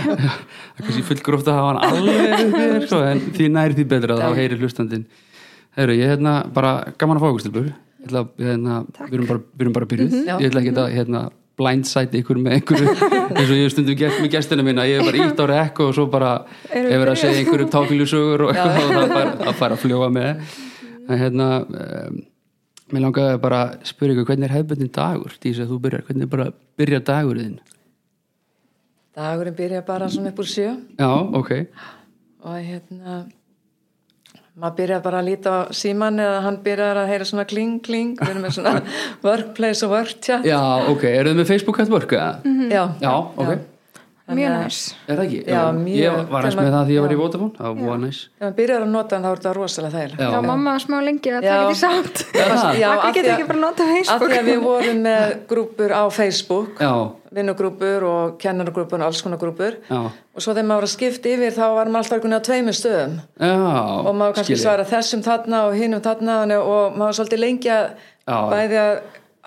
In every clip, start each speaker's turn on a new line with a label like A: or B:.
A: það er kannski fullgróft að hafa hann alveg upp yfir, sko, en því nær því betra þá heyrir hlustandinn Heru, ég hérna bara gaman að fá okkur stilbur Ég ætla að, hérna, við erum bara, við erum bara byrjuð
B: já.
A: ég ætla ekki að hérna, blindsæti ykkur með einhverju eins og ég hef stundum gert með gestina mína ég er bara ítt á rekk og svo bara
C: Erum
A: hefur að segja einhverju tákýlusögur og eitthvað og það bara að fara að fljóa með en hérna um, mér langaði bara að spyrja ykkur hvernig er hefbundin dagur því að þú byrjar, hvernig bara byrja dagur þinn
B: Dagurinn byrja bara svona upp úr sjö
A: já, ok,
B: og hérna maður byrjar bara að líta á síman eða hann byrjar að heyra svona kling kling við erum með svona workplace og work chat
A: já, ok eru þið með Facebook at work eða?
B: Mm. já,
A: já, ok,
B: Þannig
C: Mhm. mjög
B: að-
C: næs
A: er það ekki?
B: Já, mjög.
A: ég var aðeins með það því ég var í Vodafone, það var búið næs
B: ef maður byrjar að nota hann þá er þetta rosalega þægilega
C: Já, mamma var smá lengi að taka
B: Já.
C: því samt
A: Já, það.
B: Já,
C: Akkur
B: af því
C: getur
B: að-
C: ekki bara nota
B: af því að
C: Facebook
B: við vorum með grúpur á Facebook
A: já,
B: vinnugrúpur og kennargrúpur og alls konar grúpur
A: já,
B: og svo þegar maður var að skipta yfir þá var maður alltaf einhvern veginn á tveimur stöðum
A: já
B: og maður kannski
A: skil ég.
B: svara þessum þarna og hinum þarna þannig og maður var svolítið lengi að
A: Já.
B: bæði að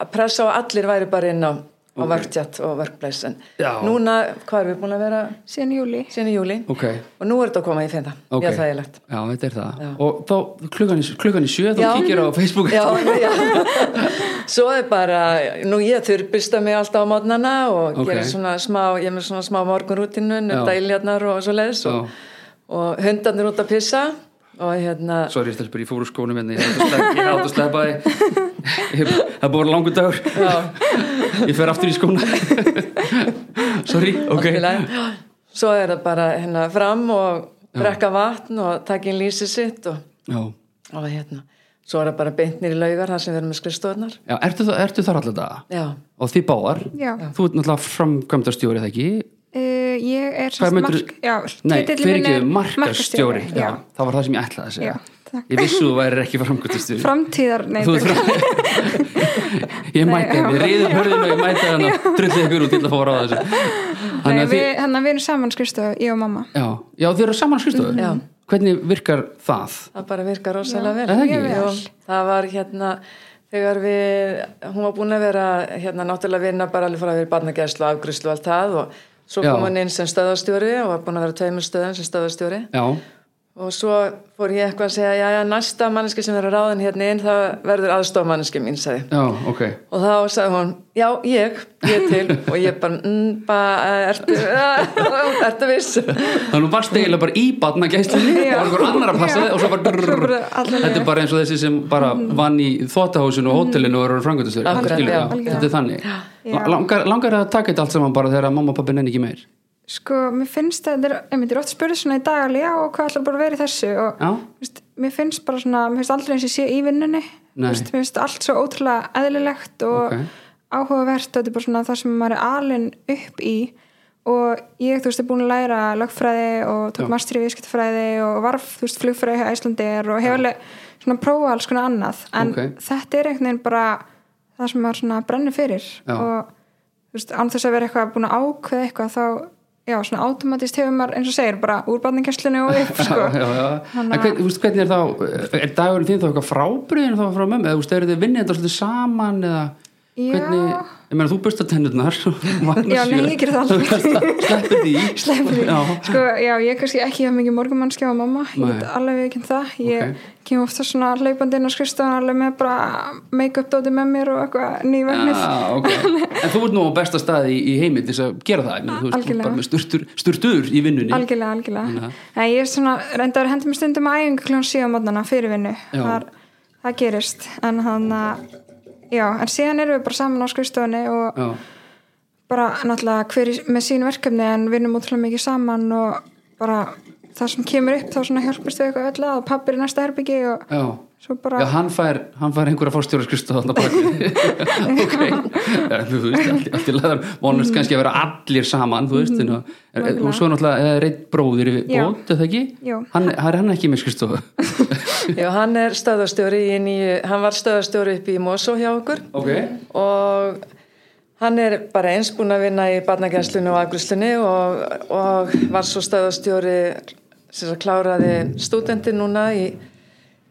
B: að pressa og allir væri bara inn á, á verktjátt og verkblæs en
A: Já.
B: núna, hvað erum við búin að vera
C: síðan í júli
B: síðan í júli
A: ok,
B: og nú er þetta að koma í fynda
A: ok
B: mjög þægilegt
A: já, þetta er það og þá klukkan í, klukkan í sjö þá
B: Já.
A: kíkir á Facebook
B: Já, já. Svo er bara, nú ég þurrbista mig alltaf á mótnana og
A: Ok.
B: okay. svona smá, ég er með svona smá morgunrútinu,
A: Já.
B: nutta iljarnar hérna og svo leiðis
A: Já.
B: og, og hundarnir út að pissa og hérna,
A: Sorry, stelpur, ég fór úr skónum hérna, ég hát að slepa þið. Ég- Það er búin langur dagur,
B: já,
A: ég fer aftur í skóna. Sorry, ok.
B: allt í lagi. svo er það bara hérna fram og brekka vatn og taka inn lýsi sitt og,
A: Já,
B: og hérna, svo er það bara beintnir í laugar þar sem við erum með skrifstofnar,
A: já ertu, þa- ertu þar alltaf daga?
B: já,
A: Og þið báðar?
C: Já.
A: Þú ert náttúrulega framkvæmdastjóri, það ekki?
C: Uh, ég er
A: Hvað
C: sem
A: myndirðu-
C: mark, já,
A: Nei,
C: titillinn
A: fyrir
C: minn er
A: ekki markastjóri. Já.
C: Já,
A: það var það sem ég ætlaði að segja.
C: Já, takk.
A: Ég vissu þú væri ekki framkvæmdastjóri.
C: framtíðar
A: Þú
C: neytur
A: ert frá... ég mæti
C: Nei, já.
A: henni, riðum hörðinu og ég mæti henni, drullið ykkur út til að fá að ráða þessu.
C: Nei,
A: Þannig að
C: við,
A: þið-
C: hann að við erum saman skrifstofu, ég og mamma
A: Já, já þið eru saman á skrifstofu?
B: Já.
A: Hvernig virkar það?
B: það bara virkar rosalega vel.
A: Er það ekki?
C: Mjög vel.
B: Jú, það var hérna þegar við, hún var búin að vera hérna náttúrulega vinna bara alveg frá að vera barnagæslu og afgríslu og allt það og svo
A: Já.
B: kom hún inn sem stöðastjóri og var búin að vera á tveimur stöðum sem stöðastjóri
A: Já,
B: og svo fór ég eitthvað að segja já já næsta manneski sem verður ráðin hérna inn það verður aðstof manneski mín sagði
A: já, ok.
B: og þá sagði hún já ég, ég til og ég bara, mm, bara ertu, ertu viss
A: Þannig að þú varst eiginlega bara í batna gæslinni og
C: Já.
A: einhver annar að passa
C: Já.
A: þig og svo bara,
C: Svo bara Mm. alla leið.
A: þetta er bara eins og þessi sem bara vann í þvóttahúsinu og hótelinu og eru frangöndastur
B: Akkurat, já.
A: þetta er þannig
C: Já.
A: langar, langar að taka þetta allt saman bara þegar að mamma og pappi nenni ekki meir
C: Sko, mér finnst að þetta er, ég myndir oft spurði svona í dag alveg, já, og hvað ætlar bara að vera í þessu og
A: Já.
C: þú veist, mér finnst bara svona, mér finnst aldrei eins og ég sé í vinnunni
A: Nei.
C: Þú veist, mér finnst allt svo ótrúlega eðlilegt og
A: Ok.
C: áhugavert og þetta er bara svona það sem maður er alinn upp í og ég, þú veist, er búin að læra lögfræði og tók master í viðskiptfræði og varf, þú veist, flugfræði hjá Æslandir og hefur alveg svona prófa alls konar annað en
A: Ok.
C: þetta er einhvern veginn bara það sem maður svona brennir fyrir
A: Já.
C: og þú veist, án þess að vera eitthvað búin að ákveða eitthvað þá, já, svona automatist hefur maður eins og segir, bara úr barningkesslinu og upp, sko.
A: já, já. En hvern, þú veist, hvernig er þá er dagurinn þín þá eitthvað frábriðin þá frá mömmu eða þú veist, eru þið vinnið þetta svolítið saman eða
C: Já.
A: hvernig, ég meina þú bursta tennurnar
C: Já, nei, ég gerði það aldrei.
A: sleppið því
C: Sleppur því.
A: Já.
C: Sko, já, ég er kannski ekki hef mikið morgumannskja á mamma, ég
A: Nei.
C: get alveg ekki það. Ég
A: Ok.
C: kem ofta svona hlaupandi inn á skrifstofan alveg með bara make-up dóti með mér og eitthvað nýverðnið.
A: Já, Ah, ok. En þú ert nú á besta staði í, í heimi til þess að gera það, menn, þú veist, þú ert
C: Algjörlega.
A: bara með sturtur, sturtur í vinnunni.
C: Algjörlega, algjörlega. Nei, ég er svona, reyndar hendur mér stundum að æfingu kljón síðan mótnana fyrir vinnu.
A: Já.
C: Þar, það gerist. En hann að, já, en síðan erum við bara saman á skrifstofunni og
A: Já,
C: bara náttúrulega hver í- með sín verkefni en vinnum útrúlega mikið saman og bara það sem kemur upp þá svona hjálpist við eitthvað öll að og pappir í næsta herbyggi og
A: já.
C: svo bara
A: Já, hann fær, hann fær einhverja fórstjóra skristu þarna bakið. ok. Já, þú veist, allt, allt í laðar, vonast kannski að vera allir saman, þú veist, en, og, er, og svo náttúrulega er einn bróðir í
C: Mhm. Já.
A: bót, er það ekki?
C: Jú.
A: Hann, hann er hann ekki með skristu.
B: já, hann er stöðastjóri í nýju, hann var stöðastjóri upp í Mosó hjá okkur
A: ok.
B: og hann er bara eins búinn að vinna í barnagjæslunni og agruslunni og, og var svo stöðastjóri sem það kláraði stúdendi núna í,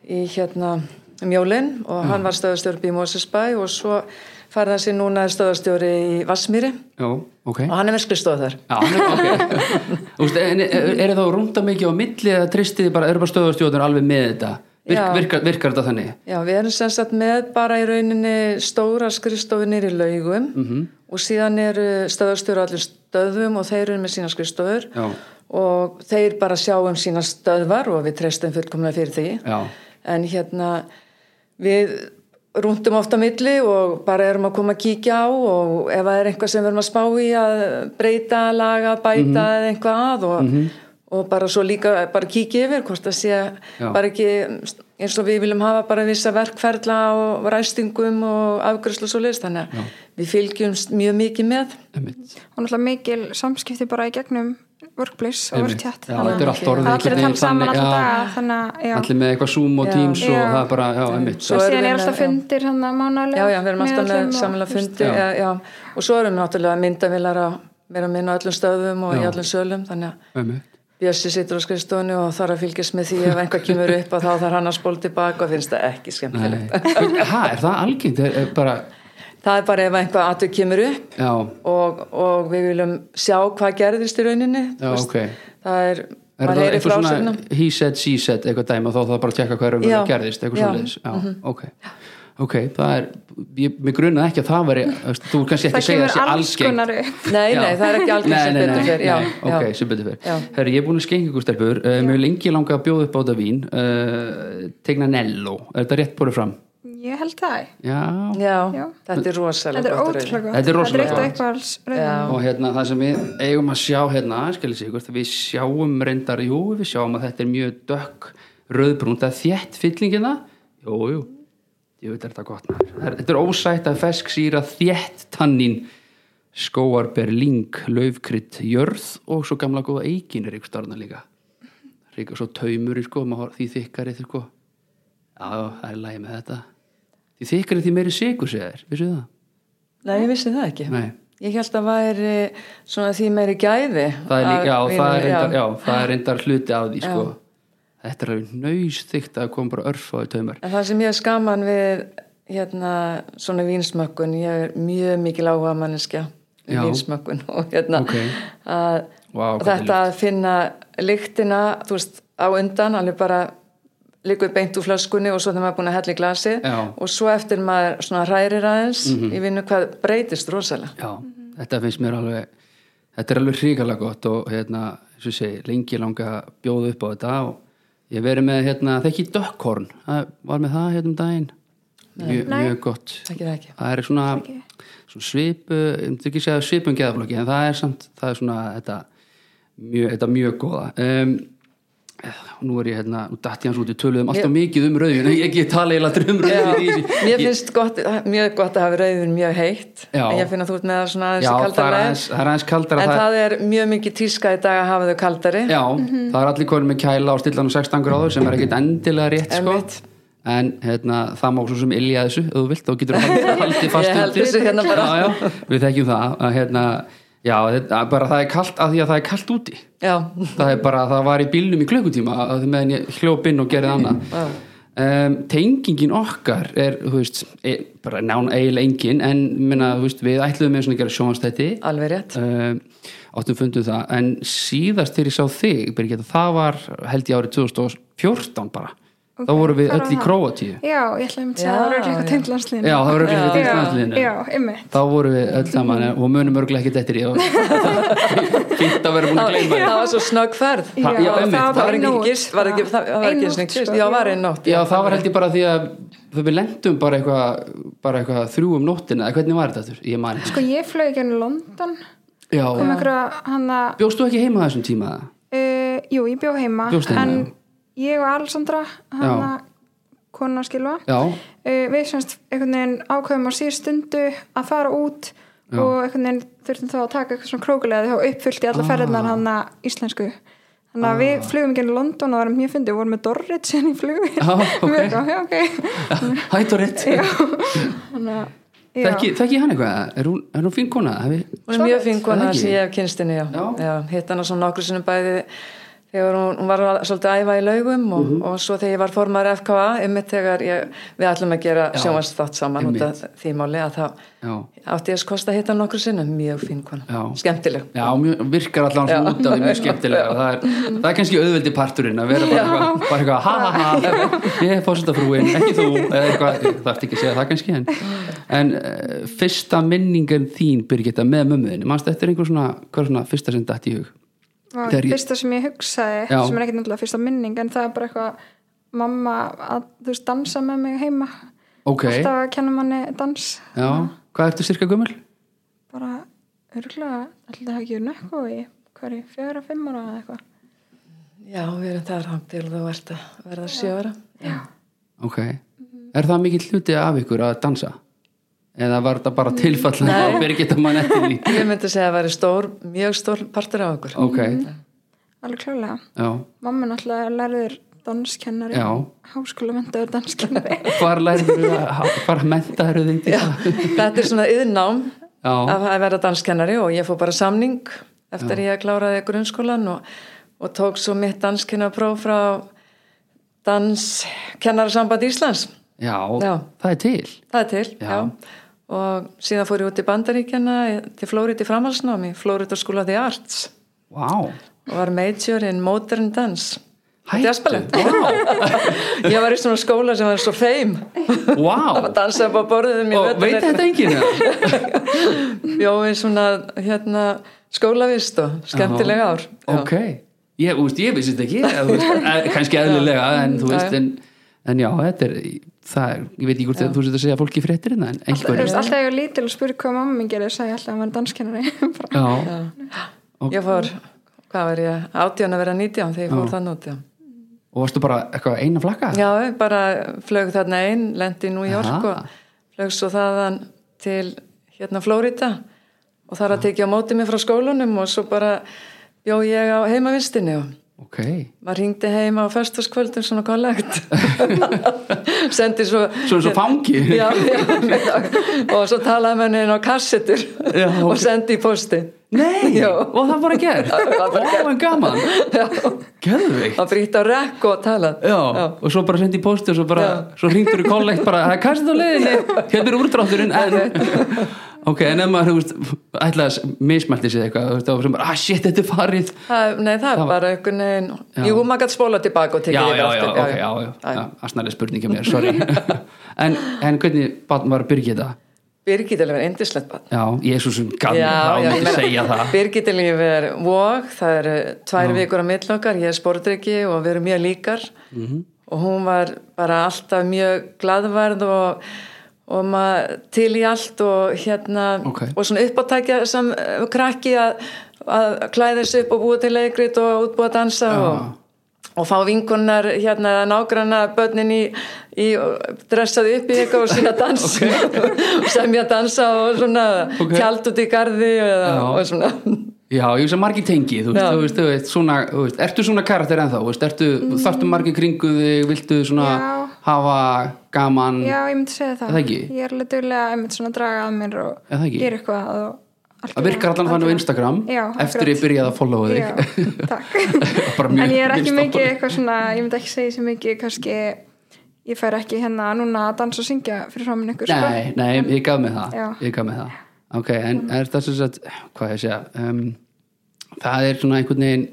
B: í hérna mjólinn og hann var stöðastjóri upp í Mósesbæ og svo farið hann sér núna er stöðastjóri í Vassmýri
A: Já, ok.
B: og hann er með skrifstofu þar
A: Já, hann er, ok. veist, en er, er það rúnda mikið á milli eða tristið þið bara, eru bara stöðastjóðunar alveg með þetta Virk,
B: Já.
A: virkar, virkar þetta þannig
B: Já, við erum sem sagt með bara í rauninni stóra skrifstofunir í laugum og síðan eru stöðastjóri á allir stöðum og þeir eru með sína skrifstofur
A: Já.
B: og þeir bara sjá um sína stöðvar og við treystum fullkomlega fyrir því.
A: Já.
B: En hérna, við rúndum ofta milli og bara erum að koma að kíkja á og ef það er eitthvað sem við erum að spá í að breyta, laga, bæta
A: Mhm.
B: eða eitthvað að og, og bara svo líka bara kíkja yfir hvort það sé
A: Já.
B: bara ekki eins og við viljum hafa bara vissa verkferla og ræstingum og afgjörslu svo leist þannig að við fylgjumst mjög mikið með
A: Einmitt.
C: og náttúrulega mikil samskipti bara í gegnum workplace og
A: Einmitt.
C: worktjátt
A: Já, þetta er allt orðið einhvern
C: allir að
A: veginn
C: tala saman
A: þannig,
C: alltaf
A: já.
C: daga þannig að já
A: allir með eitthvað Zoom og
B: Já.
A: Teams og
C: Já.
A: það er bara, já, einmitt
B: Svo erum
C: og síðan
B: við
C: er
B: með-
C: alltaf
B: já.
C: fundir hann að mánalega
B: Já, já, við erum alltaf með samlega fundi
A: Já.
B: já. Já, og svo erum við náttúrulega myndavilar að vera minn á öllum stöðum og í öllum sölum þannig að
A: einmitt
B: Bjössi situr á skrifstofunni og þarf að fylgjast með því ef einhvað kemur upp að þá þarf hann að spóla tilbaka og finnst það ekki
A: Nei.
B: skemmtilegt.
A: Hæ, er það algengt? Er, er bara,
B: Það er bara ef einhvað atvik kemur upp
A: já,
B: og, og við viljum sjá hvað gerðist í rauninni.
A: Já,
B: þú veist.
A: ok.
B: Það er,
A: er
B: maður
A: það
B: heyri
A: eitthvað
B: frásögnum.
A: svona he said, she said, eitthvað dæma þá það bara að tjekka hvað er
B: Já.
A: umhverfið gerðist, eitthvað
B: Já.
A: svona Já, ok Ok, það er, ég, mér grunaði ekki að það veri, þú veist, þú vilt kannski ekki
C: það
A: segja
C: kemur
A: þessi
C: alls
A: algengt
C: konar upp
B: Nei,
A: Já.
B: nei, það er ekki algjörn
A: Nei,
B: sem
A: nei, nei,
B: betur fyrir. Já,
A: nei,
B: já.
A: ok, sem betur
B: Já.
A: fyrir Herri, ég er búin að skengi ykkur stelpur uh, Mjög lengi langa að bjóða upp á þetta vín uh, Tegna Nello, er þetta rétt búið fram?
C: ég held það,
A: Já,
B: Já,
C: Já.
B: þetta er rosalega gott í
C: þetta er
B: rauninni.
C: ótrúlega gott
A: Þetta er rosalega
C: þetta er
A: gott.
C: eitt af uppáhalds
B: Já.
A: og hérna það sem við eigum að sjá hérna, skilja sig ykkur, við sjáum reyndar, jú, við sjáum að þetta er mjög dökk, rauðbrúnt, það er þétt fyllingina, jú, jú jú, þetta er þetta gott maður. Það er- þetta er ósætt að fesk síra þétt tannin skóarber, ling, laufkrydd, jörð og svo gamla góða eikin er ykkur starna líka ríka svo taumur í sko, maður, horf- því þykkari því sko, já, það er lægi með þetta því þykkari því meiri sigur segir, vissu það?
B: Nei, ég vissi það ekki.
A: Nei.
B: Ég held að væri svona því meiri gæði.
A: það er líka,
B: að
A: já, það er
B: vínum,
A: reyndar, já, það er reyndar hluti af því, sko þetta er alveg nöysþygt að koma bara örf á því taumar
B: En það sem ég er skaman við hérna svona vínsmökkun, ég er mjög mikil áhuga manneskja
A: Já.
B: um vínsmökkun og hérna
A: Ok.
B: að
A: Vá, hvað
B: þetta að finna lyktina, þú veist, á undan, alveg bara líkuð beint úr flaskunni og svo þegar maður er búin að hella í glasið
A: Já. Mhm.
B: og svo eftir maður svona hrærir aðeins ég vinnu hvað breytist rosalega.
A: já, þetta finnst mér alveg þetta er alveg hríkala gott og hérna, eins og ég segi, lengi langa að bjóða upp á þetta og ég hef verið með hérna, þekki dökkhorn, það var með það hérna um daginn, Mjö, mjög gott
B: Ekki það ekki.
A: það er svona, svona svipu, ég myndi ekki segja svipum geðaflokki en það er samt, það er svona þetta mjög, þetta mjög góða um, nú er ég hérna, nú datt ég hans út í töluðum alltaf mikið um rauðin, ég ekki tala eiginlega um rauðin í þessu
B: Mér finnst gott, mjög gott að hafa rauðin mjög heitt
A: Já.
B: en ég finn að þú ert með það svona aðeins
A: já,
B: í
A: það er
B: kaldara
A: aðeins, það er aðeins kaldara
B: en
A: það,
B: það er mjög mikið tíska í dag að hafa þau kaldari
A: já,
B: Mhm.
A: það er allir konum með kæla og stillan og 16 gráður sem er ekkit endilega rétt sko.
B: Einmitt.
A: en hérna, það má svo sem ilja þessu, ef þú vilt, þá getur það haldið fast
B: Ég held
A: undir.
B: þessu hérna bara.
A: já, já, við þekkjum það að, hérna, já, þetta, bara það er kalt að því að það er kalt úti
B: Já,
A: það er bara, það var í bílnum í klukkutíma að- að meðan ég hljóp inn og gerði annað um, tengingin okkar er, þú veist, er, bara nán eiginlega engin, en minna, þú veist, við ætluðum með svona að gera sjónastætti
B: alveg rétt
A: um, áttum fundum það, en síðast þegar ég sá þig, Birgitta, það var held ég árið 2014 bara
C: Ok,
A: þá vorum við
C: hvar
A: öll
C: var
A: í
C: það?
A: Króatíu
C: já, ég ætla einmitt að
B: Já,
C: segja það voru örugglega
B: já.
C: eitthvað tengt landsliðinu.
A: já, það voru öll
C: Já,
A: í landliðinu
C: já, einmitt
A: þá vorum við öll saman og munum örglega ekkert eftir ég fínt að vera búin að gleyma því.
B: Það var svo snögg ferð
A: Já, já, einmitt, það
B: Það
A: var
B: var ekki
C: nótt,
B: gist, var ekki,
C: sko.
B: það var
C: Ein
B: ekki
C: nótt,
B: svona gist Já,
C: sko, já.
B: var einn nótt
A: Já, það var held ég bara því að við lendum bara eitthvað bara eitthvað þrjú um nóttina, eða hvernig var þetta þurr? Ég man ekki.
C: sko ég flög ekki enn London
A: Já,
C: kom einhverja hann að
A: bjóst þú ekki heima á þessum tíma?
C: Uh, jú, ég bjó heima,
A: Bjóst heima,
C: en ég og Alessandra, hann að kona skilva,
A: Já,
C: uh, við semst einhvern veginn ákveðum á síðar stundu að fara út og einhvern veginn þurftum þá að taka eitthvað svona krókulega þá uppfyllt í alla
A: Ah.
C: ferðarnar hann að íslensku. Þannig að við flugum ekki í London og varum mjög fyndið, við vorum með Dorrit sem í flugum.
A: Já, ok.
C: mjög gá, já, ok.
A: hættu rétt.
C: Þannig að, já.
A: Þekki þekki ég hann eitthvað? Er hún, er hún fín kona? Hef ég...
B: Hún er mjög fín
A: Er það
B: kona
A: ekki?
B: sem ég hef kynstinni, já.
A: Já.
B: já Hitt hana svona nokkru sinni bæði þegar hún, hún var al- svolítið að æfa í laugum og,
A: Mhm.
B: og svo þegar ég var formar FKA einmitt þegar ég, við ætlum að gera
A: Já.
B: sjónvast þátt saman út af því máli að þá
A: Já.
B: átti ég að kosta að hitta nokkru sinnum mjög fín
A: Já.
B: kona, skemmtileg
A: Já, mjög, virkar allan svona
B: Já.
A: út af því mjög skemmtilega það er, það er kannski auðveldi parturinn að vera bara eitthvað, bara eitthvað ha ha ha, ég er fórsetafrúin, ekki þú eða eitthvað, það ert ekki að segja það kannski en,
B: Mm.
A: en uh, fyrsta minningin þín Birgitta með mömmuðinni, mannst þetta er einhver svona, hver svona fyrsta sem datt í hug
C: og
A: Þegar ég-
C: fyrsta sem ég hugsaði
A: Já.
C: sem er ekkert náttúrulega fyrsta minning en það er bara eitthvað mamma að þú veist dansa með mig heima
A: ok,
C: alltaf að kenna manni dans
A: já, hvað ertu sirka gömul?
C: bara örgulega alltaf hafa ekki verið nökk og ég hverju fjögur að fimm ára eða eitthvað
B: Já, við erum þar hann til þú ert að verða sjóra Já,
A: ok,
B: Mm.
A: er það mikill hluti af ykkur að dansa? eða var þetta
B: Mm.
A: bara tilfall að Birgitta mann eftir því?
B: ég myndi segja að það væri stór, mjög stór partur af okkur
A: ok,
C: alveg klálega
A: já,
C: mamma náttúrulega er lærður danskennari
A: Já.
C: háskóla myndaður danskennari
A: hvar lærður hvar mentaður þig til það?
B: Þetta er svona yðnám
A: Já,
B: að að vera danskennari og ég fór bara samning eftir ég kláraði grunnskólan og, og tók svo mitt danskennarpróf frá Danskennarasamband Íslands
A: já,
B: Já.
A: það er til
B: það er til,
A: Já.
B: já, og síðan fór ég út í Bandaríkjana til Flórit í framhalsnámi, Flórit og skóla því arts
A: Vá,
B: og var major in modern dance
A: Hættu.
B: Jazzballett. ég var í svona skóla sem var svo feim
A: vá
B: að dansa upp á borðum í
A: Og veit
B: veturinn.
A: þetta enginn það?
B: bjóði svona hérna skólavist og skemmtilega ár Já.
A: Ok, ég, úst, ég vissi þetta ekki eða, þú veist, eh, kannski eðlilega en þú veist,
B: Já.
A: en, en já, þetta er það er, ég veit ekki hvort þú sétt að segja fólki fréttir hérna, en
C: Þú
A: einhver
C: veist, alltaf ég var lítil og spurði hvað mamma minn gerði sagði ég alltaf að maður er danskennari Bara-
A: Já,
B: ég fór, hvað var ég, átján að vera nítján þegar ég fór þann út já.
A: og varstu bara eitthvað eina flakka?
B: já, ég bara flög þarna einn lendi í New York
A: Aha.
B: og flög svo þaðan til hérna Flórida og þar að tekja á móti mig frá skólanum og svo bara bjó ég á heimavistinni og
A: Ok,
B: maður hringdi heima á festaskvöldum svona kollegt sendi svo
A: svo eins og fangi
B: já, já, já. og svo talaði með henni inn á kassetur
A: Já,
B: og
A: ok.
B: sendi í posti
A: Nei,
B: Já.
A: og það bara gert
B: var bara
A: Ó, en gaman
B: Já.
A: Geðveikt
B: og brýtt á rekk og talað
A: Já, og svo bara sendi í posti og svo bara, svo ringdur í kollekt bara, það er kastin á leiðinni, hérna er úrdrátturinn en, ok, en ef maður þú veist, ætla að mismælti sér eitthvað þú veist, þá sem bara, ah shit, þetta er farið já,
B: Það, nei, það er bara einhvern veginn, jú, maður gætt spóla tilbaka og tekið
A: já,
B: yfir
A: já, já,
B: aftur.
A: ok, já, já, já aðsnæli spurningi mér, sorry en, en hvernig barn var Birgitta?
B: Birgit er alveg indislegt barn.
A: Já, um Jésúsum gaf mér
B: Já,
A: það og
B: já, ég
A: myndi
B: meina,
A: segja það
B: Birgit er lífið vók, það eru tvær vikur á millokkar, ég er sportryggi og við erum mjög líkar
A: Mhm.
B: og hún var bara alltaf mjög gladvarð og, og maður til í allt og hérna
A: Ok.
B: og svona uppáttækja sem eh, krakki að, að klæða sig upp og búa til leikrit og útbúa að dansa og og fá vinkunnar hérna nágranna börnin í, í dressaði upp í eitthvað og sína dans og semja dansa og svona
A: Ok.
B: tjald út í garði eða,
A: Já.
B: og svona
A: Já, ég veist að margir tengi, þú veist,
B: Já.
A: þú veist, þú veist, svona, þú veist ertu svona karakter ennþá, þú veist, ertu, þarftu margir kringu þig, viltu svona
C: Já.
A: hafa gaman
C: já, ég myndi segja
A: Mm.
C: það
A: Er það ekki?
C: ég er alveg duglega, ég myndi svona að draga að mér og
A: Er það ekki?
C: gera eitthvað og allt í
A: Það virkar
C: lagi.
A: allan þannig á Instagram
C: já,
A: eftir ég byrjaði að followa
C: byrjaði
A: þig
C: já, takk
A: Bara mjög
C: en ég er ekki
A: minnst á
C: mikið
A: það.
C: eitthvað svona ég myndi ekki segja sem mikið kannski ég fær ekki hérna núna að dansa og syngja fyrir framin ykkur sko.
A: Nei, nei, ég gaf mig það
C: Já. Mm.
A: Ég gaf mig það Ok, en er það sem sagt, hvað ég segja um, Það er svona einhvern veginn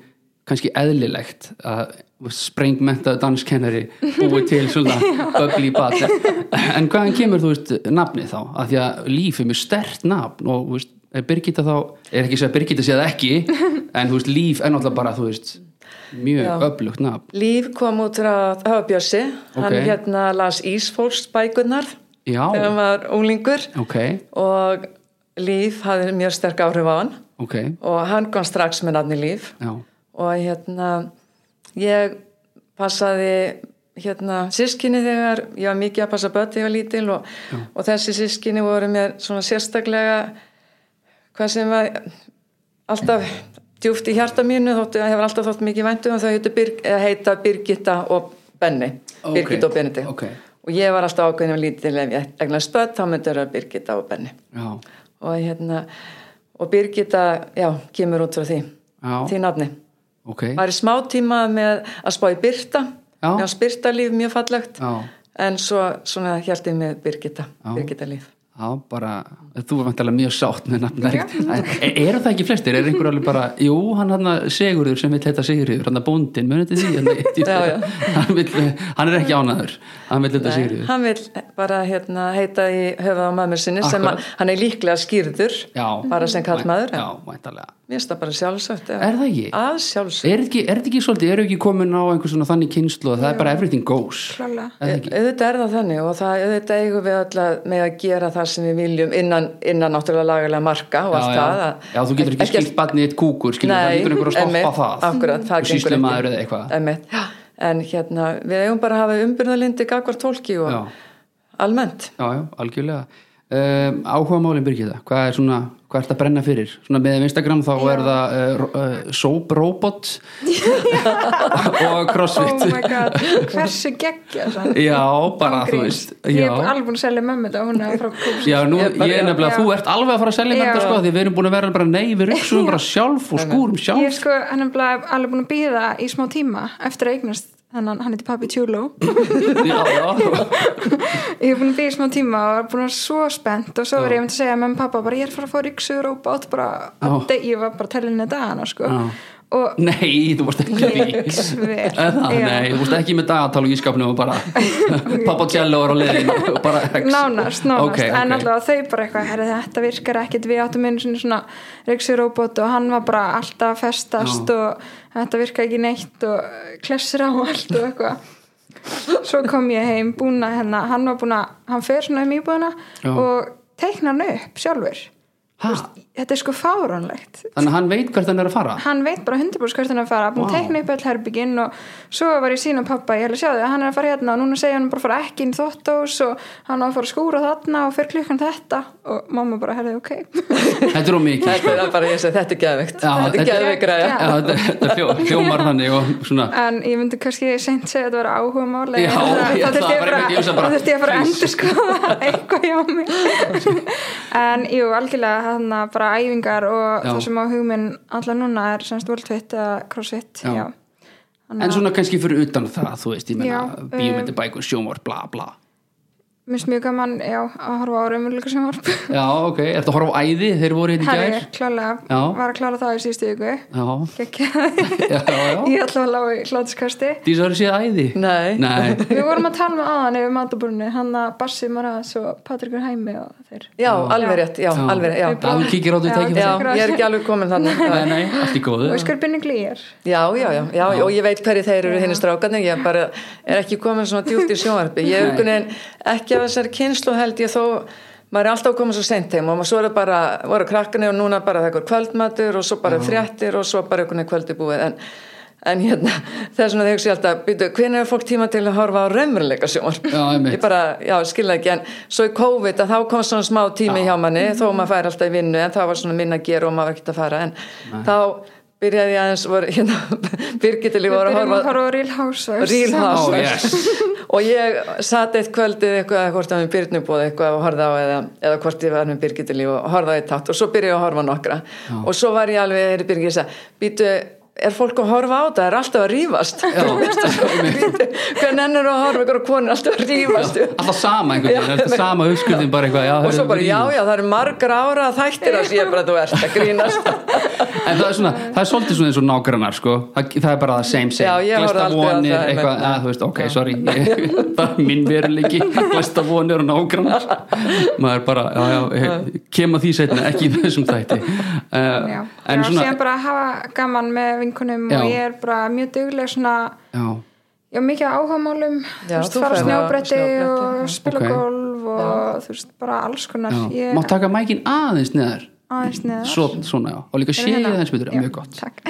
A: kannski eðlilegt að sprengmentaðu danskennari búið til svona bubbly bat en hvaðan kemur þú veist nafnið þá að því að líf er mjög stert nafn og þú veist, er Birgitta þá er ekki að segja að Birgitta sé það ekki en þú veist líf er náttúrulega bara þú veist
B: Já.
A: mjög öflugt nafn
B: Líf kom út frá Hafabjössi hann
A: Ok.
B: hérna las Ísfólksbækurnar þegar
A: Já,
B: hann var unglingur
A: ok,
B: og Líf hafði mjög sterk áhrif á hann
A: ok
B: og hann kom strax með nafni Líf
A: Já,
B: og hérna ég passaði hérna sískinni þegar ég var mikið að passa börn þegar ég var lítil og, og þessi sískinni voru mér svona sérstaklega hvað sem var alltaf djúft í hjarta mínu þóttu, hefur alltaf þótt mikið væntu og þau heitu Birg, eða heita Birgitta og Benni
A: Ok,
B: Birgitta og Benedikt
A: ok.
B: og ég var alltaf ákveðin og lítil ef ég egnast börn þá myndi það Birgitta og Benni
A: já,
B: og hérna og Birgitta, já, kemur út frá því
A: Já.
B: því nafni
A: ok,
B: var í smá tíma með að spá í Byrta
A: Já.
B: mér fannst Byrta líf mjög fallegt
A: já,
B: en svo svona held ég með Birgitta
A: Já.
B: Birgitta líf
A: já, bara þú var vantilega mjög sátt með nafn er, eru það ekki flestir, er einhver alveg bara jú, hann hann Sigurður sem vill heita Sigurður hann að bóndin, munið þið því hann,
B: Já, já.
A: Hann, vill, hann er ekki ánaður hann vill heita
B: Nei,
A: Sigurður
B: hann vil bara hérna, heita í höfuð á mömmu sinni sem
A: Akkurat.
B: að, hann er líklega skýrður
A: já,
B: bara sem kallmaður
A: já,
B: en
A: vantilega
B: mér finnst það bara sjálfsagt
A: Er það ekki?
B: að sjálfsagt,
A: Er þetta ekki, er þetta ekki svolítið, eru ekki komin á einhver svona þannig kynslu að það er bara everything goes
C: Klárlega.
A: Er það ekki?
B: auðvitað er það þannig og það auðvitað eigum við alltaf með að gera það sem við viljum innan, innan náttúrulega lagalega marka og allt
A: já,
B: það
A: já. já,
B: að-
A: þú getur ekki
B: ekkert-
A: skilt barnið eitt kúkur, skilur það lítur einhver að stoppa
B: einmitt,
A: það
B: akkurat, það
A: og
B: gengur
A: sýslu maður
B: ekki.
A: eða eitthvað
B: Einmitt. en hérna, við eigum bara að hafa umbyrðalindi gagvart fólki Eh, og
A: Já.
B: almennt
A: já, já, algjörlega um, áhuga málin Birgitta, hvað er svona hvað ert að brenna fyrir, svona með Instagram þá er það uh, ro- uh, soap robot og crossfit
C: oh my god, hversu geggja
A: já, bara þú veist
C: ég er
A: já,
C: alveg búin að selja mömmu þetta og hún er frá kúps
A: já nú,
B: Ég
A: ég
B: bara-
A: er nefnilega,
C: já.
A: þú ert alveg að fara að selja
C: Já.
A: með þetta sko, því við erum búin að vera bara nei, við ryksuðum bara sjálf og skúrum
C: ég er
A: sjálf
C: sko, hann er bara alveg búin að býða í smá tíma eftir að eignast þannig hann heiti pappi Tjúló
A: já, já,
C: ég er búin að býða í smá tíma og er búin að vera svo spennt og svo er ég myndi að segja að mamma og pappa bara ég er að fara að fá ríksugur og bát bara update, ég var bara tellinni dagana sko
A: Já.
C: og
A: Nei, þú varst ekki í
C: Ég sver,
A: Eða,
C: já.
A: Nei, þú varst ekki með dagatal og ískapnum og bara Pappa Jello er á leiðin og bara X.
C: nánast, nánast,
A: Ok,
C: en
A: ok.
C: allavega þau bara eitthvað, herri þetta virkar ekkit við áttum einu sinni svona reyksirróbót og hann var bara alltaf að festast og þetta virka ekki neitt og klessir á allt og eitthvað svo kom ég heim búin að hérna, hann var búin að, hann fer svona um íbúðina
A: Já.
C: og teikna hann upp sjálfur
A: Ha,
C: þetta er sko fáránlegt
A: Þannig að hann veit hvert hann er að fara
C: hann veit bara 100% hvert hann er að fara búin
A: Vá.
C: að teikna upp öll herbygginn og svo var ég sína pappa, ég hefði sjáði að hann er að fara hérna og núna segja hann bara að fara ekki inn í þóttós og hann á að fara að skúra þarna og fyrir klukkan þetta og mamma bara herði ok
A: Þetta er á mikið
B: þetta er bara eins og þetta er geðveikt
A: Já,
B: þetta er
A: þetta-
B: geðveikt
C: Já.
B: græja
A: Já, Þetta þetta hljó- hljómar þannig og svona
C: en ég myndi kannski seint segja að þetta var áhuga máli
A: Já, ég ætla að
C: þurfti
A: bara einmitt, ég hugsa bara,
C: það þurfti ég bara að
A: please.
C: endur skoða eitthvað hjá mig en jú, algjörlega hann bara æfingar og
A: Já.
C: það sem á hugminn alltaf núna er semst worldfit eða crossfit
A: Já.
C: já. Þannig
A: En
C: að-
A: svona kannski fyrir utan það, þú veist, ég
C: Já,
A: meina
C: um,
A: bíómyndi bækur, sjómor, bla bla
C: Mér finnst mjög gaman, já, að horfa á raumurleika sem varp.
A: Já, ok, ertu að horfa á æði, þeir voru hérna í
C: Herri,
A: gær
C: klálega,
A: Já.
C: var að klára það í síðustu viku.
A: Já,
C: Gekkjaði.
A: já, já
C: Ég ætla að lága í hlátuskasti.
A: Dísa eru séð æði
B: Nei.
A: Nei.
C: Við vorum að tala með aðan yfir matabúrunni, hann að Bassi Maras og Patrikur Hæmi og þeir.
B: já, alveg rétt, já, alveg rétt já.
A: Já, þú kíkir á þau
C: Já,
A: tækifæri.
B: já,
C: tekur
B: ég
C: á
B: er
C: sig.
B: ekki alveg komin þannig
A: Nei, nei, allt í góðu
C: Og veist hver binni glý er?
B: já, já, já, já, og ég veit hverju þeir eru hinn strákanir, ég bara er ekki komin svona djúpt í sjónvarpi, ég er einhvern veginn ekki af þessari kynslu held ég þó maður er alltaf komin svo sent heim og maður svo eru bara voru krakkanir og núna bara það er kvöldmatur og svo bara fréttir og svo bara einhvern veginn kvöldi búið en, en hérna þess vegna þau hugsi ég alltaf, býtu, hvernig er fólk tíma til að horfa á raumurleika sjónvarp
A: Já, einmitt.
B: ég bara, já, skilja ekki en svo í COVID að þá kom svona smá tími hjá manni þó
C: Mhm.
B: maður fær alltaf í vinnu en það var svona minna að gera og maður var ekkert að fara en þá byrjaði ég aðeins voru, hérna, Birgitilí
C: Við
B: voru að
C: byrjum að
B: horfa
C: horfa á Real Housewives.
B: Real
A: Ó,
B: Housewives
A: yes
B: og ég sat eitt kvöldið eitthvað eða hvort að mér Birnu búið eitthvað og horfði á eða, eða hvort ég var með Birgitilí og horfði á eitt tát og svo byrjaði ég að horfa á nokkra og svo var ég alveg, er Birgit þess að býtu, er fólk að horfa á þetta, er alltaf að rífast Þú veist, bíddu, hvernig ennur að horfa ykkur og konur alltaf að rífast
A: alltaf sama einhvern veginn, alltaf sama uppskurðin bara eitthvað, já,
B: og svo
A: það
B: bara,
A: er-
B: já, já, það eru margar ára að þættir að sé bara þú ert að grínast
A: en það er svona, það er svolítið svona eins og nágrannar sko, það, það er bara það same same
B: Já, ég horfði
A: Glæsta
B: aldrei á
A: vonir,
B: það,
A: eitthvað,
B: einmitt.
A: að, þú veist, ok, sorry ég, það er minn veruleiki, glæsta vonir og nágrannar maður bara, já, já, ég- kem að því setna ekki í þessum þætti uh,
C: Já,
A: en
C: já
A: svona,
C: síðan bara að hafa gaman með vinkunum
A: Já.
C: og ég er bara mjög dugleg svona
A: já,
C: Já, mikið á áhugamálum, þú
B: Já,
C: veist,
B: þú
C: fara
B: ferð á
C: snjóbretti
B: snjóbretti, já.
C: og spila
A: Ok.
C: golf og þú veist, bara alls konar.
A: já
C: Ég
A: má taka mækin aðeins neðar
C: aðeins neðar.
A: Svo, svona, já, og líka
C: Fyrir
A: séu
C: hérna.
A: aðeins betur,
C: Já,
A: mjög gott
C: Takk.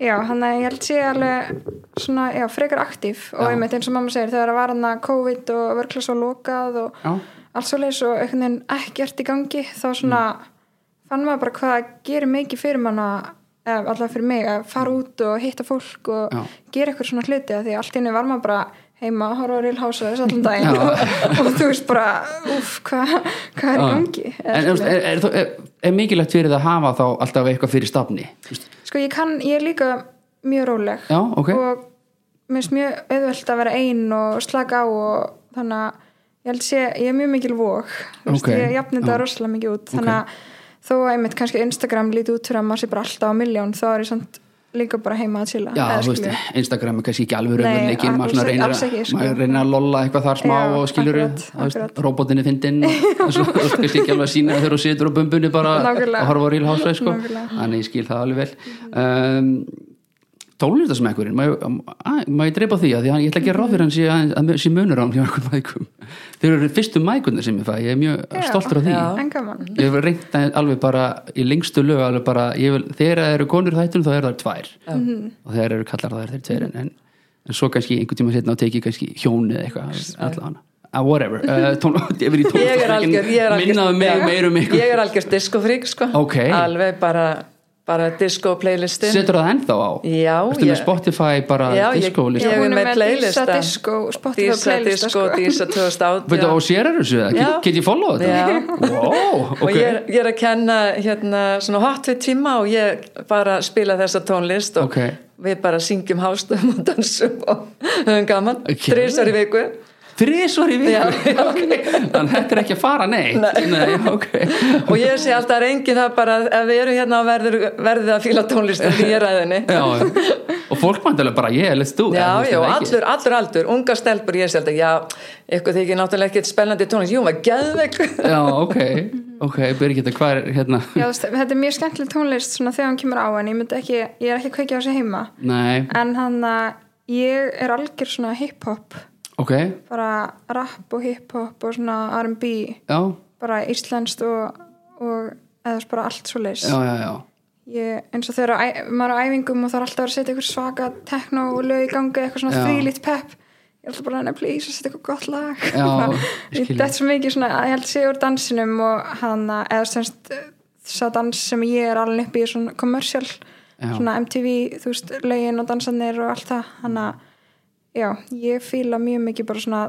C: Já, hann að ég held sé alveg svona, já, frekar aktív og einmitt eins og mamma segir þegar það var hann að COVID og verklas og lokað og
A: Já.
C: allt svo leis og einhvern veginn ekkert í gangi þá svona
A: Mm.
C: fann maður bara hvað gerir mikið fyrir manna allavega fyrir mig að fara út og hitta fólk og
A: Mm. Já.
C: gera eitthvað svona hluti af því að allt inni var maður bara heima að horfa á Real Housewives allan
A: Já.
C: daginn og, og þú veist bara, úff, hvað hva er í
A: Já.
C: gangi?
A: Ah. en þú veist, er, er, er, er mikilvægt fyrir það að hafa þá alltaf eitthvað fyrir stafni, þú veist
C: Sko ég kann, ég er líka mjög róleg
A: Já, ok.
C: og mér finnst mjög auðvelt að vera ein og slaka á og þannig að ég held sé, ég er mjög mikil vók
A: Ok,
C: okay. ég jafnir þetta
A: já.
C: rosalega mikið út þannig að þó að einmitt kannski Instagram líti út fyrir að maður sé bara alltaf á miljón þá er ég samt líka bara heima að chilla
A: Já,
C: Eða
A: þú veist,
C: skilur.
A: Instagram er kannski ekki alveg
C: Nei,
A: raunveruleikin, maður svona
C: alls-
A: reynir,
C: alls ekki,
A: að,
C: sko.
A: maður reynir að lolla eitthvað þar smá
C: Já,
A: og skilur
C: akkurat, akkurat.
A: robotinni fyndin og svo þú veist, kannski ekki alveg að sína þegar þú situr á bumbunni bara
C: Nákvæmlega.
A: að horfa á Real Housewives sko.
C: Nákvæmlega.
A: þannig ég skil það alveg vel um, tónlistasmekkurinn má ég dreipa á því að því að ég ætla að gera ráð fyrir hann sé, aðeins- að sé munur á hann hjá einhvern mækum þeir eru fyrstu mækunnir sem ég fæ ég er mjög
C: Já,
A: stoltur á því
B: já.
C: en gaman
A: ég hef reynt að- alveg bara í lengstu lög alveg bara, ég vil, þegar það eru konur í þættunum þá eru það tvær og þegar eru kallar þá eru þeir tveir en, en svo kannski einhvern tíma setna og tekið kannski hjón eða eitthvað allan Uh, whatever, uh, tón, ég verið í
B: ég er algjör, ég er
A: tónlistasmekkin
B: algjör
A: minnaðu mig
B: já.
A: meir um ykkur
B: ég er algjör diskofrík sko
A: Ok.
B: alveg bara, bara disco playlistin
A: setur það ennþá á
B: Já,
A: Ertu með
B: ég-
A: Spotify bara
B: Já, ég-
A: disco-lista
B: ég- er
C: Hún
B: með playlista.
C: Dísa Disco, Spotify
B: Dísa
C: playlista
B: disco,
C: sko.
B: Dísa 2008
A: Veitu, og sér eru þessu það,
B: Já.
A: get, get ég follow
B: Já.
A: þetta? Wow,
B: og
A: ok,
B: ég er, ég er að kenna hérna svona hot við tíma og ég bara spila þessa tónlist og
A: Ok.
B: við bara syngjum hástum og dansum og höfum gaman
A: Ok.
B: okay. þrísar í viku
A: þrísvar í
B: Já,
A: viku
B: já.
A: þannig þetta er ekki að fara neitt nei, ok
B: og ég sé alltaf reyngi það bara að ef við erum hérna og verður, verður að fíla tónlist því ég er að henni
A: já, já. og fólk mæntilega bara ég, let's do it
B: Já,
A: Þú veist, það
B: já,
A: er ekki-
B: allur, allur aldur, unga stelpur, ég sé alltaf, já, ykkur þykir náttúrulega ekkert spennandi tónlist, jú, maður geðveik.
A: já, ok, ok, Birgitta, hvað er hérna
C: Já, þú veist, þetta er mjög skemmtileg tónlist svona þegar hún kemur á en ég, myndi ekki, ég er ekki að kveikja á þessu heima
A: nei,
C: en hann að ég er algjör svona hip-hop
A: ok,
C: bara rap og hip-hop og svona R&B
A: já
C: bara íslenskt og, og eða þú veist, bara allt svo leys
A: já, já, já,
C: ég, eins og þegar á æ- maður er á æfingum og það er alltaf að vera að setja eitthvað svaka tekno og lög í gangi, eitthvað svona
A: Já.
C: þvílít pepp ég er alltaf bara að please að setja eitthvað gott lag
A: Já,
C: Bara-
A: ég skil
C: ég dett svo mikið svona, ég held sér úr dansinum og hana, eða semst sá dans sem ég er alveg upp í er svona commercial,
A: Já.
C: svona MTV þú veist, lögin og dansanir og allt það hana, já, ég fíla mjög mikið bara svona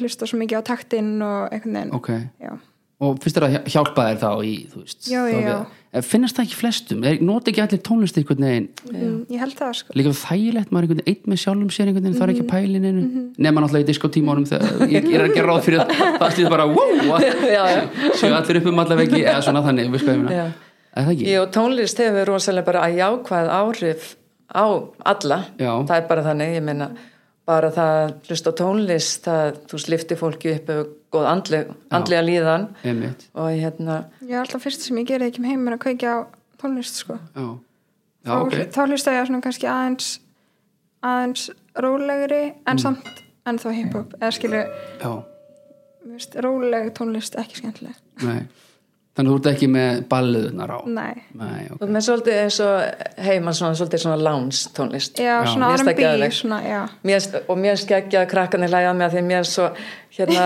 C: hlusta svo mikið á taktinn og einhvern veginn
A: ok
C: já,
A: og finnst þér að hjá- hjálpa þér þá í, þú veist
C: Já,
A: þá
C: já,
A: við-
C: já.
A: En finnast það ekki flestum, Er- nota ekki allir tónlist einhvern veginn,
C: mm, ég held það sko
A: líka þægilegt maður einhvern veginn einn með sjálfum sér einhvern veginn, það er
C: Mhm.
A: ekki pælin einu, nema náttúrulega í diskotímónum þegar ég, ég er ekki ráð fyrir það, það slið bara wow,
B: já, já.
A: séu allir upp um allavegi eða svona þannig, við skoðum
B: Já.
A: það er það ekki,
B: Jú, tónlist hefur rosalega bara að jákvæð áhrif á alla.
A: Já.
B: Það er bara þannig, ég meina, bara það að hlusta á tónlist, það, þú sliftir fólki upp eða góð andleg, andlega líðan
A: einmitt
B: og hérna,
C: Ég er alltaf fyrst sem ég gerði ekki um heim er að kveikja á tónlist sko.
A: já, já, ok
C: þá, þá hlusta ég á svona kannski aðeins aðeins rólegri
A: Mm.
C: en samt en þá hip-hop eða skilu,
A: Já,
C: viðst, róleg tónlist ekki skemmtileg
A: nei Þannig þú ert ekki með balluðunar á
C: Nei.
A: Nei, ok
B: þú með svolítið eins og heima svona, svolítið svona lounge tónlist.
C: Já,
A: Já.
C: svona
B: Mér finnst það
C: R&B
B: geðveikt.
C: svona, já.
B: Mér, og mér skeggja að krakkanir hlæja með því mér er svo hérna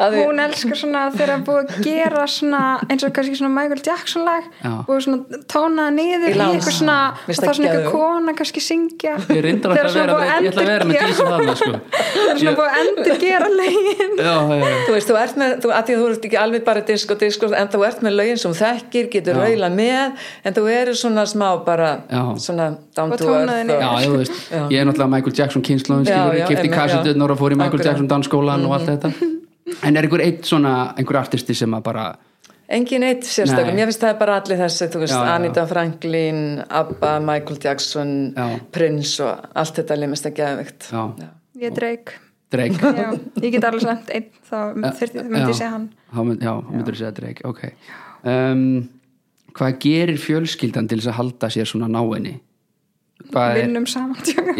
B: að því,
C: Hún elskar svona þegar að búið að gera svona eins og kannski svona Michael Jackson lag
A: Já.
C: og svona tónaða niður
B: Í
C: í
B: lás.
C: eitthvað svona
B: Mér
C: og
B: finnst
C: það
B: það
C: er svona eitthvað
B: geðveikt.
C: kona kannski syngja
A: Ég reyndar alltaf að vera með, ég ætla að vera með dísa þarna sko.
C: Það er svona búið að endur gera legin
A: Já, já, já,
B: þú veist, þú ert með, þú, að því að þú ert ekki alveg bara disk og disk en þú ert með lögin sem þú þekkir, getur raula með en þú eru svona smá bara
A: Já.
B: svona down
C: Og
B: to
C: tónaðin
B: earth
C: er-
A: já,
B: og,
A: þú veist Ég er náttúrulega Michael Jackson kynnslóðin
B: Já,
A: skilur,
B: já,
A: ég kipti
B: einmitt,
A: kassetunar
B: já.
A: og fór í Michael
B: Akkurat. Mhm.
A: Jackson dansskólan og allt þetta En er einhver eitt svona, einhver artisti sem að bara
B: engin eitt sérstaklega,
A: Nei.
B: mér finnst það er bara allir þessi, þú veist,
A: Já, já.
B: Anita Franklin Abba, Michael Jackson
A: Já.
B: Prince og allt þetta limist ekki aðvegt
A: Já.
C: Ég dreik
A: Drake
C: Já, ég get alveg samt einn þá þyrfti, myndi ég segja hann
A: Já, mynd, já, myndur segja Drake, ok um, Hvað gerir fjölskyldan til þess að halda sér svona náinni? Hvað er
C: vinnum saman tjóka.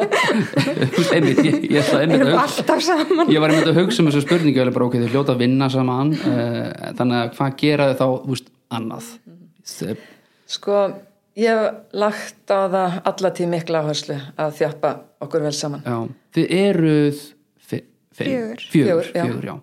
A: Þú veist, einmitt, ég, ég ætla einmitt að
C: erum
A: hugsa
C: alltaf saman
A: Ég var einmitt að hugsa um þessu spurningu ég er bara, ok, þau hljóta að vinna saman uh, þannig að hvað gera þau þá þú veist, annað Þau-
B: sko, ég hef lagt á það alla tíð mikla áherslu að þjappa okkur vel saman
A: já, Þið eruð fi- fimm? fjögur,
C: Fjögur.
B: Fjögur, já.
A: fjögur já.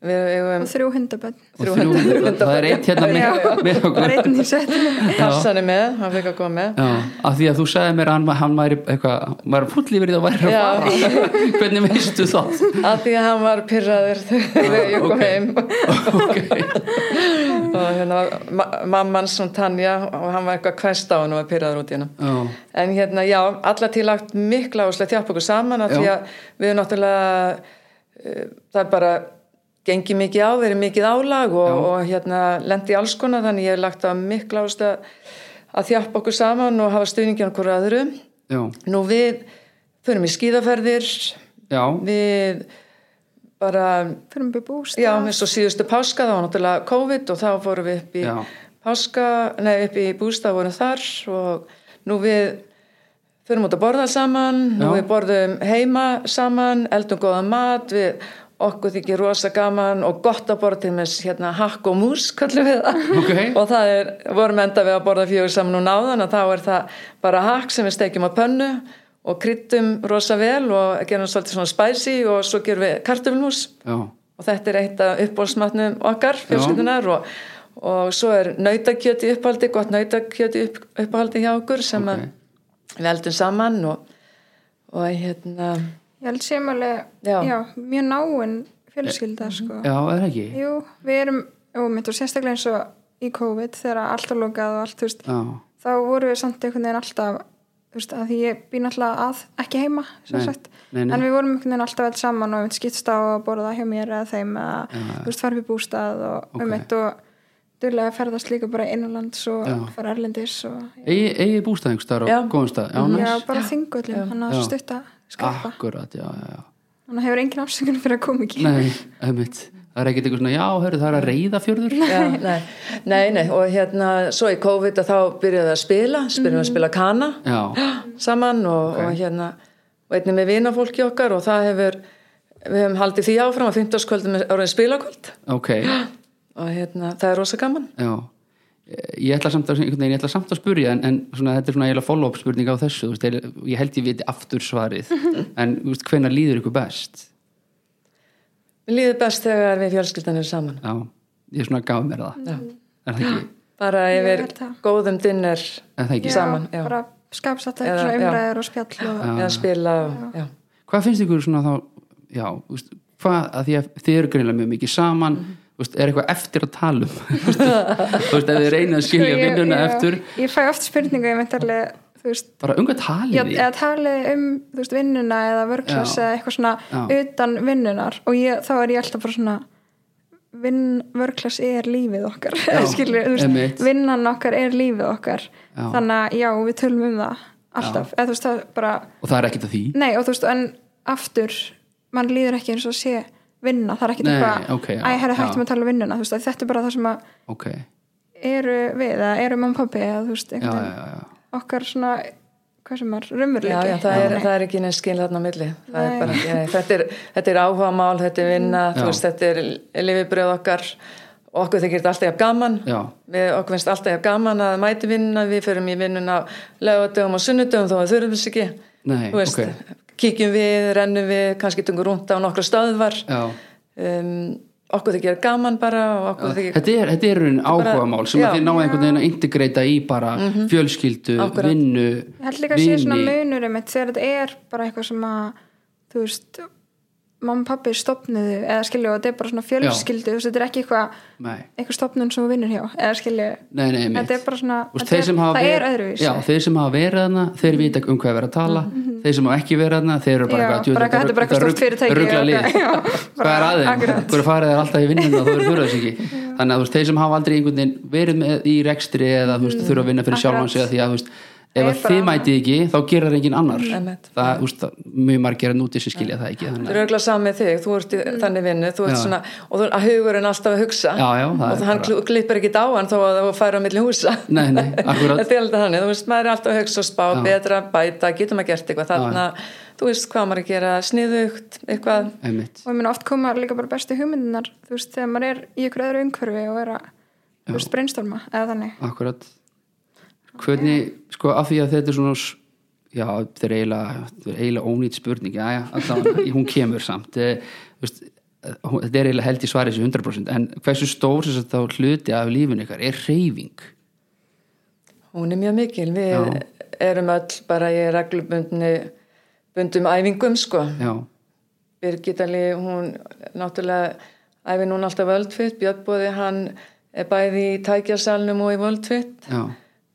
B: Við eigum
C: og þrjú hundabönn
A: Og þrjú hundar. það er eitt hérna
C: Já.
A: með, með
C: það
A: okkur
C: er einn í setinu
B: Hassan er með, hann fekk að koma með.
A: Já, af því að þú sagði mér að hann, hann væri eitthvað, hann væri fúll yfir því að væri
B: Já.
A: að fara hvernig veistu það
B: Að því að hann var pyrraður þegar ég kom
A: ok.
B: heim.
A: okay.
B: og hérna var ma- mamman sem Tanja og hann var eitthvað kvæst á hann og var pyrraður út í hennu.
A: Já,
B: En hérna, já, alla til lagt mikla áslega þjápp okkur saman af
A: Já.
B: því að við erum náttúrulega, uh, það er bara gengið mikið á, verið mikið álag og,
A: Já.
B: og hérna lendi alls konar þannig ég hef lagt að mikla áslega að þjápp okkur saman og hafa stuðningin okkur aðru.
A: já,
B: Nú við förum í skíðaferðir,
A: já,
B: við bara
C: fyrir um búst
B: Já, eins og síðustu páska, þá var náttúrulega COVID og þá fórum við upp í
A: Já.
B: páska, nei upp í bústað vorum þar og nú við förum út að borða saman, nú
A: Já.
B: við borðum heima saman, eldum góðan mat, við okkur þykir rosa gaman og gott að borða til með hérna hakk og mús, kallum við það
A: Ok.
B: og það er, vorum enda við að borða fjögur saman núna áðan að þá er það bara hakk sem við steikjum á pönnu og kryttum rosa vel og gerum svolítið svona spicy og svo gerum við kartöflmús
A: já,
B: og þetta er eitt af uppbólsmatnum okkar fjölskyldunar og, og svo er nautakjöti upphaldi, gott nautakjöti upp, upphaldi hjá okkur sem
A: Ok.
B: að við eldum saman og, og hérna
C: ég held sem alveg
B: Já.
C: já, mjög náinn fjölskylda sko.
A: já, er ekki
C: jú, við erum og mitt og sérstaklega eins og í COVID þegar allt var lokað og allt þú veist,
A: Já,
C: þá voru við samt einhvern veginn alltaf þú veist, að því ég býn alltaf að ekki heima sem
A: Nei,
C: sagt,
A: nei, nei.
C: en við vorum einhvern veginn alltaf alls saman og einmitt skiptst á að borða hjá mér eða þeim eða, þú veist, farf í bústað og
A: Ok.
C: okay. einmitt og dyrlega ferðast líka bara innanlands og
A: Já.
C: fara erlendis og
A: eigi, eigi bústæðingstar
B: Já.
A: og góðumstæð Já,
C: já,
A: næs,
C: bara þingullum, hann að
A: Já.
C: stutta skarpa,
A: akkurat, já, já, já
C: hann hefur engin afsökun fyrir að koma ekki
A: Nei, einmitt, það er ekkert eitthvað svona Já, hörðu, það er að reyða fjörður
B: já, nei, nei, nei, og hérna svo í COVID að þá byrjaði að spila spyrjum að spila kana
A: Já,
B: saman og, og hérna og einnig með vinafólki okkar og það hefur við hefum haldið því áfram að 15. kvöldum er orðin spilakvöld
A: ok,
B: og hérna það er rosa gaman
A: já Ég ætla samt að, einhvern veginn, ég ætla samt að spurja en, en svona, þetta er svona eiginlega follow-up spurning á þessu þú veist, eiginlega- ég held ég viti aftur svarið en þú veist, hvenær líður ykkur best
B: Við líður best þegar við fjölskyldanir saman
A: Já, ég svona gaf mér það
B: Já.
A: Er það ekki?
B: bara
C: Ég
B: yfir
C: held það.
B: góðum dinner
A: Er það ekki?
B: Já. Saman,
C: bara skapsatt
B: Eða-
C: eitthvað
B: já.
C: umræður og spjall og,
B: eða spila og, já.
A: Hvað finnst ykkur svona þá, já, þú veist, hvað, að því að þið eru greinilega mjög mikið saman,
C: Mhm.
A: þú veist, er eitthvað eftir að tala um? Þú veist, þú veist, ef þið reyna að
C: Sko,
A: skilja vinnuna
C: já,
A: eftir,
C: ég fæ oft spurningu, ég meint alveg þú veist,
A: bara unga talið
C: Já,
A: því.
C: eða talið um þú veist, vinnuna eða vörklass
A: Já.
C: eða eitthvað svona
A: Já.
C: utan vinnunar og ég, þá er ég alltaf bara svona vinn, vörklass er lífið okkar skilur, þú
A: einmitt.
C: veist, vinnan okkar er lífið okkar
A: Já.
C: þannig að já, við tölum um það alltaf, eða þú veist, það er bara
A: Og það er ekkert að því?
C: nei, og þú veist, en aftur mann líður ekki eins og sé vinna, það er ekkert
A: Nei,
C: eitthvað
A: ok, já,
C: æ, herri,
A: já.
C: hættum að tala um vinnuna, þú veist, að þetta er bara það sem að
A: Ok, já,
C: eru við, eða eru mamma og pappi eða þú veist,
A: já,
C: einhvern
A: já, já.
C: veginn okkar svona, hvað sem er,
B: Já,
C: raumurleiki
B: já, það, er, það er ekki neins skil þarna á milli Það er
C: Nei.
B: bara, já, þetta, er, þetta er áhugamál, þetta er vinna þú
A: Já.
B: veist, þetta er lifibröð okkar og okkur þykir þetta alltaf jafn gaman
A: Já.
B: við, okkur finnst alltaf jafn gaman að mæti vinnuna við förum í vinnuna á lögadögum og sunnudögum þó að þurfum þess ekki
A: Nei,
B: Þú veist,
A: ok.
B: kíkjum við, rennum við kannski tungum rúnda á nokkra stöðvar
A: Já.
B: um, okkur þykir gaman bara og okkur þykir
A: Þetta er, þetta er einn áhugamál sem
B: já.
A: að þið náðu einhvern veginn að integrata í bara fjölskyldu,
B: Akkurat.
A: vinnu,
C: Ég held líka að sé svona munur um þetta þegar þetta er bara eitthvað sem að þú veist, mamma og pappi stopnuðu eða skilju og þetta er bara svona fjölskyldu þú veist, þetta er ekki eitthvað,
A: Nei.
C: eitthvað stopnun sem þú vinnur hjá, eða skilju
A: Nei, nei, mitt.
C: þetta er bara svona,
A: Úst,
C: þetta
A: þeir sem hafa
C: það er
A: verið-
C: öðruvís
A: Já, þeir sem hafa verið þarna, þeir vita um hvað er verið að tala þeir sem hafa ekki verið þarna, þeir eru bara
C: Mhm. Já,
A: eitthvað, djú,
C: bara eitthvað, þetta er bara eitthvað
A: rugl-
C: stórt fyrirtæki
A: rugla
C: og
A: lið,
C: eitthvað, já,
A: hvað
C: bara
A: er aðeins
C: akkurat.
A: hverju farið þeir alltaf í vinnuna, þú eru þurfa þess ekki þannig að þú veist, þeir sem hafa aldrei einhvern veginn verið með, í rekstri eða þú veist, þurfa að vinna fyrir
C: Mhm. akkurat.
A: sjálfan sig að því að þú veist,
C: Það
A: ef
C: er
A: að
C: bara
A: þið
C: annað.
A: mætið ekki, þá gerir það enginn annar
B: Einmitt.
A: það, þú veist, það- mjög margir að núti sem skilja það ekki
B: Þú
A: þannig,
B: eru auðvitað samið þig, þú ert í þannig vinnu, þú ert
A: Já.
B: svona, og þú að hugurinn alltaf að hugsa
A: Já, já, það
B: og
A: er
B: hann
A: bara-
B: bara... klippir ekki á hann þó að þú færi á milli húsa.
A: Nei, nei, akkurat.
B: Þetta er alltaf þannig, þú veist, maður er alltaf að hugsa og spá, betra, bæta, getum að gert eitthvað þarna, þú veist hvað maður er að gera, sniðugt, eitthvað,
A: einmitt
C: og ég meina oft koma líka bara bestu hugmyndunar þú veist, þegar maður er í ykkur öðru umhverfi og er að, þú veist, brainstorma eða þannig
A: Akkurat Hvernig, sko, af því að þetta er svona s- Já, þetta er eiginlega, þetta er eiginlega ónýtt spurning Já, já, allan, hún kemur samt Eh, þú veist, hún- þetta er eiginlega held í svari þessu 100% en hversu stór sem þetta þá hluti af lífinu ykkar er reyfing
B: Hún er mjög mikil, við
A: Já.
B: erum öll bara í reglubundni bundum æfingum sko.
A: já,
B: Birgit Ali, hún náttúrulega æfi núna alltaf völdfitt, Björnbóði hann er bæði í tækjarsalnum og í völdfitt,
A: já,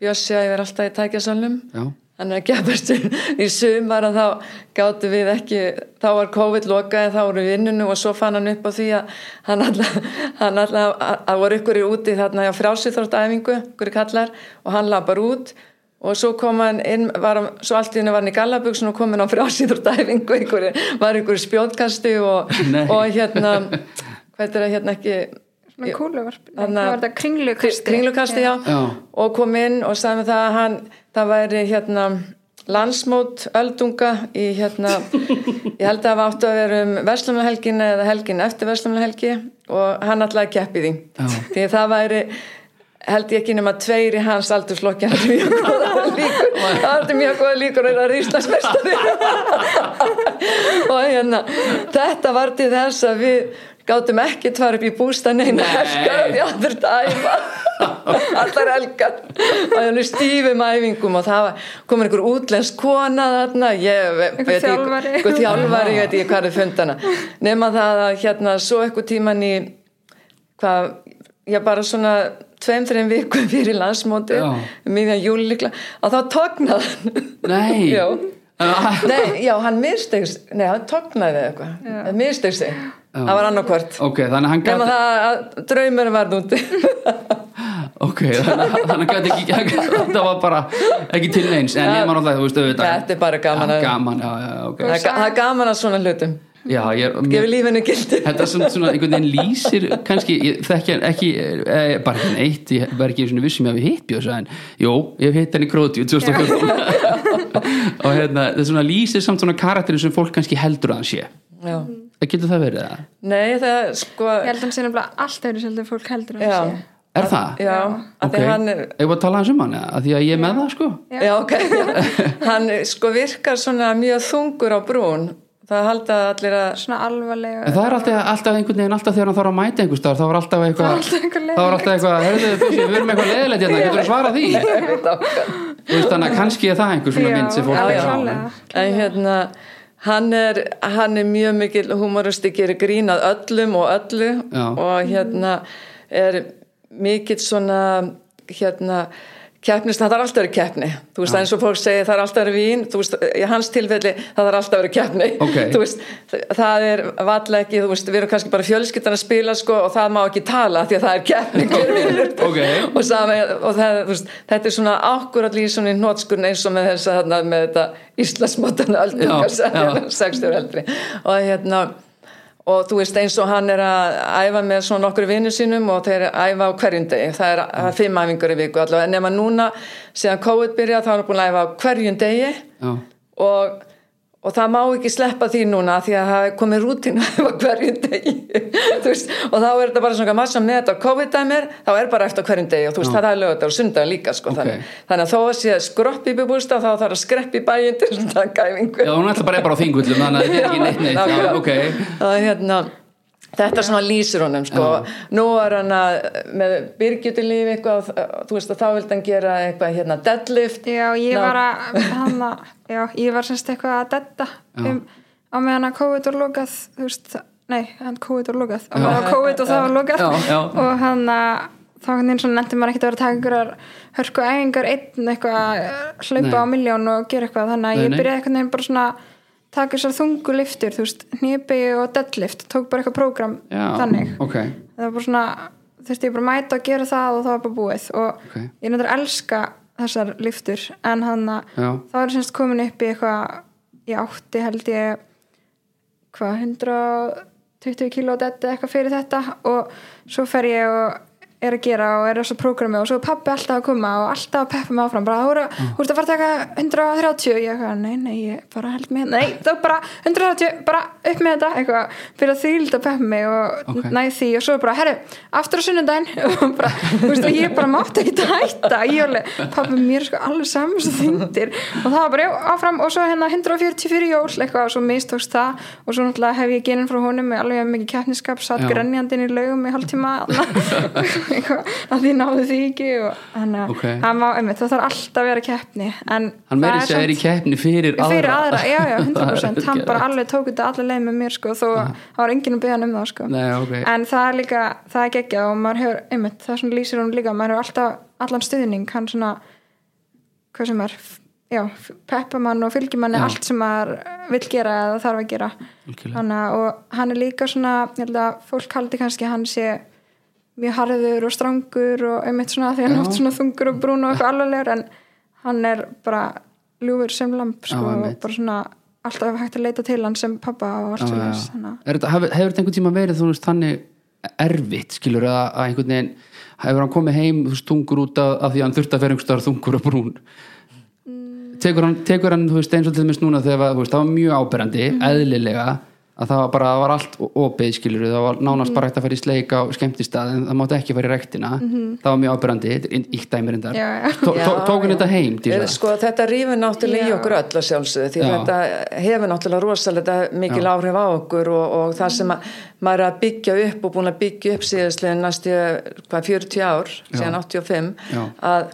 B: Bjössi æfir alltaf í tækjarsalnum.
A: já
B: Hann er að gefast í- í sumar að þá gáttu við ekki, þá var COVID lokaði, þá voru við vinnunu og svo fann hann upp á því að hann alltaf, hann alltaf, að, að voru ykkur í úti þarna á frjálsýþróttæfingu, ykkur í kallar og hann lapar út og svo kom hann inn, var, hann- svo allt í henni var hann í gallabugsun og kom hann á frjálsýþróttæfingu, ykkur, var ykkur spjótkastu og,
A: Nei.
B: og hérna, hvað er það hérna ekki,
C: svona kúluvarp Nei,
B: Þarna-
C: hvað var þetta kringlukasti
B: kringlukasti já.
A: Já.
B: og kom inn og sagði með það að hann, það væri hérna landsmót öldunga í hérna, ég held að það áttu að vera um verslumlehelgin eða helgin eftir verslumlehelgi og hann alltaf keppið því,
A: Já.
B: því að það væri held ég ekki nema tveir í hans aldurslokkja það er mjög góða líkur það er mjög góða líkur að það er Íslandsmestari og hérna þetta var til þess að við gátum ekki tvara upp í bústa neina
A: Nei.
B: helgar já þurft að æfa allar helgar og hérna stífum æfingum og það var, kom einhver útlensk kona þarna ég ve-
C: Einhver
B: veit ekki-
C: þjálfari.
B: einhver þjálfari, ég veit ekki hvað er fundana nema það að hérna svo eitthvað tíman í hvað, já bara svona tveim, þreim vikum fyrir landsmóti
A: Já.
B: miðjan júli líkla að þá tognaði hann
A: nei
B: já.
A: Ah,
B: Nei, já, hann mistegst nei, hann tognaði eitthvað, hann mistegst sig það var annarkvort
A: ok, þannig að hann
B: nema
A: gæti
B: það að draumur varð úti
A: ok, þannig að hann gæti ekki hann gat- þetta var bara ekki til neins en ég maður alltaf, þú veist, auðvitað
B: Þetta er bara gaman
A: Já,
B: að-
A: gaman, já, já, ok
B: það er ga- það er gaman að svona hlutum
A: já, ég er
B: gefur lífinu gildi
A: þetta er svona, svona einhvern veginn lýsir kannski, ég þekki hann ekki e, bara ekki neitt, ég var ekki svona vissum um ég hafi hitt Björsa en jú, ég hef hitt hann í Krótíu 2014 og hérna, þetta svona lýsir samt svona karakterin sem fólk kannski heldur að hann sé Eh,
B: já.
C: Mm.
A: getur það verið það?
B: nei, það sko
C: ég held að hann sé nefnilega allt öðru seldu fólk heldur að
B: já,
C: hann sé
A: Er það?
B: já, að
A: ok,
B: því hann er
A: ég var að tala hans um hann að því að ég er með það sko
C: Já.
B: Já, ok. Hann sko virkar svona mjög þungur á brún. Það halda allir að...
C: svona alvarlega
A: En það er alltaf, alltaf einhvern veginn, alltaf þegar hann þarf að mæta einhvers staðar, þá er alltaf eitthvað,
C: Það er alltaf eitthvað
A: þá er alltaf eitthvað, heyrðu, Bjössi, við erum eitthvað leðilegt hérna, getur þú svarað því?
B: Ég veit það.
A: Þú veist, þannig að kannski er það einhver svona mynd sem fólk
C: Já,
A: er um.
C: já.
A: á.
C: klárlega.
B: En hérna, hann er, hann er mjög mikil humoristi, gerir grín að öllum og öllu
A: Já.
B: og hérna er mikill svona, hérna, keppnist, það þarf alltaf að vera keppni. Þú veist, eins og fólk segir það er alltaf að vera vín, þú veist, í hans tilfelli það þarf alltaf að vera keppni.
A: Ok.
B: Þú veist, þ- það er valla ekki, þú veist, við erum kannski bara fjölskyldan að spila sko og það má ekki tala því að það er keppni, hver vinnur
A: Ok.
B: og, sami, og það, þú veist, þetta er svona akkurat lýsun í hnótskurn eins og með þess að þarna með þetta Íslandsmótan
A: Já, já.
B: öldungar 60 eldri og hérna og þú veist eins og hann er að æfa með svona okkur vinnu sínum og þeir æfa á hverjum degi, það er það er fimm æfingur í viku allavega, nema núna síðan COVID byrjað þá er hann búin að æfa á hverjum degi
A: Já,
B: og, og það má ekki sleppa því núna því að það er komið rútina á hverjum degi Þú veist, og þá er þetta bara svona massa með þetta COVID-dæmir þá er bara eftir á hverjum degi og þú veist það er lögut og sundan líka sko
A: Ok.
B: þannig. þannig að þó að sé skropp í bústa þá þarf að skrepp í bæinn til að taka æfingu
A: já hún ætla bara er bara á þingullum, þannig að þetta er ekki neitt neitt, já,
B: Nákvæmlega.
A: ok.
B: Það er hérna Þetta svona lýsir honum sko Nú er hann að með byrgjutulíf eitthvað, þú veist að þá vildi hann gera eitthvað hérna deadlift
C: Já, ég
B: Ná-
C: var að, hann að, já, ég var semst eitthvað að detta um, á meðan að COVID var lokað, þú veist, nei, hann COVID var lokað, á meðan að COVID og það var lokað
A: Já, já.
C: og hann að þá hann eins og nefndi maður ekkert að vera að taka einhverjar hörku æfingar einn eitthvað að hlaupa á miljón og gera eitthvað þannig að
A: Nei,
C: ég
A: nei.
C: byrjaði eitthvað nefn bara svona að taka þessar þungu liftur, þú veist, hnipi og deadlift, tók bara eitthvað prógram
A: Já,
C: þannig
A: ok,
C: það var bara svona þurfti ég bara að mæta og gera það og það var bara búið og
A: Ok.
C: ég nefndir að elska þessar lyftur en hann að
A: Já.
C: það var semst komin upp í eitthvað ég átti held ég hvað 120 kíló þetta eitthvað fyrir þetta og svo fer ég og er að gera og er þessu prógrami og svo er pappi alltaf að koma og alltaf að peppa mig áfram bara, þú eru- þú ert að fara að taka 130 ég eitthvað, nei, nei, ég bara held með nei, þá bara 130, bara upp með þetta eitthvað, fyrir að þýlda að peppa mig og
A: Ok.
C: okay. næ hérna því og svo er bara, herru aftur á sunnudaginn og bara, þú veist, og ég bara mátt ekki að hætta ég alveg, pappi mér er sko alveg saman sem þyndir og það var bara, já, áfram og svo hérna 140 fyrir jól eitthvað og svo mistókst það og svo náttúrulega hef ég genin frá honum með alveg mikið keppniskap, satt
A: Já.
C: grenni grenjandinn í laugum í hálftíma eitthvað, að því náðu því ekki og hann,
A: Ókei.
C: hann má, einmitt, það þarf alltaf að vera keppni en
A: hann meiri
C: það
A: sér er í keppni fyrir,
C: fyrir aðra, já, já,
A: Það
C: 100%
A: er
C: hann bara
A: geðveikt.
C: alveg tók þetta allir leið með mér sko, þó að það var enginn að beða hann um það sko.
A: Nei, ok.
C: en það er líka, það er geggjað og maður hefur, einmitt, það er svona lýsir hún líka maður hefur alltaf, allan stuðning hann svona, hvað sem er f- já, peppamann og fylgjumann
A: Já.
C: er allt sem maður vill gera eða þarf að gera
A: Algjörlega.
C: Hanna, og hann er líka svona, ég held að fólk haldi kannski að hann sé mjög harður og strangur og einmitt svona því að hann
A: Já.
C: er oft svona þungur og brún og eitthvað alvarlegur en hann er bara ljúfur sem lamp sko,
A: Já,
C: og
A: einmitt.
C: bara svona alltaf hægt að leita til hann sem pappa og allt
A: Já,
C: sem
A: já.
C: þess þannig að-
A: Er þetta- hefur hefur þetta einhvern tíma verið þú veist þannig erfitt skilur að, að einhvern veginn hefur hann komið heim þú veist þungur út af, af því að hann þurfti að vera einhvers staðar þungur og brún
C: Mm.
A: tekur hann, tekur hann þú veist eins og til þess núna þegar var, þú veist, það var mjög áberandi
C: Mhm.
A: eðlilega að það var bara, það var allt o- opið skilur það
C: Mhm.
A: var nánast bara hægt að fara í sleik á skemmtistað en það mátti ekki fara í rektina það var mjög áberandi, þetta er íktæmir endar
C: Mhm. Já, já.
B: Já,
A: tók hann
B: já.
A: þetta heim til
B: Eh,
A: það
B: Sko þetta rýfur náttúrulega í
C: Já.
B: okkur öll að sjálfsögðu því
A: Já.
B: þetta hefur náttúrulega rosalega mikil
A: Já.
B: áhrif á okkur og, og það sem að, maður er að byggja upp og búin að byggja upp síðastlega næstu hvað 40 ár, síðan 85
A: Já.
B: að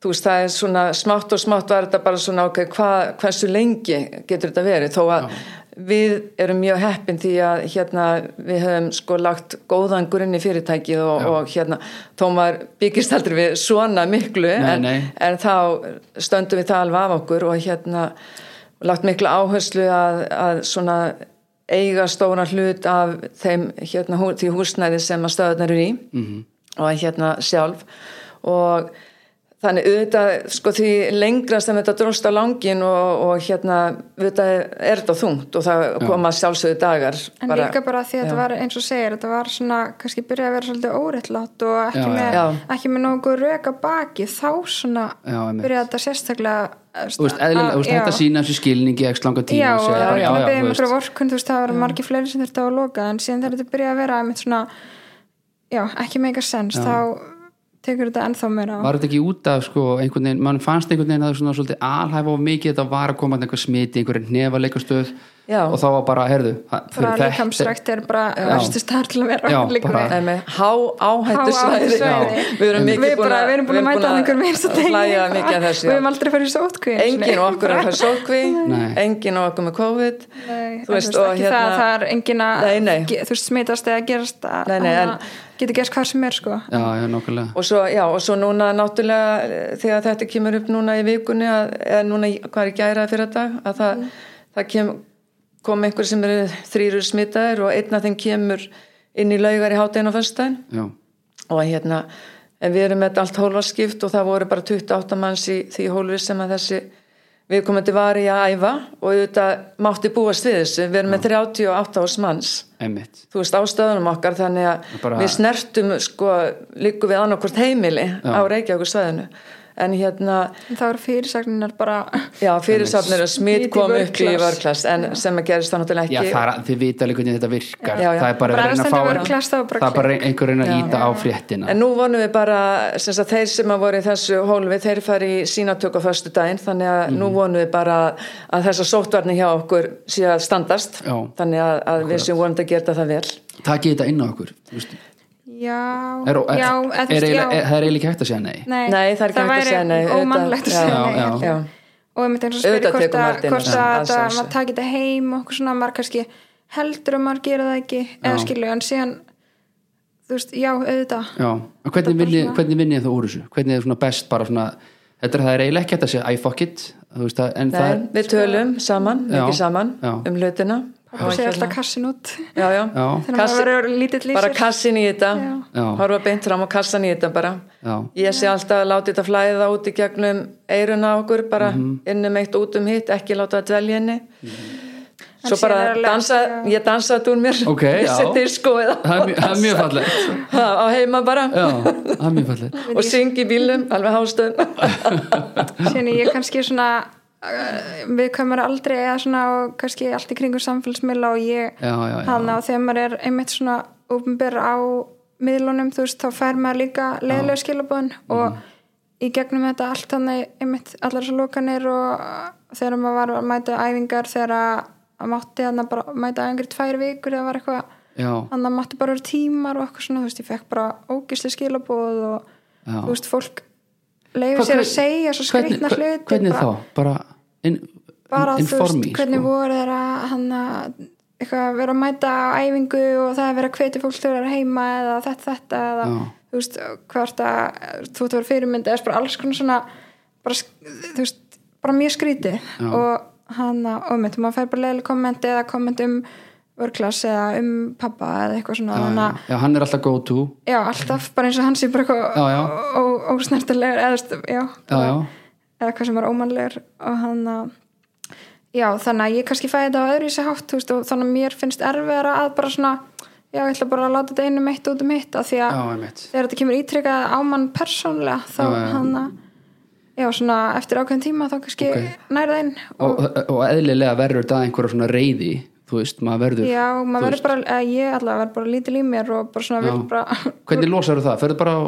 B: þú veist það er svona smátt og smátt var þetta bara svona ok, hva, hversu lengi getur þetta verið þó að við erum mjög heppin því að hérna við höfum sko lagt góðan grunn í fyrirtækið og, og hérna þó maður byggist aldrei við svona miklu
A: Nei,
B: en,
A: nei.
B: en þá stöndum við það alveg af okkur og hérna lagt mikla áherslu að, að svona eiga stóra hlut af þeim, hérna, hú, því húsnæði sem að stöðunar eru í
A: Mhm.
B: -hmm. og hérna sjálf og þannig auðvitað sko því lengra sem þetta dróst á langin og, og hérna auðvitað er þetta þungt og það koma sjálfsögðu dagar
C: en líka bara því að þetta var eins og segir þetta var svona, kannski byrjaði að vera svolítið óréttlátt og ekki
A: Já, já.
C: með,
B: Já.
C: ekki með nógu röka baki þá svona
A: Já, einmitt.
C: byrjaði þetta sérstaklega eh,
A: Þú veist, eðlilega, þú veist, þetta sína þessu skilningi ekki langa tíma
C: Ah, já,
A: og
C: og
A: segja
C: það
A: bara,
C: var búin að
A: já,
C: beða um
A: þú veist.
C: einhverja vorkun þú veist, það var margir fleiri sem þurfti á að loka en síðan þegar þetta byrjaði að vera einmitt svona já, ekki meika sens þá tekur þetta ennþá meira á
A: var þetta ekki út af sko, einhvern veginn, mann fannst einhvern veginn að það var svona svolítið alhæfa og mikið þetta var að koma þarna einhver smiti, einhver nefaleikastöð
B: Já.
A: og þá var bara, herðu það-
C: bara
A: þetta-
C: líkamsrækt er bara
A: Já.
C: verstu staðar til að vera
A: Já,
C: liggur
A: bara-
C: við.
B: Nei, með há áhættu svæði
C: Hááhættusvæði.
B: við erum
C: Við
B: mikið
C: bara- við erum búin að mæta að einhverjum eins og degi
B: hlæja mikið að þessu
C: við
B: já.
C: erum aldrei fyrir sótkví
B: engin á okkur er fyrir sókvi
A: Nei.
B: engin á okkur með COVID
C: Nei, þú veist, ekki
B: hérna,
C: það, það er engin að
B: Nei, nei.
C: ge- þú veist, smitast eða gerast að
B: Nei, nei,
C: að-
B: en-
C: getur gerst hvað sem er sko
A: já, já, nokkulega
B: og svo, já, og svo núna náttúrulega eh, þegar þetta kemur upp núna í vikunni að, eða núna, í- hvað er í gæra fyrir dag að það,
C: Mm.
B: það kem, kom einhver sem eru þrýru smitaðir og einn af þeim kemur inn í laugar í hátæðin á föstudaginn
A: já,
B: og hérna, en við erum með þetta allt hólfaskipt og það voru bara 28 manns í því hólfi sem að þessi viðkomandi var í að æfa og auðvitað mátti búast við þessu, við erum með 38 ás manns
A: einmitt
B: þú veist ástöðunum okkar þannig að
A: Bara-
B: við snertum sko líku við annarkvort heimili á Reykjavíkur svæðinu en hérna,
C: En það eru fyrirsagninar bara
B: já fyrirsafnir að smit
C: Smit í
B: kom
C: vörklass.
B: upp í vörklass en sem að gerist það
A: já,
B: náttúrulega ekki
A: það er, að- þið vita alveg hvernig þetta virkar
B: Já, já.
A: það er bara
C: Bara
A: að reyna að
C: stendur
A: fá
C: bara klast, það var bara
A: það er bara einhver reyna að
B: Já.
A: íta á fréttina
B: en nú vonum við bara sem sagt, þeir sem að voru í þessu hólfi þeir fari í sínatöku á föstu daginn þannig að
A: Mhm.
B: nú vonum við bara að þessa sóttvarni hjá okkur sé að standast
A: Já.
B: þannig að, að við sem vonum að gera það vel
A: takið þetta inn á okkur þú veist.
C: já,
A: er, er,
C: já, eða
A: er,
C: þú
A: er,
C: veist,
A: eiginlega-
C: já.
A: er, það er eiginlega ekki hægt að segja nei
B: Nei,
C: Nei,
B: það er ekki hægt að
C: væri
B: segja nei, auðvitað-
C: ómannlegt að
B: já,
C: segja
A: já,
C: nei
B: já.
C: já. og ég myndi eins og
B: Auðvitað
C: spyrja hvort
B: tekur
C: að,
B: maður þetta inn,
C: hvort
B: já, að
C: að, að, að
B: sjálfsögðu.
C: maður taki þetta heim og okkur svona maður kannski heldur um að maður gera það ekki eða skilju, en síðan þú veist, já, auðvitað
A: Já, og hvernig vinni, hvernig vinni þú úr þessu? Hvernig er svona best bara svona þetta er það er eiginlega ekki hægt að segja I fuck it þú veist það, en það er,
B: Nei, við tölum saman,
A: Já,
B: mikið saman
A: já.
B: um hlutina
C: og
B: hérna.
C: segja alltaf kassin út
B: já, já.
A: já,
C: þegar maður verður lítill lýsir
B: bara kassin í þetta
A: Já.
B: horfa beint fram á kassan í þetta bara
A: já,
B: ég sé alltaf að láta þetta flæða út í
A: Mhm.
B: um gegnum eiruna á okkur bara innum eitt út um hitt, ekki láta það dvelja henni svo bara
C: Mhm. síðan er að
B: dansa,
C: lesa, já.
B: ég dansaði þetta úr mér
A: Ok, já.
B: seti í skoðið
A: það er mjög- það er mjög fallegt
B: á heima bara
A: já, það er mjög fallegt
B: og syngi í bílum, alveg hástöðum
C: síðan er ég kannski svona uh, við komum aldrei eða svona og kannski allt í kringum samfélagsmiðla og ég
A: já, já, já,
C: þannig að þegar maður er einmitt svona ofnbyr á miðlunum þú veist, þá fær maður líka leiðilega skilabun
A: Mhm.
C: og í gegnum þetta allt þannig einmitt allar svo lokanir og þegar maður var að mæta í æfingar þegar að mátti þannig að bara mæta í æfingar í tvær vikur eða var eitthvað
A: já,
C: þannig að mátti bara vera tímar og eitthvað svona þú veist, ég fekk bara ógislega skilabóð og
A: já.
C: þú veist, fólk leiður sér að segja svo
A: hvernig-
C: skreitna hluti
A: hvernig
C: bara-
A: þá, bara in,
C: bara
A: in-
C: þú veist
A: informi
C: hvernig
A: sko.
C: voru þeirra hann að eitthvað vera að mæta á æfingu og það að vera að hvetja fólk til að vera heima eða þetta þetta eða
A: Já.
C: þú veist hvert að þú ert að vera fyrirmynd eða bara alls konar svona bara, sk- þú veist bara mjög skríti
A: Já.
C: og hann að ómynd maður fær bara leiðileg komment eða komment um vörklass eða um pappa eða eitthvað svona
A: já,
C: þannig
A: já,
C: að
A: já, hann er alltaf go to
C: já alltaf bara eins og hann sé bara
A: Já, já.
C: eitthvað ósnertilegur eða þú veist, já,
A: já, já,
C: eða hvað sem er ómannlegur og hann að já þannig að ég kannski fæði þetta á öðru í sig hátt þú veist, og þannig að mér finnst erfiðara að bara svona já ég ætla bara að láta þetta einu mitt út um hitt af því
A: já,
C: að
A: einmitt
C: þegar þetta kemur ítrykkað á mann persónlega þá
A: Já, já.
C: hann að já svona eftir ákveðin tíma þá kannski okay.
A: Ok.
C: nærða inn
A: og, og eðlilega verður þetta einhverja svona reyði þú veist, maður verður
C: já
A: þú
C: maður verður
A: veist,
C: bara eða ég allavega verður bara lítil í mér og bara svona
A: Já.
C: vil bara
A: hvernig losar það, ferður bara á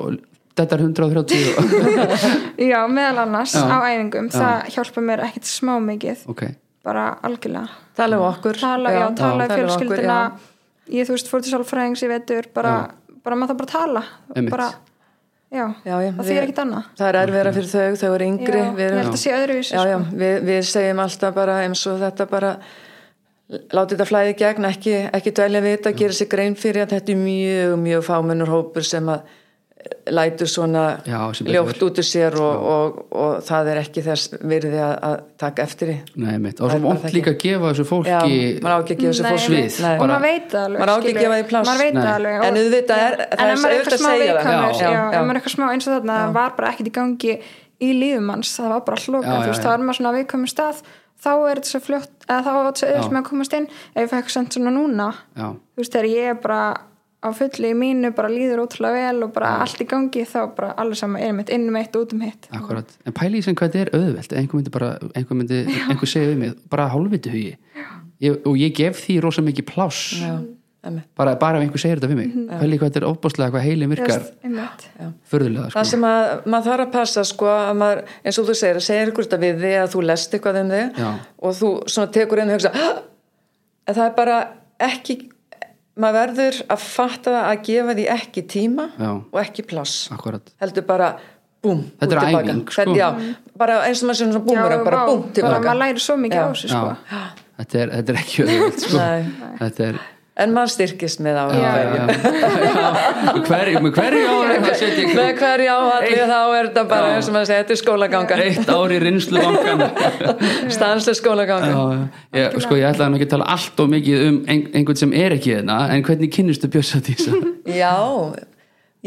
A: þetta er 130
C: já meðal annars
A: Já.
C: á æfingum það hjálpa mér ekkit smá mikið
A: ok,
C: bara algjörlega
B: tala um okkur
C: tala, já, tala
B: um
C: í
B: okkur,
C: fjölskyldina
B: já.
C: ég þú veist fór til sálfræðings í vetur bara, bara maður þarf bara að tala
A: Einmitt.
C: bara, já,
B: Já, já,
C: það
B: við-
C: þýr ekkit annað
B: það er erfiðra fyrir þau, þau eru
C: já,
B: yngri
C: ég held að sé öðruvísi sko.
B: já, já, við, við segjum alltaf bara eins og þetta bara láti þetta flæði í gegn, ekki, ekki dvelja við þetta, gera sér grein fyrir að þetta er mjög, mjög fámennur hópur sem að eh, lætur svona
A: Já, sem betur
B: ljótt út úr sér og, og, og, það er ekki þess virði að, að taka eftir því.
A: nei, mitt og
B: Það
A: svo
B: er bara
A: vond
B: það
A: líka að gefa þessu fólki
B: Já, maður á ekki að gefa sér
C: Nei,
B: fólk
A: svið.
B: Nei.
C: og maður veit það alveg
B: Maður á ekki að
C: skilur.
B: gefa því pláss.
C: maður veit það
A: Nei.
C: alveg
B: En auðvitað er-
C: en
B: það er
C: ef maður
B: auðvitað
C: er eitthvað smá
B: að segja það.
C: viðkvæmur
A: Já,
C: já,
B: já.
C: ef maður er eitthvað smá eins og þarna það var bara ekkit í gangi í lífum hans það var bara
A: Já,
C: hlokan,
A: já,
C: þú veist,
A: já.
C: þá er maður svona á viðkvæmum stað þá er þetta svo fljótt eða þá er þetta svo
A: Já.
C: auðvitað með að komast inn ef ég fekk sent svona núna
A: já,
C: þú veist, þegar ég er bara á fulli í mínu, bara líður ótrúlega vel og bara allt í gangi, þá bara allir saman erum mitt innum eitt, út um hitt
A: akkurat en pæli í sem hvað þetta er auðvelt einhver myndi bara, einhver myndi, einhver segja við mig bara hálfviti hugi ég, og ég gef því rosa mikið pláss
B: Já, Mhm. emmi.
A: bara, bara ef einhver segir þetta við mig pæli í hvað þetta er ofbáslega, hvað heilin
C: Þú
A: virkar
C: veist, einmitt.
A: förðulega,
B: Það
A: sko,
B: sem að maður þarf að passa sko að maður, eins og þú segir, að segja ykkur þetta við þig að þú lest eitthvað um þig
A: Já.
B: og þú svona tekur inn og hugsa "Hah!" en það er bara ekki maður verður að fatta það að gefa því ekki tíma
A: Já.
B: og ekki pláss
A: akkurat
B: heldur bara búm,
A: Þetta
B: út
A: er
B: tilbaka.
A: æfing, sko.
B: Þetta- já, bara eins og maður sem svona búmur
C: Já,
B: bara
C: vá,
B: búm
C: bara
B: tilbaka
C: maður læri svo
B: Já.
C: mikið á þessu
A: já,
C: sko.
A: þetta er, þetta er ekki auðvelt sko.
B: Nei.
A: þetta er
B: en maður styrkist með á
A: Já,
C: Já.
A: já, já. Með hverju, með hverju ári það setja ykkur
B: með hverju áhalli þá er þetta bara
A: Já.
B: eins og maður segir, þetta er skólaganga
A: eitt ári rinslu vangan
B: stanslega skólaganga
A: ég, sko ég ætlaði nú ekki að tala allt og mikið um ein, einhvern sem er ekki þeirna en hvernig kynnistu Björsa Dísa
B: Já,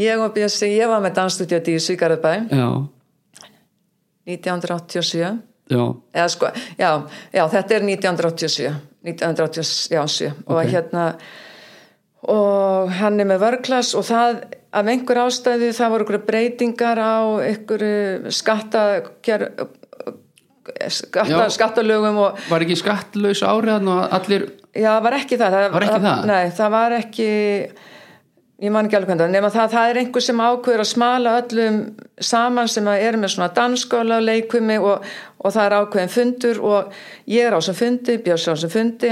B: ég og Bjössi, ég var með dansstudio Dísu í Garðabæ
A: já,
B: 1987
A: já,
B: eða sko, já, já, þetta er 1987 1987
A: Ok.
B: og hérna og hann er með vörklass og það af einhver ástæði það voru einhverju breytingar á einhverju skatta kjör, skatta,
A: Já.
B: skattalögum og
A: var ekki skattlaus áriðan og allir
B: Já, það var ekki það.
A: Var ekki það?
B: Nei, það var ekki, ég man ekki alveg hvernig, nema það, það er einhver sem ákveður að smala öllum saman sem að er með svona danskóla og leikumi og, og það er ákveðin fundur og ég er á sem fundi, Björns er á sem fundi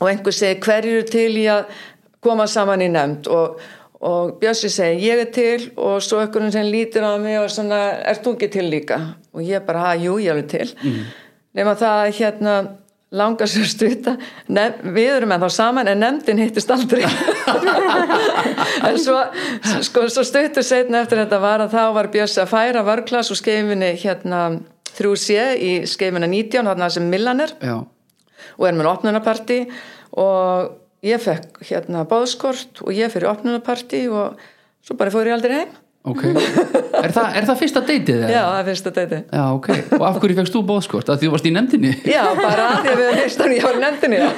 B: og einhver segir hverju eru til í að koma saman í nefnd og og Bjössi segi ég er til og svo einhvern sem lítir á mig og svona er þú ekki til líka og ég bara, "Ha, jú, ég er alveg til nema það að hérna langar svo stuta nef, við erum ennþá saman en nefndin hittist aldrei en svo, sko, svo stuttu setna eftir þetta var að þá var Bjössi að færa vörklass og skeifinni hérna 3C í skeifinna 19 þarna sem Millan er
A: já,
B: og er með opnunarparti og ég fekk hérna bóðskort og ég fyrir opnunarparti og svo bara fór ég aldrei heim
A: ok er, það, er það fyrsta deytið
B: Já,
A: þeirra?
B: það finnst þetta eitthvað.
A: Já, ok, og af hverju fegst þú bóðskort? Af því þú varst í nefndinni?
B: Já, bara að því að við erum heist hann, ég var í nefndinni, já.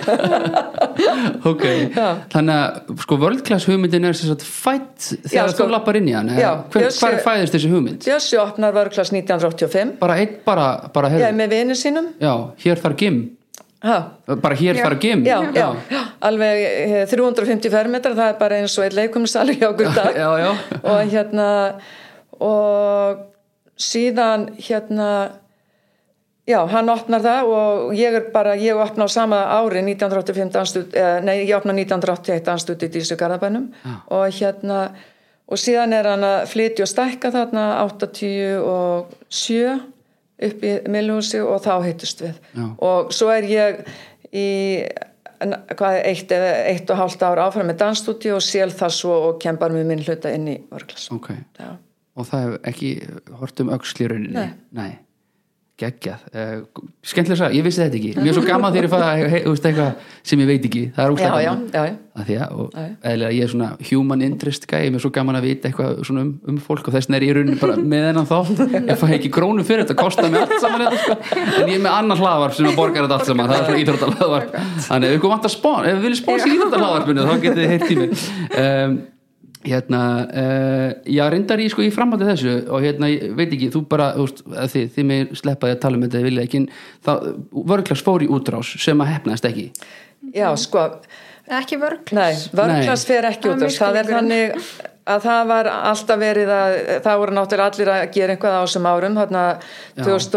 A: ok,
B: Já.
A: þannig að sko world class hugmyndin er sem sagt fætt þegar
B: sko.
A: þú lappar inn í hann eða?
B: Já,
A: hver,
B: ég
A: hvar
B: sé-
A: fæðist þessi hugmynd?
B: Bjössi opnar vörklass 1985.
A: bara einn, bara, bara
B: Ég
A: hér,
B: er með vinið sínum.
A: já, hér þarf gym
B: Ha,
A: bara hér
C: Já.
A: þarf gym
B: já, já, alveg eh, 350 fermetrar, það er bara eins og einn leikumisali hjá okkur í dag.
A: já, já.
B: Og hérna, og síðan hérna, já, hann opnar það og ég er bara, ég opna á sama ári 1985, anstut, eh, nei, ég opna 1981 anstut í Dísu Garðabænum og hérna, og síðan er hann að flytja og stækka þarna 87 upp í Milhúsi og þá hittust við
A: Já.
B: og svo er ég í en, hvað, eitt, eða eitt og hálft ár áfram með dansstúdíu og sél það svo og kembar með minn hluta inn í vörglas
A: ok,
B: Já.
A: og það hef ekki hort um öxl í rauninni
B: Nei.
A: geggjað, uh, skemmtilega að ég vissi þetta ekki, mér er svo gaman þegar ég fæða hey, þú veist eitthvað sem ég veit ekki, það er
B: já,
A: úrstæð
B: já, já, já.
A: að því að, og
B: Já, já.
A: eðlilega ég er svona human interest gæi, mér er svo gaman að vita eitthvað svona um, um fólk og þessin er ég í rauninni bara með hennan þátt, ég fæ ekki krónu fyrir þetta kostar mér allt saman þetta sko en ég er með annan hlaðvarp sem að borgar þetta allt saman það er svona íþróttalaðvarp, þannig ef ykkur vantar spón, ef við viljum spóns í íþróttalaðvarpinu þá getið þið heilt í mig um, hérna, uh, já reyndar ég sko í framhaldi þessu og hérna, ég veit ekki þú bara, þú veist, að þið, þið mig sleppaði að tala um þetta, ég vilja ekki, en þá vörglars fór í útrás sem að hefnaðist ekki
B: já, sko,
C: ekki vörglas
B: nei, vörglas fer ekki
C: Það er
B: út af, það er
C: misskilningurinn.
B: þannig að það var alltaf verið að það voru náttúrulega allir að gera einhvað á þessum árum þarna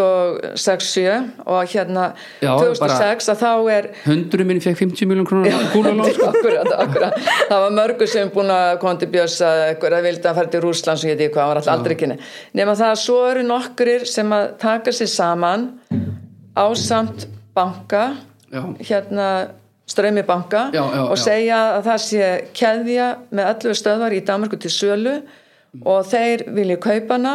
B: 2006-7 og hérna
A: Já,
B: 2006 að þá er
A: hundru minn fekk 50 miljón krónar kúlulón sko
B: akkurat, akkurat. það var mörgu sem búin að koma til Björns að einhverja vildi að fara til Rúsland sem ég veit ekki hvað, hann var alltaf aldrei kynni nema það að svo eru nokkrir sem að taka sér saman ásamt banka
A: Já.
B: hérna ströymi banka
A: Já, já,
B: og
A: já.
B: segja að það sé keðja með allu stöðvar í Danmarku til sölu og þeir vilji kaupa hana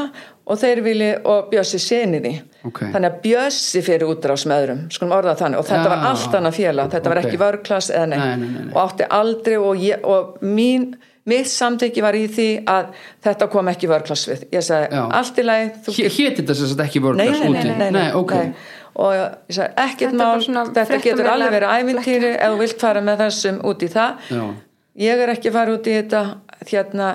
B: og þeir vilji og Björsi sinni því
A: Ok.
B: þannig að Björsi fyrir útrás með öðrum skulum orða það þannig og þetta
A: Já.
B: var allt annað félag þetta var
A: Ok.
B: ekki vörklass eða neitt
A: Nei, nei, nei, nei.
B: og átti aldrei og, ég, og mín, mitt samteki var í því að þetta kom ekki vörklass við ég sagði
A: Já.
B: allt í lagi þú
A: Hét þetta sem sagt ekki World
B: Nei,
A: Class
B: nei, nei,
A: úti?
B: nei, nei,
A: ok.
B: og ég sagði ekkert
C: Þetta er bara svona
B: mál, þetta getur
C: fréttamiðla-
B: alveg verið ævintýri ef þú vilt fara með þessum út í það
A: Já.
B: ég er ekki að fara út í þetta þérna,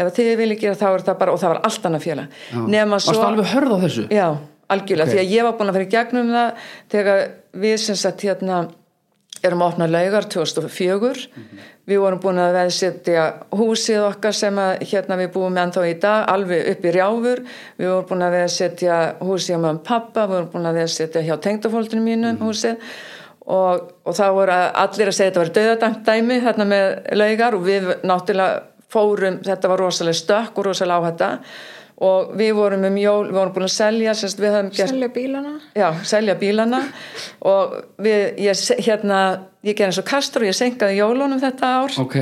B: ef þið vilja gera þá er það bara og það var allt annað félag
A: Já.
B: nema
A: Varstu
B: svo
A: alveg hörð á þessu?
B: Já, algjörlega,
A: Ok.
B: því að ég var búin að fara í gegnum það þegar við sem sagt hérna erum að opna laugar 2004 við vorum búin að veðsetja húsið okkar sem að hérna við búum ennþá í dag, alveg upp í rjáfur við vorum búin að veðsetja húsið hjá mögum pappa, við vorum búin að veðsetja hjá tengdafólkinu mínum húsið og, og þá voru allir að segja þetta var döðadæmt dæmi þarna með laugar og við náttúrulega fórum, þetta var rosalega stökk og rosalega áhætta og við vorum um jól, við vorum búin að selja semst, við höfum gert,
C: selja bílana
B: já, selja bílana og við, ég, se- hérna ég gerði eins og kastur og ég senkaði jólunum þetta ár
A: Ok.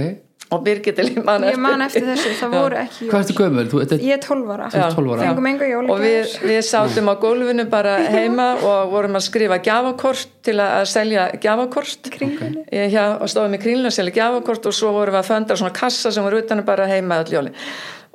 B: og Birgitta líf man
C: ég man eftir þessu, það voru ekki
A: Hvað ertu gömul? Þú, þetta,
C: jól ég er 12 ára,
A: ert 12 ára.
C: fengum enga jól
B: og við, við sátum á gólfinu bara heima og vorum að skrifa gjafakort til að að selja gjafakort
C: Kringlunni.
B: Ég- já, og stofum í kringlunni að selja gjafakort og svo vorum við að föndra svona kassa sem voru utanum bara heima öll jóli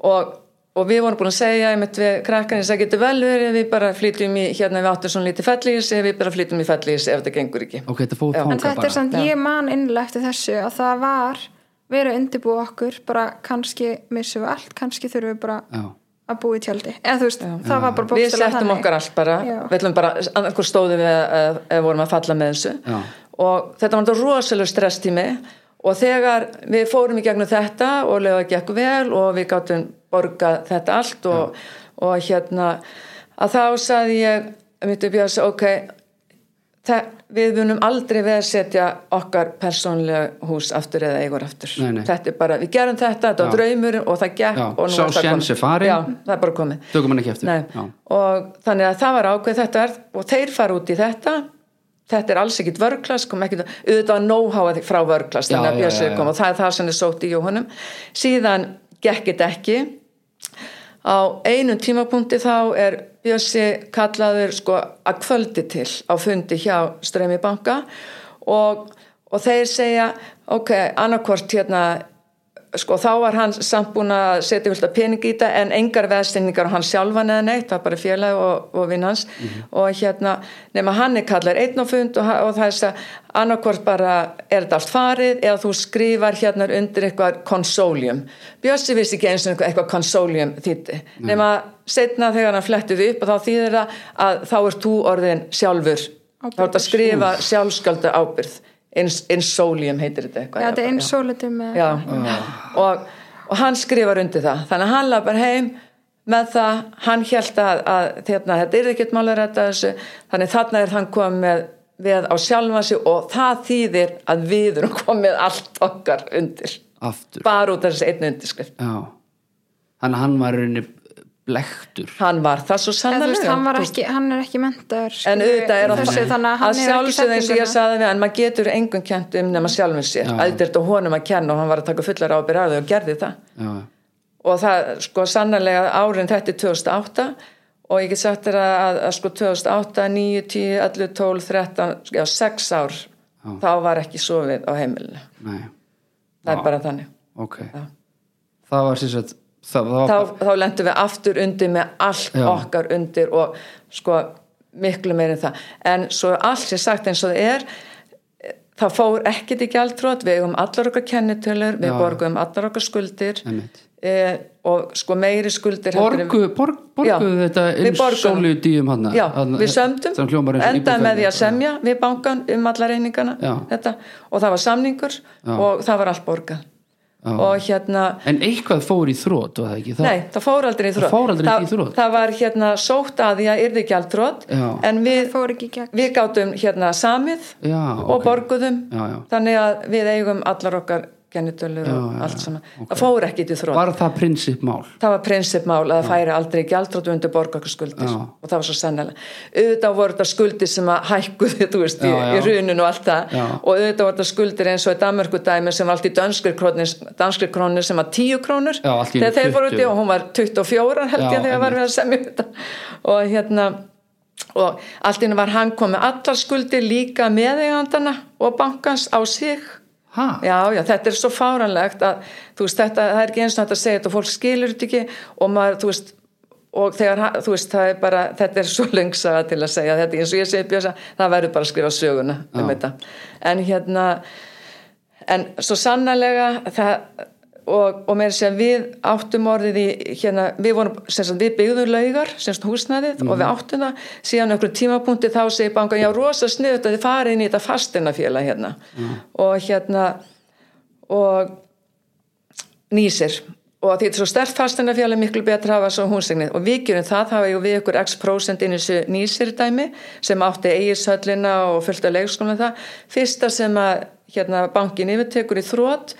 B: og, og við vorum búin að segja einmitt við krakkarnir það getur vel verið við bara flytjum í hérna við áttum svona lítið fellíðis við bara flytjum í fellíðis ef þetta gengur ekki
A: ok, þetta fór
B: Já.
C: en
A: þanga
C: þetta
A: bara.
C: er samt, ég man innlega eftir þessu að það var verið að undirbúa okkur bara kannski missum við allt kannski þurfum við bara
A: Já.
C: að búa í tjaldi eða þú veist, það var bara
B: við
C: bókstælega
B: settum okkar allt bara
C: Já.
B: við ætlum bara, annarkur stóðum við að- að vorum að falla með þessu
A: Já.
B: og þetta var þetta rosalega stresstími og þegar við fórum í gegnum þetta og leiða gekk vel og við gáttum borgað þetta allt og, og hérna að þá saði ég mitt upp í þessu, ok Það, við vunum aldrei við að setja okkar persónlega hús aftur eða eigur aftur.
A: Nei, nei.
B: Þetta er bara, við gerum þetta, þetta var
A: Já.
B: draumurinn og það gekk
A: Já,
B: og nú
A: sá
B: er það
A: séns
B: komið.
A: er farinn.
B: Já, það er bara komið.
A: Tökum hann ekki eftir.
B: Nei.
A: Já.
B: og þannig að það var ákveð þetta er, og þeir fara út í þetta þetta er alls ekkit vörglas kom ekkit, auðvitað nóháa frá vörglas
A: Já,
B: þannig að
A: já, já,
B: Björnsvið
A: já.
B: kom og það er það sem er sótt í Jóhannum síðan gekkit ekki á einum tímapunkti þá er Bjössi kallaður sko að kvöldi til á fundi hjá Strömi banka og, og þeir segja ok, annarkvort hérna sko þá var hann samt búin að setja fullt af pening í þetta en engar veðstinningar á hann sjálfan eða neitt, það var bara félag og, og vinn hans og hérna nema hann er kallar einn á fund og, ha- og það er þess að annarkvort bara er þetta allt farið eða þú skrifar hérna undir eitthvað konsólium Bjössi vissi ekki eins og eitthvað, eitthvað konsólium þýtti nema setna þegar hann flettið upp og þá þýðir það að þá er þú orðin sjálfur þá ert að skrifa sjálfskölda ábyrð insólium heitir þetta eitthvað
C: Já, þetta er
B: Já.
C: eins sólitum með
B: Já, og, og hann skrifar undir það. Þannig að hann lapar heim með það, hann held að, að þérna, þetta er ekkert málur þetta þessu, þannig þarna er hann komið með við á sjálfa sig og það þýðir að við erum komið allt okkar undir.
A: aftur
B: Bara út af þessi einu undirskrift.
A: já. þannig að hann var í rauninni blektur
B: Hann var það svo
C: En þú veist,
B: sannarlega.
C: hann, var ekki, hann er ekki
B: en
C: mentaður skilur
B: auðvitað er
C: í þessu, þannig að hann hefur ekki hérna.
B: sjálfsögðu eins og ég
C: þekkingu.
B: saði við en maður getur engum kent um nema sjálfum sér að þetta er þetta honum að kenna og hann var að taka fullar ábyrð af því og gerði það
A: já,
B: og það sko sannlega árin þetta er 2008 og ég get sagt þér að, að, að sko 2008, 9, 10, 11, 12, 13 já 6 ár þá var ekki sofið á heimilinu
A: nei,
B: það er bara þannig
A: ok það var sér sagt það, það var
B: þá, þá lendum við aftur undir með allt
A: Já.
B: okkar undir og sko miklu meir en það en svo allt sé sagt eins og það er eh, það fór ekkit í gjaldrót við eigum allar okkar kennitölur við borgum allar okkar skuldir
A: Einmitt.
B: e, og sko meiri skuldir heldur en-
A: borgu, borg, borguðu
B: Já,
A: þetta
B: við
A: eins
B: borguðum.
A: sólu dýjum hann
B: Já, við sömdum, endaði með því að semja við bankan um alla reyningana
A: Já.
B: þetta, og það var samningur og það var allt borgað og hérna,
A: en eitthvað fór í þrót var það ekki það
B: nei, það fór aldrei í þrótt
A: fór aldrei í þrot.
B: það var hérna sótt að því að yrði ekki allt þrótt
A: Já.
B: en við,
C: fór ekki í gegn.
B: við gátum hérna samið
A: já,
B: og
A: ok.
B: borguðum
A: Já, já.
B: þannig að við eigum allar okkar gennitölur og allt svona það fór ekki til þrótt
A: var það prinsipmál
B: það var prinsipmál að það færi aldrei gjaldrótt undir borga okkur skuldir
A: Já.
B: og það var svo sennilega auðvitað voru þetta skuldir sem að hækkuði þú veist, í,
A: Já, já.
B: í runun og allt það
A: Já.
B: og auðvitað voru þetta skuldir eins og í Danmörku dæmi sem var allt í danskri krónir, danskri krónir sem var 10 krónur
A: Já, allt í einu
B: þegar þeir fóru
A: 20.
B: út í og hún var 24
A: Já,
B: held ég þegar var við að semja um þetta og hérna og allt í einu var hann komið allar skuldir líka meðeigandana og bankans á sig
A: ha,
B: Já, já, þetta er svo fáranlegt að þú veist, þetta, það er ekki eins og þetta að segja þetta og fólk skilur þetta ekki og maður, þú veist og þegar, ha- þú veist, það er bara þetta er svo lengsaga til að segja þetta eins og ég segi Björsa, það verður bara að skrifa söguna um þetta, en hérna en svo sannlega það, og, og meira að segja við áttum orðið í, hérna við vorum, sem sagt, við byggðum laugar sem sagt húsnæðið og við áttum það síðan okkur tímapunkti þá segir bankan já, rosa sniðut að þið farið inn í þetta fastinafélag hérna, og hérna og nýsir og því þetta er svo stert fastinafjál er miklu betra að hafa svo húnsegnið og við gerum það, það hefur við ykkur x prosent inn í þessu nýsir dæmi sem átti eigishöllina og fullt af leikskólum og það, fyrsta sem að hérna, bankin yfirtekur í þrótt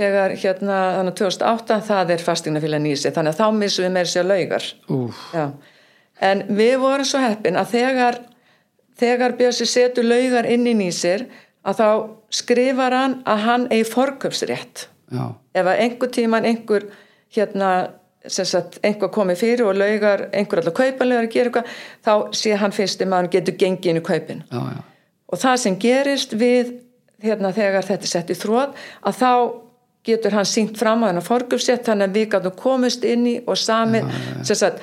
B: þegar hérna þannig 2008 það er fastinafjál nýsir þannig að þá missum við meira sér laugar
A: úf,
B: Já. En við vorum svo heppin að þegar, þegar Bjössi setur laugar inn í nýsir að þá skrifar hann að hann eigi forköpsrétt.
A: já,
B: Ef að einhver tíman einhver hérna sem sagt einhver komið fyrir og laugar einhver allar kaupa laugar að gera eitthvað þá sé hann fyrst um að hann getur gengið inn í kaupin
A: já, já
B: og það sem gerist við hérna þegar þetta er sett í þrótt að þá getur hann sínt fram á þennan forgjöfsett þannig að við gætum komist inn í og samið sem sagt,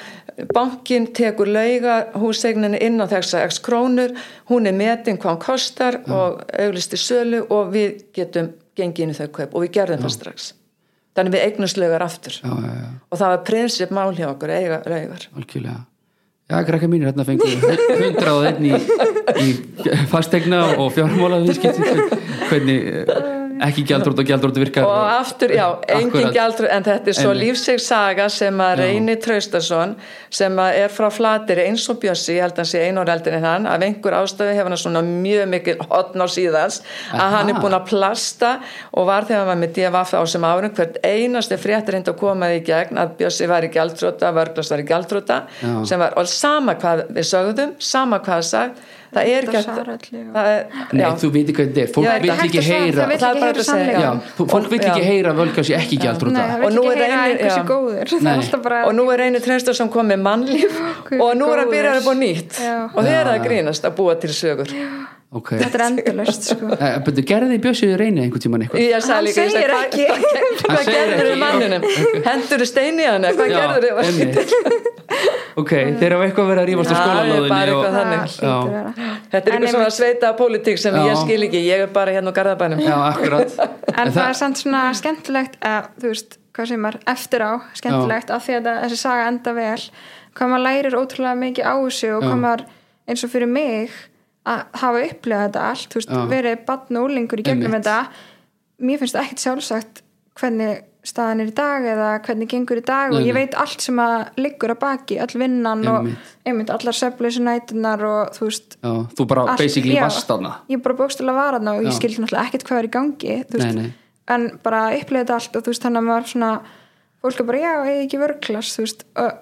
B: bankin tekur lauga hússegninu inn á þess að x krónur, hún er metin hvað hann kostar og auglisti sölu og við getum gengið inn í þau kaup og við gerðum það strax þannig við eignumst laugar aftur
A: já, já, já,
B: og það var prinsip mál hjá okkur að eiga laugar
A: algjörlega já, krakka mínir, hérna fengur hundrað og einn í, í fastegna og fjármála hvernig eh, ekki gjaldrótt og gjaldrótt virkar
B: og aftur, já, engin
A: Akkurat.
B: gjaldur en þetta er svo
A: Einmitt.
B: lífseg saga sem að Reyni Traustason sem að er frá flateri eins og Bjössi ég held að hann sé einu ára eldin en hann af einhver ástöðu hefur hann svona mjög mikil hotn á síðans að hann er búin að plasta og var þegar hann var með DFF á sem árum hvert einasti fréttir hindi að koma því í gegn að Bjössi var í gjaldrota, Vörglast var í gjaldrota
A: Já.
B: sem var, og sama hvað við sögðum sama hvað sagt, það er
C: Þetta
B: ekki
C: svarar öllu, já.
B: hægt- það er-
A: Nei,
B: já.
A: þú veit ekki hvað þetta er,
B: Já,
A: fólk
B: þetta
A: vil
B: er
C: hægt
A: ekki
C: að svara,
A: heyra
C: það veit
B: Það er
C: ekki
B: bara að
C: heyra
B: segja.
C: sannleikan
A: Já, fólk vil ekki
B: Já.
A: heyra völkjási ekki
C: Nei,
A: gjaldrúta
C: það
B: Og
C: vil
B: nú
C: ekki
B: er
C: heyra
B: einir-
C: einhversu
B: já.
C: góður Það
A: Nei.
C: er alltaf bara
B: og nú er Reynir Traustarsson komið með mannlíf
C: Guð
B: og nú er að
C: góður.
B: byrja að búa nýtt
C: Já.
B: og þeir eru að grínast að búa til sögur
A: ok
C: þetta er endalust sko.
A: Eh, Byrju, gerði Bjössi reyni einhvern tíman eitthvað?
B: Ég sagði
C: Hann
B: líka, ég sagði,
C: segir
B: hvað-
C: ekki.
A: Hann
B: hvað
A: segir
B: gerður
A: ekki,
B: þið manninum? Hendur þið steini hann? eða Hvað
A: Já,
B: gerður þið?
A: einmitt. ok, þeir hafa eitthvað verið að rífast á
B: Já, ég bara
A: skólalóðinni
B: eitthvað
A: og...
B: þannig.
C: Það hlýtur að
A: Já.
C: vera.
B: Þetta er
C: En
B: eitthvað svona
C: einmitt-
B: sveita pólitík sem
A: Já.
B: ég skil ekki, ég er bara hérna á Garðabænum.
A: já, akkurat
C: En það, er samt svona skemmtilegt að, þú veist, hvað sem er eftir á skemmtilegt að því að það- þessi saga enda vel hvað maður lærir ótrúlega mikið á þessu og
A: Já.
C: hvað maður, eins og fyrir mig að hafa upplegað þetta allt þú veist,
A: Já.
C: verið barn og úlingur í gegnum
A: Einmitt.
C: þetta mér finnst það ekkert sjálfsagt hvernig staðan er í dag eða hvernig gengur í dag og
A: Nei,
C: ég
A: nei.
C: veit allt sem að liggur að baki, all vinnan
A: Einmitt.
C: og einmitt allar söfleysu nætunar og þú veist,
A: já, þú bara
C: Allt,
A: basically
C: já.
A: vast þarna
C: ég bara bókstila var þarna og ég
A: Já.
C: skildi náttúrulega ekkert hvað er í gangi þú veist,
A: Nei, nei.
C: en bara upplega þetta allt og þú veist þannig að maður svona fólk er bara já, eða ekki vörglas þú veist, og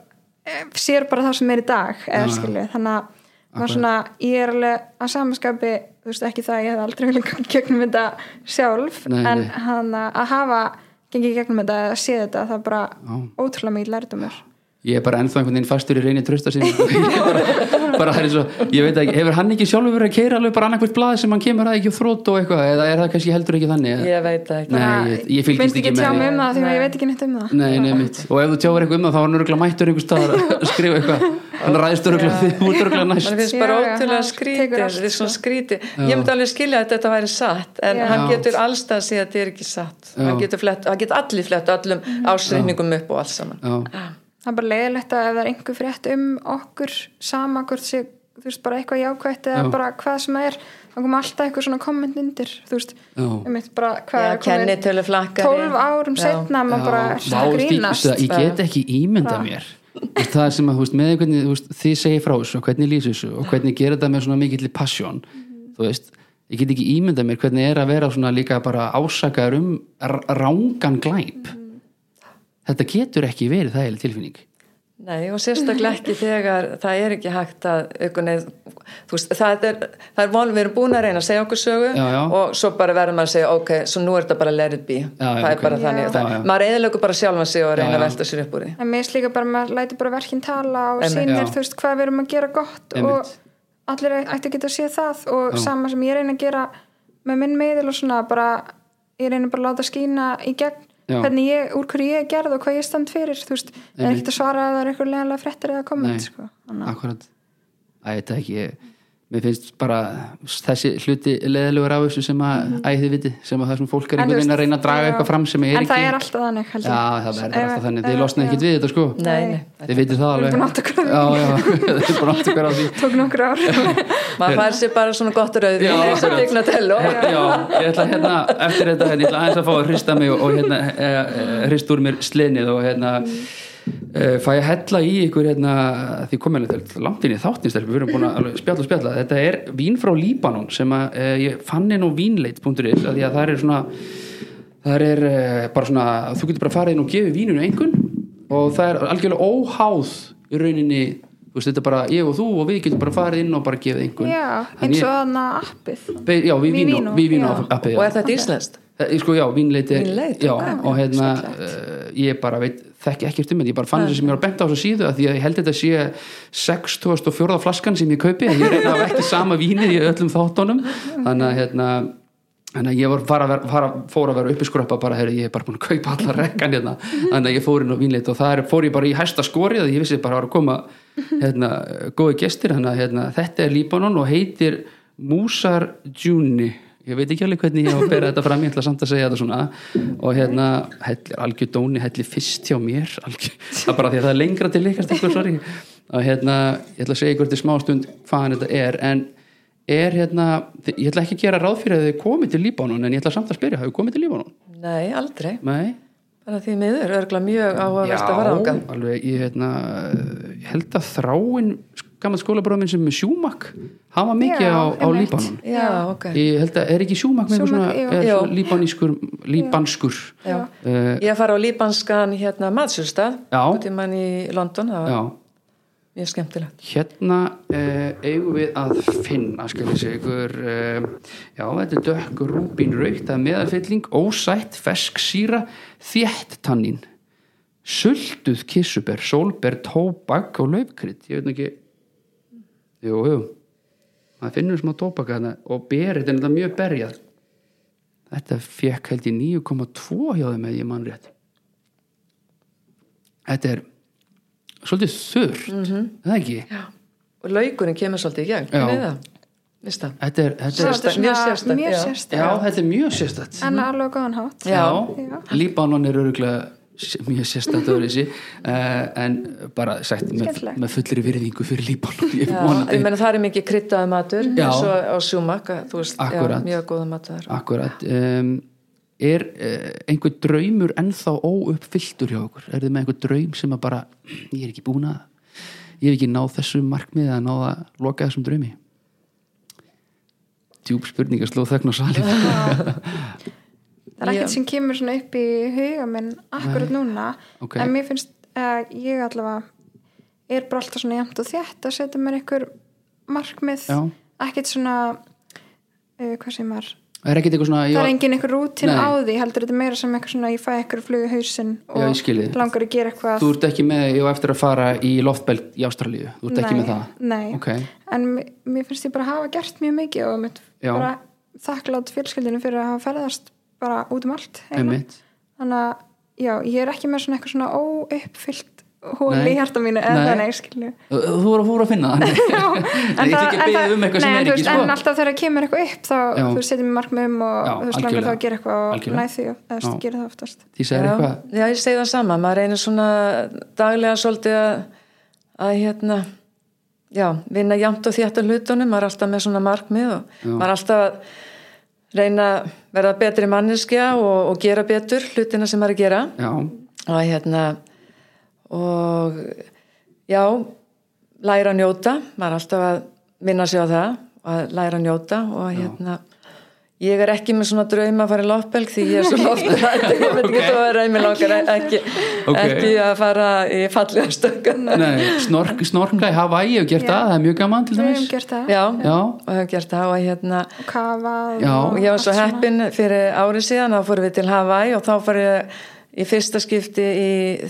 C: eh, sér bara það sem er í dag eða
A: Já, já.
C: skilju, þannig að maður svona, ég er alveg að samaskapi þú veist ekki það, að ég hef aldrei vilja gangið gegnum þetta sjálf
A: Nei,
C: en
A: nei.
C: hann að að hafa gengið gegnum þetta eða séð þetta, það er bara
A: Já.
C: ótrúlega mikið lærdumur
A: ég er bara ennþá einhvern veginn fastur í reyni trösta sín bara, bara það er svo, ég veit ekki hefur hann ekki sjálfur verið að keira alveg bara annarkvært blað sem hann kemur að ekki og þrótt og eitthvað eða er það kannski heldur ekki þannig eða?
B: Ég veit það ekki.
A: Nei,
C: Bara,
A: ég- ég fylgist
C: minnst
A: ekki með
C: tjá
A: því.
C: mig um það því að ég
B: Nei.
C: veit ekki neitt um það
A: Nei, nei, mitt. Og ef þú tjáir eitthvað um það, þá er hann örgulega mættur einhvers staðar að skrifa eitthvað. Hann ræðist örgulega því, hún er örgulega næst.
B: Man finnst
C: Já,
B: bara
C: já,
B: ótrúlega
C: hann
B: skrítið,
C: tekur allt,
B: þetta er svona
C: sko.
B: skrítið. Ég myndi alveg skilja að þetta væri satt, en
C: Já.
B: hann
A: Já.
B: getur allstað að segja að þetta er ekki satt.
A: Já.
B: Hann getur, flett, hann getur allir flett öllum
C: Mm.
B: ásreikningum upp og allt saman.
A: Já,
C: það er bara leiðilegt að ef það er einhver frétt um okkur sama hvort sé, þú veist, bara eitthvað jákvætt eða
A: Já.
C: bara hvað sem er þá kom alltaf eitthvað svona komment undir þú veist,
A: Já.
C: ég mitt bara hvað
B: Já,
C: er komið
B: kennitölu flakkari.
C: 12 árum
B: Já.
C: setna, maður bara
A: Já,
C: ertu að
A: vá,
C: grínast
A: því- ég get ekki ímynda
C: Bara-
A: mér Veist, það sem að þú veist, með hvernig þú veist, þið segir frá þessu og hvernig lýsir þessu og hvernig gerir þetta með svona mikill passion
C: Mhm.
A: þú veist, ég get ekki ímynda mér hvernig er að vera svona líka bara ásakaður um r- rangan glæp
C: Mhm.
A: þetta getur ekki verið það er tilfinning
B: Nei, og sérstaklega ekki þegar það er ekki hægt að aukunni, þú veist, það er, það er von, við erum búin að reyna að segja okkur sögu
A: Já, já.
B: og svo bara verður maður að segja, ok, svo nú er þetta bara let it be,
A: já,
B: það
A: ok.
B: er bara þannig,
A: Já.
B: það,
A: Já, já.
B: maður eðlöku bara sjálfan sig og reyna
A: Já, já.
B: að velta sér upp úr því.
C: en mér slíka bara, maður lætur bara verkinn tala og
B: Einmitt.
C: sýnir,
A: Já.
C: þú veist, hvað við erum að gera gott
A: Einmitt.
C: og allir ætti að geta að sé það og
A: Já.
C: sama sem ég reyna að gera með minn meðil og svona bara, ég reyna bara að láta skína í gegn
A: Já.
C: hvernig ég, úr hverju ég er gerð og hvað ég stand fyrir, þú veist, ég er ekkert að svara að það er eitthvað leðanlega fréttir eða komment, sko Þannig að-
A: akkurat Æ, þetta ekki, ég, mér finnst bara þessi hluti leðilegur af þessu sem að, æ, þið viti, sem að það sem fólk er
C: Mhm.
A: einhvern
C: En þú
A: veginn að
C: veist,
A: reyna að draga
C: já.
A: eitthvað fram sem er
C: En
A: ekki
C: það er alltaf þannig, held ég.
A: Já, það er
C: Ef-
A: alltaf þannig,
C: ef-
A: þið losnið
C: já.
A: ekkert við þetta sko
B: Nei, nei,
A: Þið vitið það
C: Við erum
A: alveg
C: búin að átta okkur á því.
A: Já, já, þið erum búin að átta okkur á því
C: tók nokkur ár
B: maður fær sér bara svona gott rauð,
A: Já,
B: eins og
A: akkurat.
B: tegna tello.
A: Já, ég ætla hérna, eftir þetta hérna, ég ætla aðeins að fá að hrista mig og, og hérna, e, e, hrist úr mér slinið og hérna e, fæ ég hella í ykkur hérna, því komið hérna langt inn í þáttinstelp, við erum búin að alveg spjalla og spjalla þetta er vín frá Líbanon sem að e, ég fann inn á vínleit.is að því að það er svona það er e, bara svona, þú getur bara farið inn og gefið víninu einhvern og það er algjörlega óháð í rauninni þú veist, þetta er bara ég og þú og við getum bara farið inn og bara gefið einhvern
C: já,
A: En
C: eins
A: ég-
C: og þannig að appið
A: Be- Já, við vínum,
C: Vivino,
A: við vínum
C: já.
A: appið
B: Og
A: já.
B: er þetta íslenskt?
A: Eh, Sko já, vínleiti
B: Vínleit,
A: Já,
B: ok.
A: og hérna eh, ég bara veit, þekki ekkert um þetta ég bara fann þessi sem ég var bent á þessu síðu að því að ég held þetta sé 6.4. flaskan sem ég kaupi, en ég reyna að hafa ekki sama vínið í öllum þáttunum þannig að hérna Þannig að ég var fara, að vera- fara, fór að vera uppi skröpa bara, heyrðu, ég er bara búin að kaupa allar rekkan hérna, þannig að ég fór inn á vínleit og það fór ég bara í hæsta skorið að ég vissi bara að var að koma hérna, góði gestir, þannig að hérna, þetta er Líbanon og heitir Músar Djúni ég veit ekki alveg hvernig ég á að bera þetta fram ég ætla samt að segja þetta svona og hérna, hellir algjör dóni, hellir fyrst hjá mér algjör, það er bara því að það er lengra til ykkar stelpur, sorry og hérna, ég ætla að segja ykkur til smástund hvaðan þetta er en er hérna, ég ætla ekki að gera ráð fyrir að þið komið til Líbanon en ég ætla samt að spyrja, hafið þið komið til Líbanon?
B: Nei, aldrei.
A: Nei?
B: Bara því miður, örgla mjög áhugavert að fara ánga.
A: alveg, ég hérna ég held að þráin gammal skólabróð minn sem er sjúmak hafa mikið á,
C: Já,
A: á
C: einmitt.
A: Líbanon
B: Já, ok.
A: ég held að er ekki sjúmak með
C: Schumacher,
A: eitthvað
C: jú.
A: svona, er
B: Jú.
A: svona líbanískur líbanskur já. Eh.
B: Ég fara á líbanskan hérna matsjústað,
A: Já.
B: út í mann í London, það var
A: já
B: mjög skemmtilegt.
A: hérna uh, eigum við að finna skal ég segja ykkur uh, já þetta er dökk rúbín raukt að meðalfylling, ósætt, fesk síra þétt tannin sultuð kissuber, sólber tóbak og laufkrydd, ég veit nú ekki jú, jú maður finnur smá tóbaka þarna og berið er þetta mjög berjað þetta fekk held ég 9,2 hjá þeim eða ég mann rétt þetta er svolítið þurrt mm það ekki
B: Já. Og laukurinn kemur svolítið í gegn,
A: Já.
B: hvernig er það? Vist það?
A: þetta er, þetta er,
B: Sérstakt,
C: Þetta er
B: mjög
C: svona
B: sérstakt,
C: mjög
B: já.
A: já,
C: sérstætt
A: þetta er mjög sérstætt
C: en alveg á góðan hátt
B: Já.
A: já. Líbanon er öruglega mjög sérstætt öðruvísi uh, en bara sagt með,
C: Skemmtilegt.
A: með fullri virðingu fyrir Líbanon ég
B: Já, ég
A: vonandi
B: meina það er mikið kryddaði matur
A: Já.
B: eins og á sjúmak, að þú veist, já,
A: Akkúrat.
B: mjög góða matur.
A: akkurat um, er uh, einhver draumur ennþá óuppfylltur hjá okkur er þið með einhver draum sem að bara ég er ekki búin að ég hef ekki náð þessu markmiði að náða að loka þessum draumi djúb spurning að sló þögn á salin
C: það er ekkert sem kemur svona upp í huga minn akkurat núna
A: Ok.
C: en mér finnst að ég allavega er bara alltaf svona jæmt og þétt að setja mér einhver markmið
A: Já.
C: ekkert svona uh, hvað sem er
A: er ekkert eitthvað svona
C: það
A: ég,
C: er engin einhver rútin
A: Nei.
C: á því heldur þetta er meira sem eitthvað svona ég fæ eitthvað flugu hausinn
A: Já, ég skil þig.
C: og langar að gera eitthvað
A: þú ert ekki með ég á eftir að fara í loftbelt í Ástralíu þú ert ekki með það
C: nei,
A: Ok.
C: en mér- mér finnst ég bara hafa gert mjög mikið og mitt
A: Já.
C: bara þakklátt fjölskyldinu fyrir að hafa ferðast bara út um allt eiginlega.
A: Einmitt.
C: þannig að já, ég er ekki með svona eitthvað svona óuppfyllt hól
A: Nei.
C: í hjarta mínu en
A: Nei.
C: það nei, skilju
A: Þú þú voru að fóra að finna það Nei,
C: en,
A: ég ætla ekki að
C: en
A: beða um eitthvað
C: nei,
A: sem
C: en
A: er
C: þú
A: ekki
C: veist,
A: sko.
C: en alltaf þegar kemur eitthvað upp þá
A: Já.
C: þú setjum við markmiðum og
A: Já,
C: þú veist, langar þá
A: algjörlega.
C: að gera eitthvað og
A: Algjörlega.
C: næði því og þú veist,
A: Já.
C: gera það oftast
A: Því
B: Já,
A: segir eitthvað
B: já, ég segi það sama, maður reynir svona daglega svolítið að, að hérna, já, vinna jæmt og þétt að hlutunum, maður er alltaf með svona markmið og maður er alltaf að reyna að verða betri manneskja og, og gera betur hlutina sem maður er að gera
A: Já,
B: og hérna, og já, læra að njóta, maður er alltaf að vinna sig á það og að læra að njóta og hérna, Ég er ekki með svona drauma að fara í loftbelg því ég er svo loftbelg ég veit ekki þú að reymi langar ekki,
A: Ok.
B: ekki að fara í fallega stökkan Já,
A: nei, snork, snorkla í Hawaii og gert það, það er mjög gaman til
C: við hefum
A: dæmis
C: gert það
B: Já,
A: Já.
B: og hef gert það og hérna
C: og kafað
A: Já.
B: og ég var svo heppin fyrir árið síðan þá fórum við til Hawaii og þá fór ég í fyrsta skipti í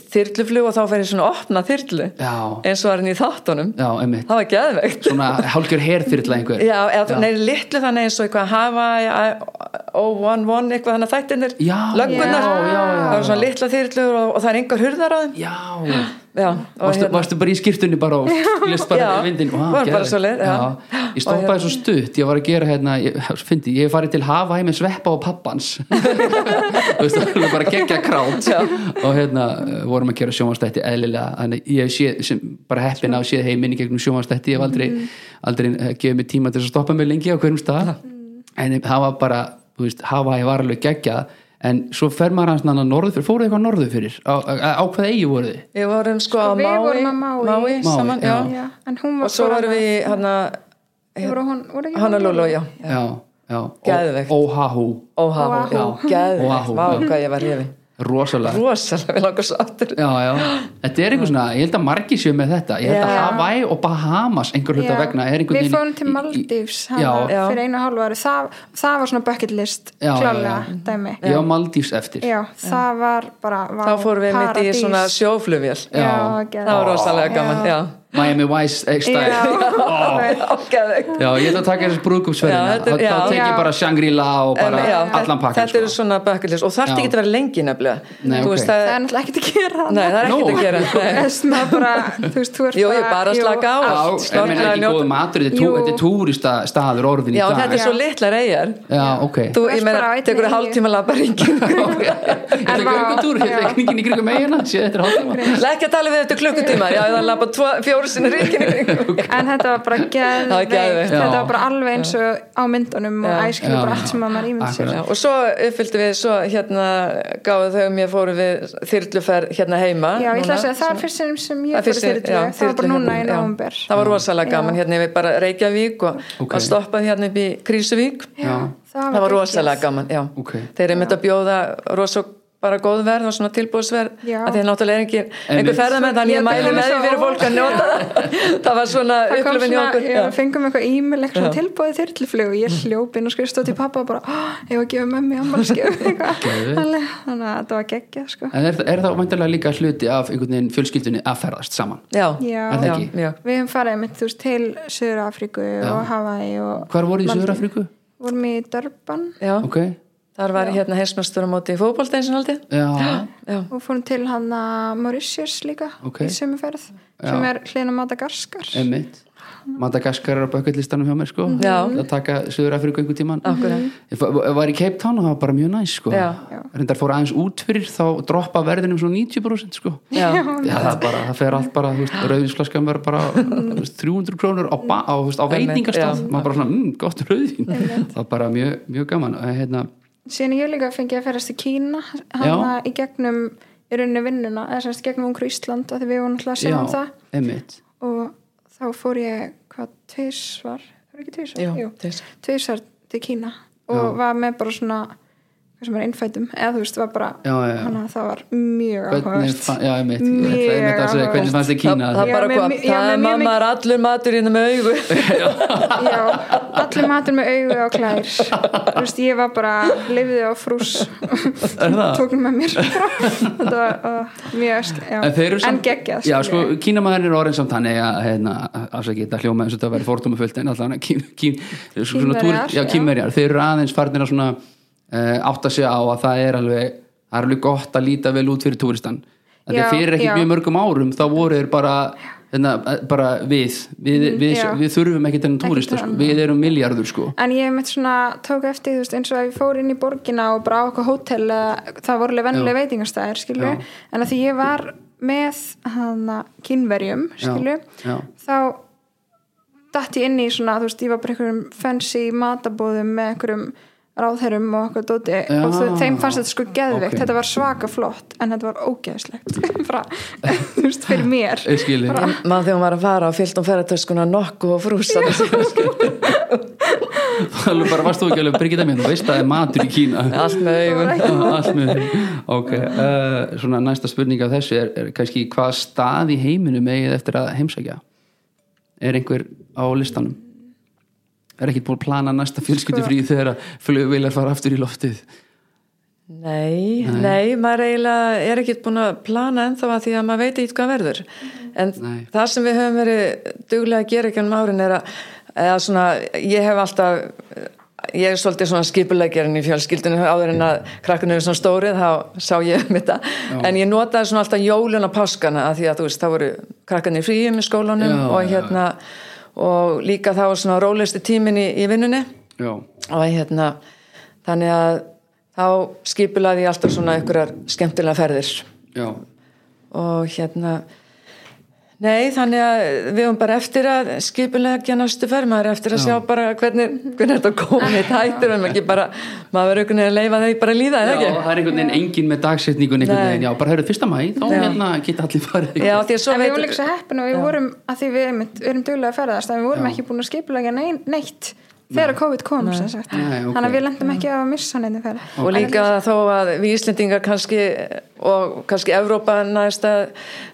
B: þyrluflug og þá fór ég svona að opna þyrlu
A: Já,
B: eins og var hann í þáttunum
A: já, einmitt
B: það var geðvegt
A: Svona hálfgjör herþyrla einhver
B: Já, eða, nei, litlu þannig eins og eitthvað Hawaii, I- 011 eitthvað þannig að þættinir,
A: Já,
B: löggunar
A: já, já, já.
B: það var svona litla þyrlur og, og það er engar hurðar á þeim
A: Já,
B: Já, og
A: varstu,
B: hérna,
A: varstu bara í skýrtunni bara og lest bara
B: Já,
A: vindin
B: var bara svoleið, já.
A: Ég
B: Og
A: stoppaði
B: hérna-
A: svo stutt, ég var að gera hérna ég, fyndi, ég hef farið til Hawaii með sveppa og pappans Þú veist, það var bara geggja krát
B: Já.
A: og hérna eh, vorum að gera sjónvastætti eðlilega, þannig ég hef séð sem bara heppin að séð heiminn í gegnum sjónvastætti ég hef aldrei,
B: Mhm.
A: aldrei eh, gefið mér tíma til þess að stoppa mig lengi á hverjum stað en það var bara, þú veist, Hawaii var alveg geggjað, en svo fer maður hans nanna norðu fyrir, fóruðu eitthvað norðu fyrir á, á, á hvað eigi voruð þið?
B: við vorum sko á
C: Sko, við
B: Mái,
C: vorum á Maui.
B: Mái
A: Maui,
B: saman,
A: já.
B: já.
C: Já, en hún
B: og
C: var
B: svo
C: bara-
B: vorum við hana,
C: Þið voru hún, voru ekki
B: Honolulu, já
A: Já, já,
B: Geðveikt.
A: Ó- Óhahú,
B: Óhá, já,
A: Oahu.
B: geðvegt,
A: Oahu,
B: vá
A: já.
B: hvað ég var hefin
A: rosalega
B: rosalega, við langar svo aftur
A: Já, já, þetta er einhver svona, ég held að margi séu með þetta, ég held að
C: Já.
A: Hawaii og Bahamas einhver hluta
C: Já.
A: vegna er einhvern
C: Við
A: veginn
C: fórum til
A: í- í-
C: Maldífs
A: Já,
C: hana,
B: Já.
C: fyrir einu og hálfu ári það, það var svona bucket list
A: Já, já,
C: klálega
A: já.
C: dæmi
A: ég á Maldífs eftir
C: Já, það var bara vá,
B: þá fórum við mitt í
C: paradís.
B: svona sjóflugvél
A: Já.
C: Já,
B: það var rosalega gaman, já,
A: Miami Vice eh, style
C: Já,
A: Ó.
B: já, geðvegt
A: já, ég ætla að taka þessi
B: Já,
A: brúðkupsferðina
B: þetta
A: þá
B: er- já.
A: tek ég
C: Já.
A: bara Shangri-La og bara
B: já,
A: allan pakkan
B: þetta
A: sko.
B: eru svona bökkulis og þarf
A: Já.
B: ekki að vera lengi nefnilega
A: Nei, ok.
B: Þú veist,
C: það
B: það,
C: er náttúrulega ekkert að gera
B: nei, það er ekkert
A: Nú.
B: að gera nei.
C: Þess maður bara, þú veist, þú ert
B: Jú, ég er bara að
C: jú,
B: slaka á
A: Já, en
B: allt,
A: menn
B: snorkla,
A: ekki
B: njóta.
A: góð matur, þetta er tú-
C: Jú.
A: þetta er túrista staður orðin í
B: já,
A: dag
B: þetta er svo litlar eigjar
A: Já, ok
B: þú,
C: Þú ert
B: ég
C: bara á
B: meina,
C: einni
B: tekur
C: eyju.
B: hálftíma labba ringin
A: Ég ætla
C: En
A: ekki
C: vá,
A: öngutúr,
C: já.
A: þetta er kningin hérna, í krigum eigina sé þetta er hálftíma
B: Lekki að tala við eftir klukkutíma Já, það lappa tvo, fjóru sinni ríkin
C: En þetta var bara
B: var
C: geðveikt
B: geðveikt.
A: Já.
C: Þetta var bara alveg eins og á myndunum og
B: Já.
C: æskilur
A: Já.
C: bara allt sem að maður ímynd sér
A: Akkurat.
B: Og svo uppfylgdu við, svo hérna gáðu þau mér fóru við þyrluferð hérna heima
C: Já, ég ætla að
B: núna.
C: segja, það er fyrst sem, sem
B: Það
C: ég
B: fyrst-
C: fór
B: já,
C: þyrlu Það var bara
B: þyrlu
C: núna í
B: hérna, já.
C: nóvumber
B: Það var rosalega gaman, hérna ég við bara Reykjavík og
A: Ok.
B: að stoppa hérna upp í Krísuvík
A: Já.
B: Það var rosalega gaman, já
A: Ok.
B: Þeir eru myndi að bjóða rosa bara góð verð og svona tilbúðsverð
C: Já.
B: að því að náttúrulega er engin,
A: Einmitt.
B: einhver ferðamenn þannig
C: Ég
B: ég mæli með
C: tók alveg
B: því
C: svo
B: fyrir fólk að njóta það. það var svona
C: það kom
B: upplifin í
C: svona,
B: okkur
C: já,
B: já.
C: fengum eitthvað e-mail eitthvað
B: Já. Mm.
C: tilbúið þyrluflug og ég hljóp inn og skrifst til pappa og bara, "Ah, ég var að gefa mömmu ammalskjöf
A: Geðveikt.
C: þannig að þetta var geggja sko.
A: En er, það- er það vantarlega líka hluti af einhvern veginn fjölskyldunni að ferðast saman?
B: Já.
C: Já.
A: Er það
B: já,
A: ekki?
B: já.
C: við hefum farið mitt veist, til Söður Afríku og Hawaii og
A: Hvar voru í
C: Maldíf.
A: Suður-Afríku?
C: vorum í Durban
B: já.
A: Ok,
B: þar var ég hérna heimsmestur á móti í fótbolta eins og haldi
A: já,
B: já,
C: og fórum til hann að Mauritius líka
A: Ok.
C: í sumuferð sem er hlýna Madagaskar
A: emitt Madagaskar er á bökkullistanum hjá mér sko
B: Já.
C: Mhm.
A: að taka Suður-Afríku einhvern tíman
B: Akkurat.
A: Ég fa- var í Cape Town og það var bara mjög næs sko
B: Já.
A: reyndar fór aðeins út fyrir þá droppa verðinum svona 90% sko
B: já.
A: Já, það, er bara, það fer allt bara, þú veist, rauðinsflaskan verður bara þú veist, 300 krónur á, ba- á, þú veist, á veitingastað,
B: já.
A: maður bara svona, mmm, gott rauðin það er bara mjög, mjög gaman og hérna,
C: síðan ég líka fengi að ferast til Kína
A: Já.
C: hann að í gegnum í rauninni vinnuna, eða semst gegnum ungur Ísland af því við vorum alltaf að
A: já,
C: segja um það
A: emitt
C: og þá fór ég hvað tvisvar, það er ekki tvisvar
B: Jú,
C: Jú.
B: tvisvar.
C: tvisvar til Kína og var með bara svona hvað sem er innfætum, eða þú veist, var bara
A: Já, já, já.
C: þannig að það var mjög
A: hvernig,
C: áhugavert
A: fann, já, emitt,
C: Mjög áhugavert.
A: hvernig fannst þið
B: það,
A: Kína
B: það
C: Já,
B: bara
C: með
B: kom,
C: mi- já,
B: það
C: með
B: er
C: mjög
B: mamma er allur matur hérna með augu
C: Já, allir matur með augu og klær Þú veist, ég var bara lifði á frús
A: Er það?
C: tóknum með mér þetta var uh, mjög ösk já.
A: en þeir eru
C: en
A: samt,
C: geggjað
A: já, sko,
C: skilur við.
A: kínamaðurinn er orðin samt þannig að, hérna, afsakið, þetta hljóma eins og þetta verður fórtóma fullt en allan að kín, kín, kín, svona, túr,
C: Kínverjar,
A: já,
C: já.
A: kínverjar, þeir eru aðeins farnir að svona uh, átta sig á að það er alveg, það er alveg gott að líta vel út fyrir túristan, þetta
C: Já,
A: fyrir ekki
C: já.
A: mjög mörgum árum, þá voru þeir bara hérna, bara við við, við,
C: Mm, já.
A: við þurfum ekki þennan túrista sko. við erum miljardur sko
C: en ég mitt svona tók eftir þú veist, eins og að ég fór inn í borgina og bara á okkur hótel eða það voru alveg vennilega veitingastæðir skilur við. en að því ég var með hana, kínverjum skilur við,
A: Já, já.
C: þá datt ég inn í svona, þú veist, ég var bara einhverjum fancy matabóðum með einhverjum ráðherrum og okkur dóti
A: Já.
C: og þau, þeim fannst þetta sko geðveikt,
A: Ok.
C: þetta var svaka flott en þetta var ógeðslegt bara, þú veist, fyrir mér
A: Ég skil þig.
B: maður þegar hún var að fara á fyllt og ferðartöskuna nokku og frúsa
A: alveg bara varst þú ekki alveg Birgitta mér, þú veist að það er matur í Kína
B: allt með
C: Það
B: augun
C: var ekki-
A: Allt með þeim. ok, uh, svona næsta spurning af þessu er, er kannski hvað stað í heiminum eigið eftir að heimsækja er einhver á listanum er ekkert búin að plana næsta fjölskyldufrí þegar að flugvilar fara aftur í loftið
B: Nei, nei, maður eiginlega er ekkert búin að plana ennþá að því að maður veit ekki hvað verður. En
A: Nei.
B: það sem við höfum verið duglega að gera ekki um árin er að, eða svona, ég hef alltaf, ég er svolítið svona skipuleggerinn í fjölskyldinu áður en að krakkanu er svona stórið, þá sá ég um þetta. En ég notaði svona alltaf jólun og páskana að því að þú veist, þá voru krakkanu í fríum í skólanum
A: Já,
B: og
A: já,
B: hérna, og líka þá var svona rólisti tímin í, í vinnunni
A: já,
B: og hérna þannig að þá skipulaði ég alltaf svona einhverjar skemmtilega ferðir
A: já,
B: og hérna nei þannig að við höfum bara eftir að skipulegja næstu ferð maður er eftir að sjá bara hvernig, hvernig þetta komið hættur en ekki bara maður er einhvern veginn að leifa þeir bara að líða
A: já
B: eða ekki
A: það er einhvern veginn engin með dagsetningun einhvern
B: Nei.
A: veginn, já, bara höfðu fyrsta mæ þá
B: Já.
A: hérna geta allir farið
B: já því að svo
C: en við vorum
B: veit
C: líka svo heppin og við vorum að því við einmitt, við erum duglega að ferðast en við vorum ekki búin að skipulega nein, neitt þegar COVID kom Nei. Nei,
A: Nei, ok.
C: þannig að við lendum ekki á að missa neina ferð
B: og líka þó að við Íslendingar kannski og kannski Evrópa næst að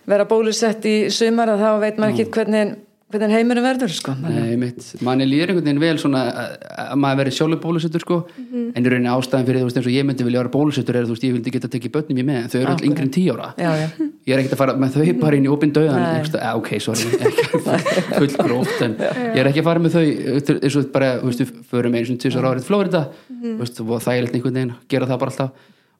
B: vera bólusett í sumar að þá veit maður ekki hvernig, hvernig heimurum verður sko
A: Nei, mitt, manni líður einhvern veginn vel svona að- að maður verið sjálfur bólusettur sko en í rauninni ástæðan fyrir þú veist eins og ég myndi vilja vera bólusettur er þú veist ég vildi geta tekið börnum ég með en þau eru allir yngri en tíu ára
B: Já, já.
A: ég er ekkert að fara með þau bara inn í opinn döðan
B: Mm. Nei.
A: ekst, að, ok, sorry, ekki full gróft en ég er ekki að fara með þau til- eins og bara, þú veist, við förum eins og tísar árið Flórida, þú veist, og það er einhvern veginn gera það bara alltaf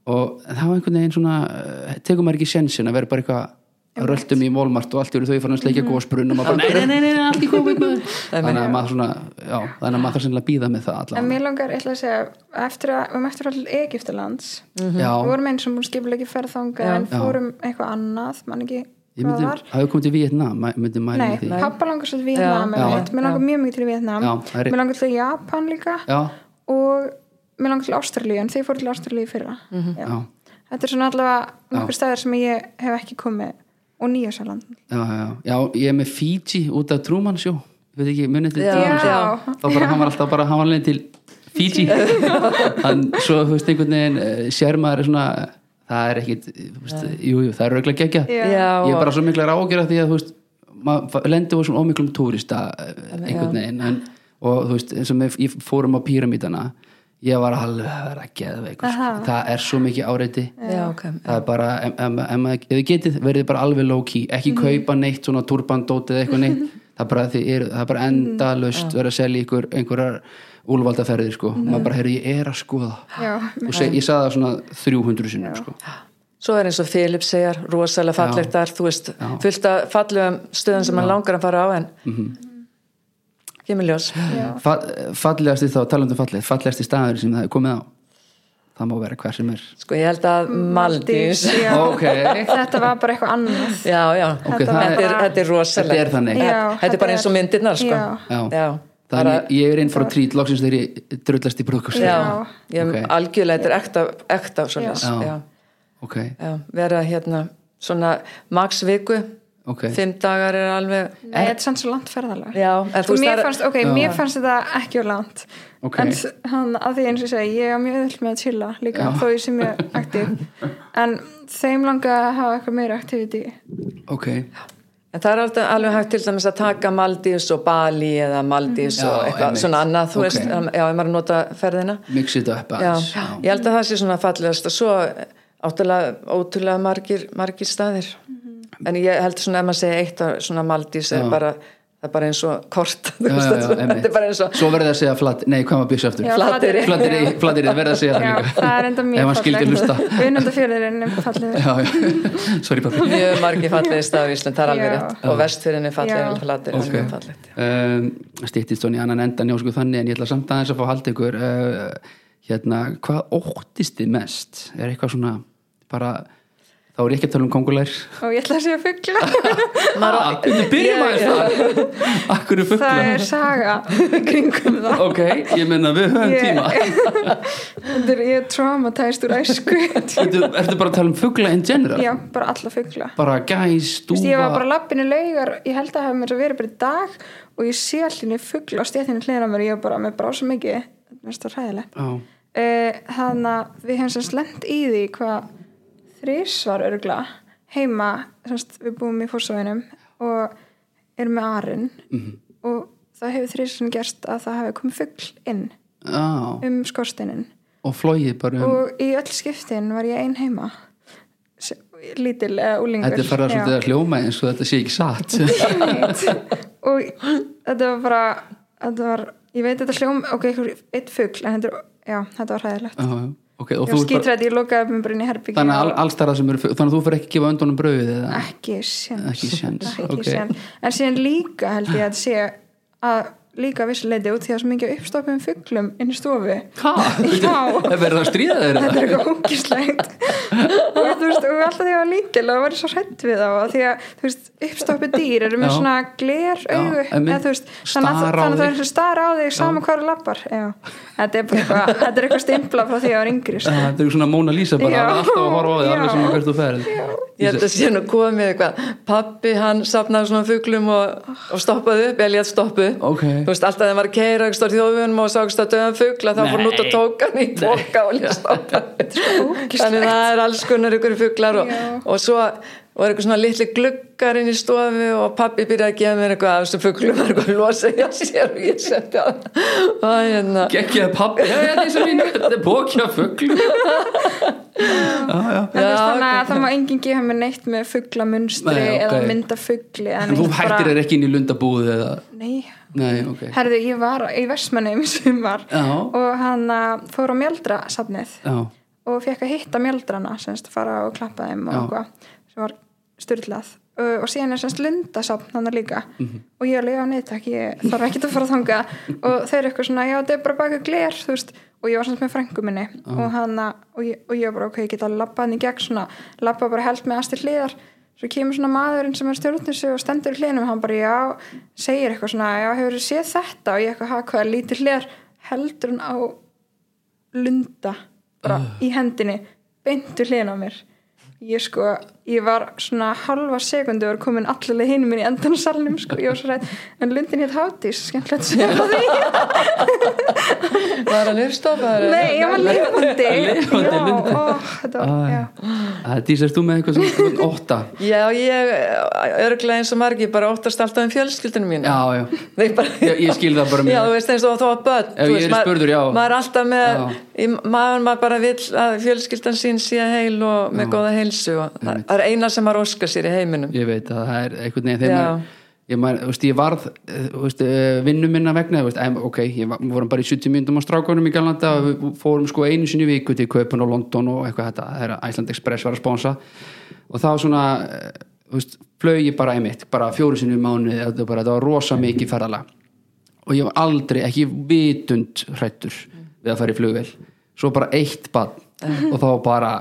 A: og þá einhvern veginn svona, eh, tekur maður ekki sensin að vera bara eitthvað að röldum í Walmart og allt eru þau farin að sleikja gósbrunn og maður bara, nei, nei, nei, nei, nei, allt í COVID maður." þannig að maður svona, já, þannig að maður þarf sennilega að býða með það
C: en
A: allavega
C: mér langar, ég ætla að segja eftir að, við erum eftir að Egiptalands við
A: já,
C: vorum eins og búin skipulega ferð þangað en fórum eitthvað annað mann ekki
A: ég
C: hvað
A: myndi,
C: það var
A: hafðu komið til Vietnam mæ- myndi mæli
C: Nei,
A: með því
C: pappa langar svo til Vietnam
B: Já.
C: einmitt. mér langar mjög mikið til Vietnam
A: Já, það er-
C: mér langar til Japan líka
A: já,
C: og mér langar til Ástralíu en þeir fóru til Ástralíu í fyrra Já.
A: Já.
C: þetta er svona allavega nokkur staðir sem ég hef ekki komið og Nýjasæland
A: já, já, já, ég er með Fiji út af Truman Show ég veit ekki, munið til
B: Já.
A: Truman Show
C: Já.
A: þá bara, hann var alltaf bara, hann var alveg til Fiji hann, svo, þú veist, einhvern veginn eh, sér maður svona það er ekkit þú veist, jú, jú, það er rauglega gekkja
C: Já.
A: ég er
B: og-
A: bara svo mikla rákjör af því að þú veist maður lendur á svona ómiklum túrista eh, einhvern
B: Já.
A: veginn en, og þú veist, eins og með, ég fórum á píramítana ég var alveg að vera geðveik sko.
C: Aha.
A: það er svo mikið áreiti
B: já, ok
A: það er bara, em- em- em- ef þið getið verðið bara alveg low key, ekki
C: Mhm.
A: kaupa neitt svona turbandótið eða eitthvað neitt það er bara, þið er, það er bara endalaust
C: Mhm.
A: verið að selja ykkur einhverjar úlvaldaferðir sko, maður bara, heyrðu, ég er að skoða
C: Já,
A: og seg, ég sagði það svona 300 sinnum sko.
B: Svo er eins og Filip segjar, rosalega fallegt þar, þú veist, fullt af fallegum stöðum sem hann langar að fara á en
A: Mhm.
B: kemur ljós.
A: Fa fallegasti þá, talandum falleg fallegasti staður sem það er komið á það má vera hver sem er
B: Sko ég held að
C: Mm,
B: Maldís,
C: Já.
A: Ok.
C: þetta var bara eitthvað annað
B: já, já,
A: Ok, það
B: þetta, er,
C: er-
B: þetta er rosalega.
A: Þetta er þannig.
C: Já,
B: þetta er bara eins og myndirnar, sko.
C: Já.
A: Já.
B: já. bara,
A: þannig ég er inn frá trít loksins þegar ég drullast í brúkust
B: já.
C: Já.
B: Ég hef
A: Ok.
B: algjörlega, þetta er ekta, ekta svo já.
A: Já.
B: Já.
A: ok,
B: já, vera hérna svona max viku,
A: ok
B: fimm dagar er alveg,
C: Nei, þetta er samt svo langt ferðalega
B: Já, en þú
C: Sko,
B: veist, það
C: mér
B: er-
C: fannst, ok, mér fannst þetta ekki úr langt
A: Ok.
C: en s- hann, að því eins og ég segi ég er mjög öðvöld með að chilla líka þó ég sem mjög aktív en þeim langa að hafa eitthvað meira aktiviti
A: ok,
B: En það er alltaf alveg hægt til dæmis að taka Maldís og Bali eða Maldís
A: Mhm. Já,
B: og eitthvað
A: einmitt.
B: svona annað, þú
A: Ok.
B: veist, um, já, ef maður nota ferðina.
A: mix it up
B: Já,
A: aðeins Já.
B: ég held að það sé svona fallegast og svo áttúrulega, ótrúlega margir, margir staðir.
A: Mhm.
B: En ég held svona ef maður segja eitt að svona Maldís er bara, það er bara eins og kort, þú
A: Já,
B: veist,
A: já, já,
B: þetta
A: einmitt.
B: er bara eins og,
A: svo verður það að segja flatt, nei, hvað maður býst aftur
C: Já,
B: Flateyri.
A: flattir í, flattir í, verða að segja það
C: Já,
A: líka
C: það er enda
A: ef
C: mjög
A: maður skildi hlusta
C: Unundafjörðurinn er falleg
A: já, já, sorry pappi
B: mjög margir fallegi staðar í Ísland, það er alveg
C: Já.
B: rétt. Og vestfyrinni
C: Já.
B: fallegir, flattir, okay. mjög fallegt.
A: um, stýttist svona í annan endan hjá sko þannig en ég ætla samt aðeins að fá haldið ykkur uh, hérna, hvað óttist þið mest er eitthvað svona bara, þá er ég ekki að tala um kongulær
C: og ég ætla að segja fuggla
A: ah, við byrjum aðeins það akkur er fuggla
C: það er saga kringum það
A: ok, ég menna við höfum tíma
C: Þetta er, ég er traumatæst úr æsku
A: Ertu, ertu bara að tala um fuggla in general?
C: já, bara alla fuggla
A: Bara gæs,
C: Þú veist, ég var
A: dúfa,
C: bara lappinu laugar, ég held að það hafi mér svo verið bara í dag og ég sé allinni fuggla á stéttinu hliðina á mér og ég var bara, mér brá svo mikið þetta er svo hræðilegt
A: Já,
C: uh, þannig að við hefum semst lent í því hvað þrísvar örgla heima, semst við búum í fórsóðinum og erum með arinn
A: Mhm.
C: og það hefur þrísvarn gerst að það hafi komið fuggl inn
A: já,
C: um skorstinin
A: og flogið bara um
C: og í öll skiptin var ég ein heima S- lítil eða úlingur
A: Þetta er farað
C: Já.
A: svolítið að hljóma eins og þetta sé ekki satt
C: og þetta var bara þetta var, ég veit þetta hljóm ok, einhver, eitt fugl, en þetta, er- já, þetta var hræðilegt
A: Já, já. ok, og
C: ég
A: þú
C: var
A: ert bara
C: skítrætt, ég lokaði upp mér bara inn í herbygginu
A: þannig að allstarða sem eru þannig að þú fyrir ekki að gefa öndunum brauðið eða
C: ekki séns
A: Ekki séns,
C: Ekki
A: ok.
C: séns. en síðan líka held ég að sé að líka vissuleiti út því að það er svo mikið uppstoppum fuglum inn í stofu Já.
A: hvað? verður það að stríða þeir
C: þetta er eitthvað ógislegt og þú veist, og alltaf því að ég var lítil og var ég svo hrætt við þá og því að, þú veist, uppstoppu dýr eru með
A: Já.
C: svona gler augu
A: Já, einmitt.
C: eða þú veist, þannig að
A: Stara á
C: þannig að það
A: þig.
C: er eins og stara á þig sama hvað er lappar Já. þetta er bara eitthvað, þetta er eitthvað stimpla frá því að ég var yngri sko.
A: þetta er svona Mona Lisa bara
C: Já.
A: alltaf að horfa á þig
C: Já.
A: alveg sem að hvert þú ferð
B: Ég held að sé nú komið eitthvað pappi hann safnaði svona fuglum
A: Ah.
B: og, og stoppaði upp, Elliot stoppaði upp.
A: Ok.
B: þú veist alltaf þegar maður keira ekki stórt þjóðunum og sá ekki stórt döðan fugla þá fór hann út og tók hann í boka og lét stoppa þannig það er alls konar ykkur fuglar og,
C: Já.
B: og svo var eitthvað svona litli gluggar inn í stofu og pappi byrjaði að gefa mér eitthvað af þessum fuglum var eitthvað losa hjá sér og ég setti á það hérna.
A: geggjaði pappi, já, já, þetta er svo mínu þetta er bókja fuggl
C: En þú veist,
B: Já, ok.
C: þannig að það má enginn gefa mér neitt með fugglamunstri
A: Nei, ok.
C: eða mynda fuggli
A: en þú hættir þeir ekki inn í lundabúð eða,
C: Nei,
A: nei, ok
C: herðu, ég var í Vestmannum í sumar
A: Já.
C: og hann að, fór á mjöldra safnið
A: já,
C: og fekk að hitta mjöldrana semst að fara og klappa þeim og
A: Já.
C: eitthvað sem var styrlað uh, og síðan er semst lundasafn hann líka og ég alveg á neittak, ég þarf ekki að fara þangað og þau eru eitthvað svona, já þetta er bara baka gler þú veist, og ég var semst með frængu minni og, hana, og, ég, og ég var bara, ok, ég get að labba hann í gegn svona, labba bara held með astir hliðar svo kemur svona maðurinn sem er stjórnissu og stendur í hliðinum, hann bara, já segir eitthvað svona, já hefur séð þetta og ég eitthvað, ha, hvað er lítið hliðar heldur hann á lunda bara í hendinni beintu hliðin á mér ég sko, ég var svona halva sekundu og var komin allavega hinum minn í endan salnum sko, ég var svo rætt en lundin hétt Hátís, skemmtilegt að segja frá því
B: Var hann uppstofaður?
C: Nei, ég var lifandi
A: Lifandi
C: Já,
A: Lundi.
C: ó, þetta var, já
A: Æ, Dísa, erst þú með eitthvað sem þú ert ótta?
B: Já, ég, örglega eins og margi, bara óttast alltaf um fjölskyldunum mína.
A: Já, já,
B: Þeir bara...
A: Ég- ég skil það bara mjög.
B: Já, þú veist eins og þá að börn.
A: Ef
B: þú
A: ég
B: veist,
A: er
B: maður-
A: spurður, já.
B: Maður er alltaf með,
A: Já.
B: í, maður, maður bara vill að fjölskyldan sín sé heil og með góða heilsu og það það er eina sem maður óska sér í heiminum.
A: ég veit að það er einhvern veginn þegar
B: Já.
A: maður ég, maður, þú veist, ég varð eh, þú veist, eh, vinnu minna vegna þú veist, em, ok, ég var, við vorum bara í 70 myndum á strákunum í Galanda og við fórum sko einu sinni í viku til Köpen og London og eitthvað þetta þegar Iceland Express var að sponsa og það var svona eh, þú veist, flög ég bara einmitt, bara fjóru sinni í mánuði þetta var, bara, þetta var rosa mikið ferðalag og ég var aldrei, ekki vitund hrættur við að fara í flugvél svo bara eitt bann og þá bara,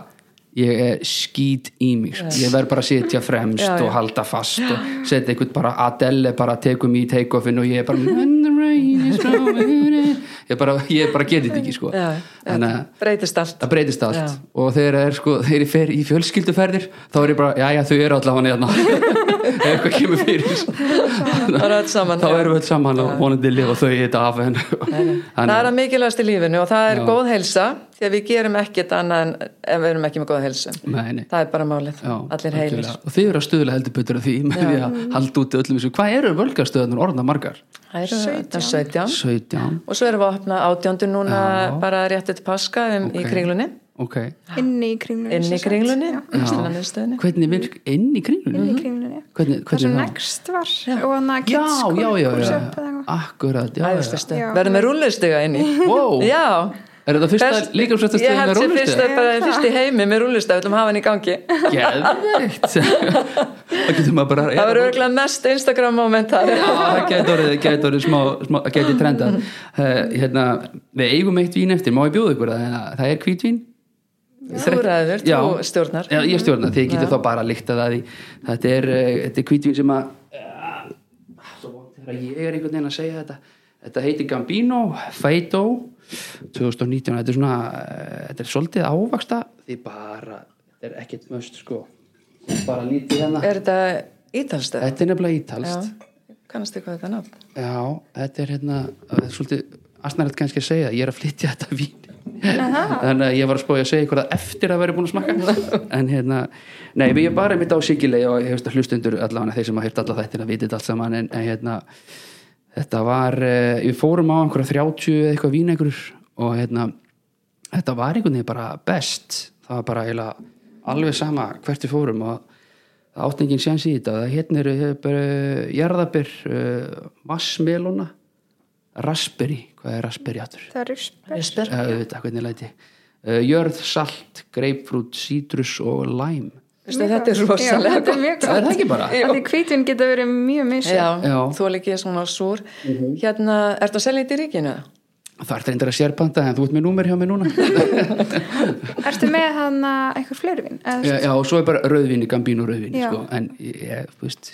A: ég er skýt í mig, sko. ég verð bara að sitja fremst
B: Já, já.
A: og halda fast og setja einhvern bara, Adele bara tekum í take-offin og ég er bara When the rain is over ég bara, ég bara geti þetta ekki sko
B: Já, já,
A: þannig að
B: breytist allt.
A: það breytist allt
B: Já.
A: og þegar, það er, sko, þegar ég fer í fjölskylduferðir þá er ég bara, já já þau eru allavega hérna ef eitthvað kemur fyrir sko.
B: Það er öll saman.
A: þá
B: já.
A: erum við öll saman og vonandi lifa þau í þetta af en
B: það
A: þannig
B: er að mikilvægast í lífinu og það er
A: Já.
B: góð heilsa því að við gerum ekkert annað en ef við erum ekki með góð heilsu
A: Nei, nei.
B: það er bara málið,
A: Já,
B: allir heilir
A: algjörlega. og þið eru að stuðla heldur betur að því með því að halda út öllum þessu hvað eru völgastöðunar orðna margar?
B: það eru þetta 17
A: 17
B: og svo erum við að opna átjándu núna
A: Já.
B: bara rétt eftir paska um,
A: Ok.
B: í kringlunni
A: ok,
C: inni í kringlunni
B: inn
C: sem
B: í
C: sagt.
B: kringlunni,
C: Já,
B: verslunarmiðstöðinni.
A: hvernig virk inn í
C: inn
A: kringlunni?
C: í kringlunni
A: Hvernig,
C: það sem
A: hvernig er það?
C: next var og hann að
A: Já,
C: kids
A: já, já, já,
C: concept eða eitthvað.
A: akkurat, já, já.
B: Æðislega stöð.
C: Já.
B: verðum með rúllustiga inn í
A: Wow,
B: já
A: er þetta fyrsta líkamsrættu stöðin
B: ég
A: með
B: held sér fyrst,
A: rúlustu?
B: bara, fyrst í heimi með rúllustiga, við ætlum að hafa hann í gangi
A: Geðveikt Það getur maður bara
B: það var örgulega mest Instagram moment þar
A: Já, það getur orðið, það getur orðið smá, smá það getur trendað uh, hérna, við eigum eitt vín eftir, má ég bjóða ykkur það, Hérna, það er hvítvín
B: þú ræður,
A: Já.
B: þú stjórnar
A: Já, ég stjórna, þið getur þá bara að líkta það í þetta er, eh, þetta er hvítvín sem að uh, svo vont er að ég er einhvern veginn að segja þetta þetta heitir Gambino Feito 2019, þetta er svona eh, þetta er svolítið ávaksta því bara, þetta er ekkert möst sko bara lítið hérna
B: er þetta ítalstöð?
A: þetta er nefnilega ítalst
B: kannast þið hvað þetta er nátt?
A: Já, þetta er hérna það er svolítið asnarlegt kannski að segja ég er að flytja þetta vín þannig að ég var að spója að segja ykkur það eftir að vera búin að smakka en hérna, nei, við erum bara mitt á síkileg og ég veist að hlustundur allavega þeir sem að hýrt alla þættina vitið þetta allt saman en, en hérna, þetta var eh, við fórum á einhverja 30 eða eitthvað vínegur og hérna þetta var einhvern veginn bara best það var bara eiginlega alveg sama hvert við fórum og það átti enginn séns í þetta það hérna eru eh, bara jarðabir uh, vassmeluna raspberry, hvað er raspberry áttur?
C: það er risper
B: Ég spyr.
A: Já, auðvitað, hvernig læti uh, jörð, salt, greipfrút, sítrus og læm
B: Veistu, þetta er rosalega
C: þetta er mjög gott
A: Er það ekki bara?
C: Af því hvítvin geta verið mjög misjafn.
B: Já,
A: Já. Mhm.
B: þú er ekki svona súr Hérna, ertu að selja þetta í ríkinu?
A: það ert reyndar að sérbanda en þú ert með númer hjá mér núna
C: ertu með hann einhver fleiri vin Eða,
A: já, já, og svo er bara rauðvinni, gambínu rauðvinni
C: Já.
A: sko. en ég, ég, þú veist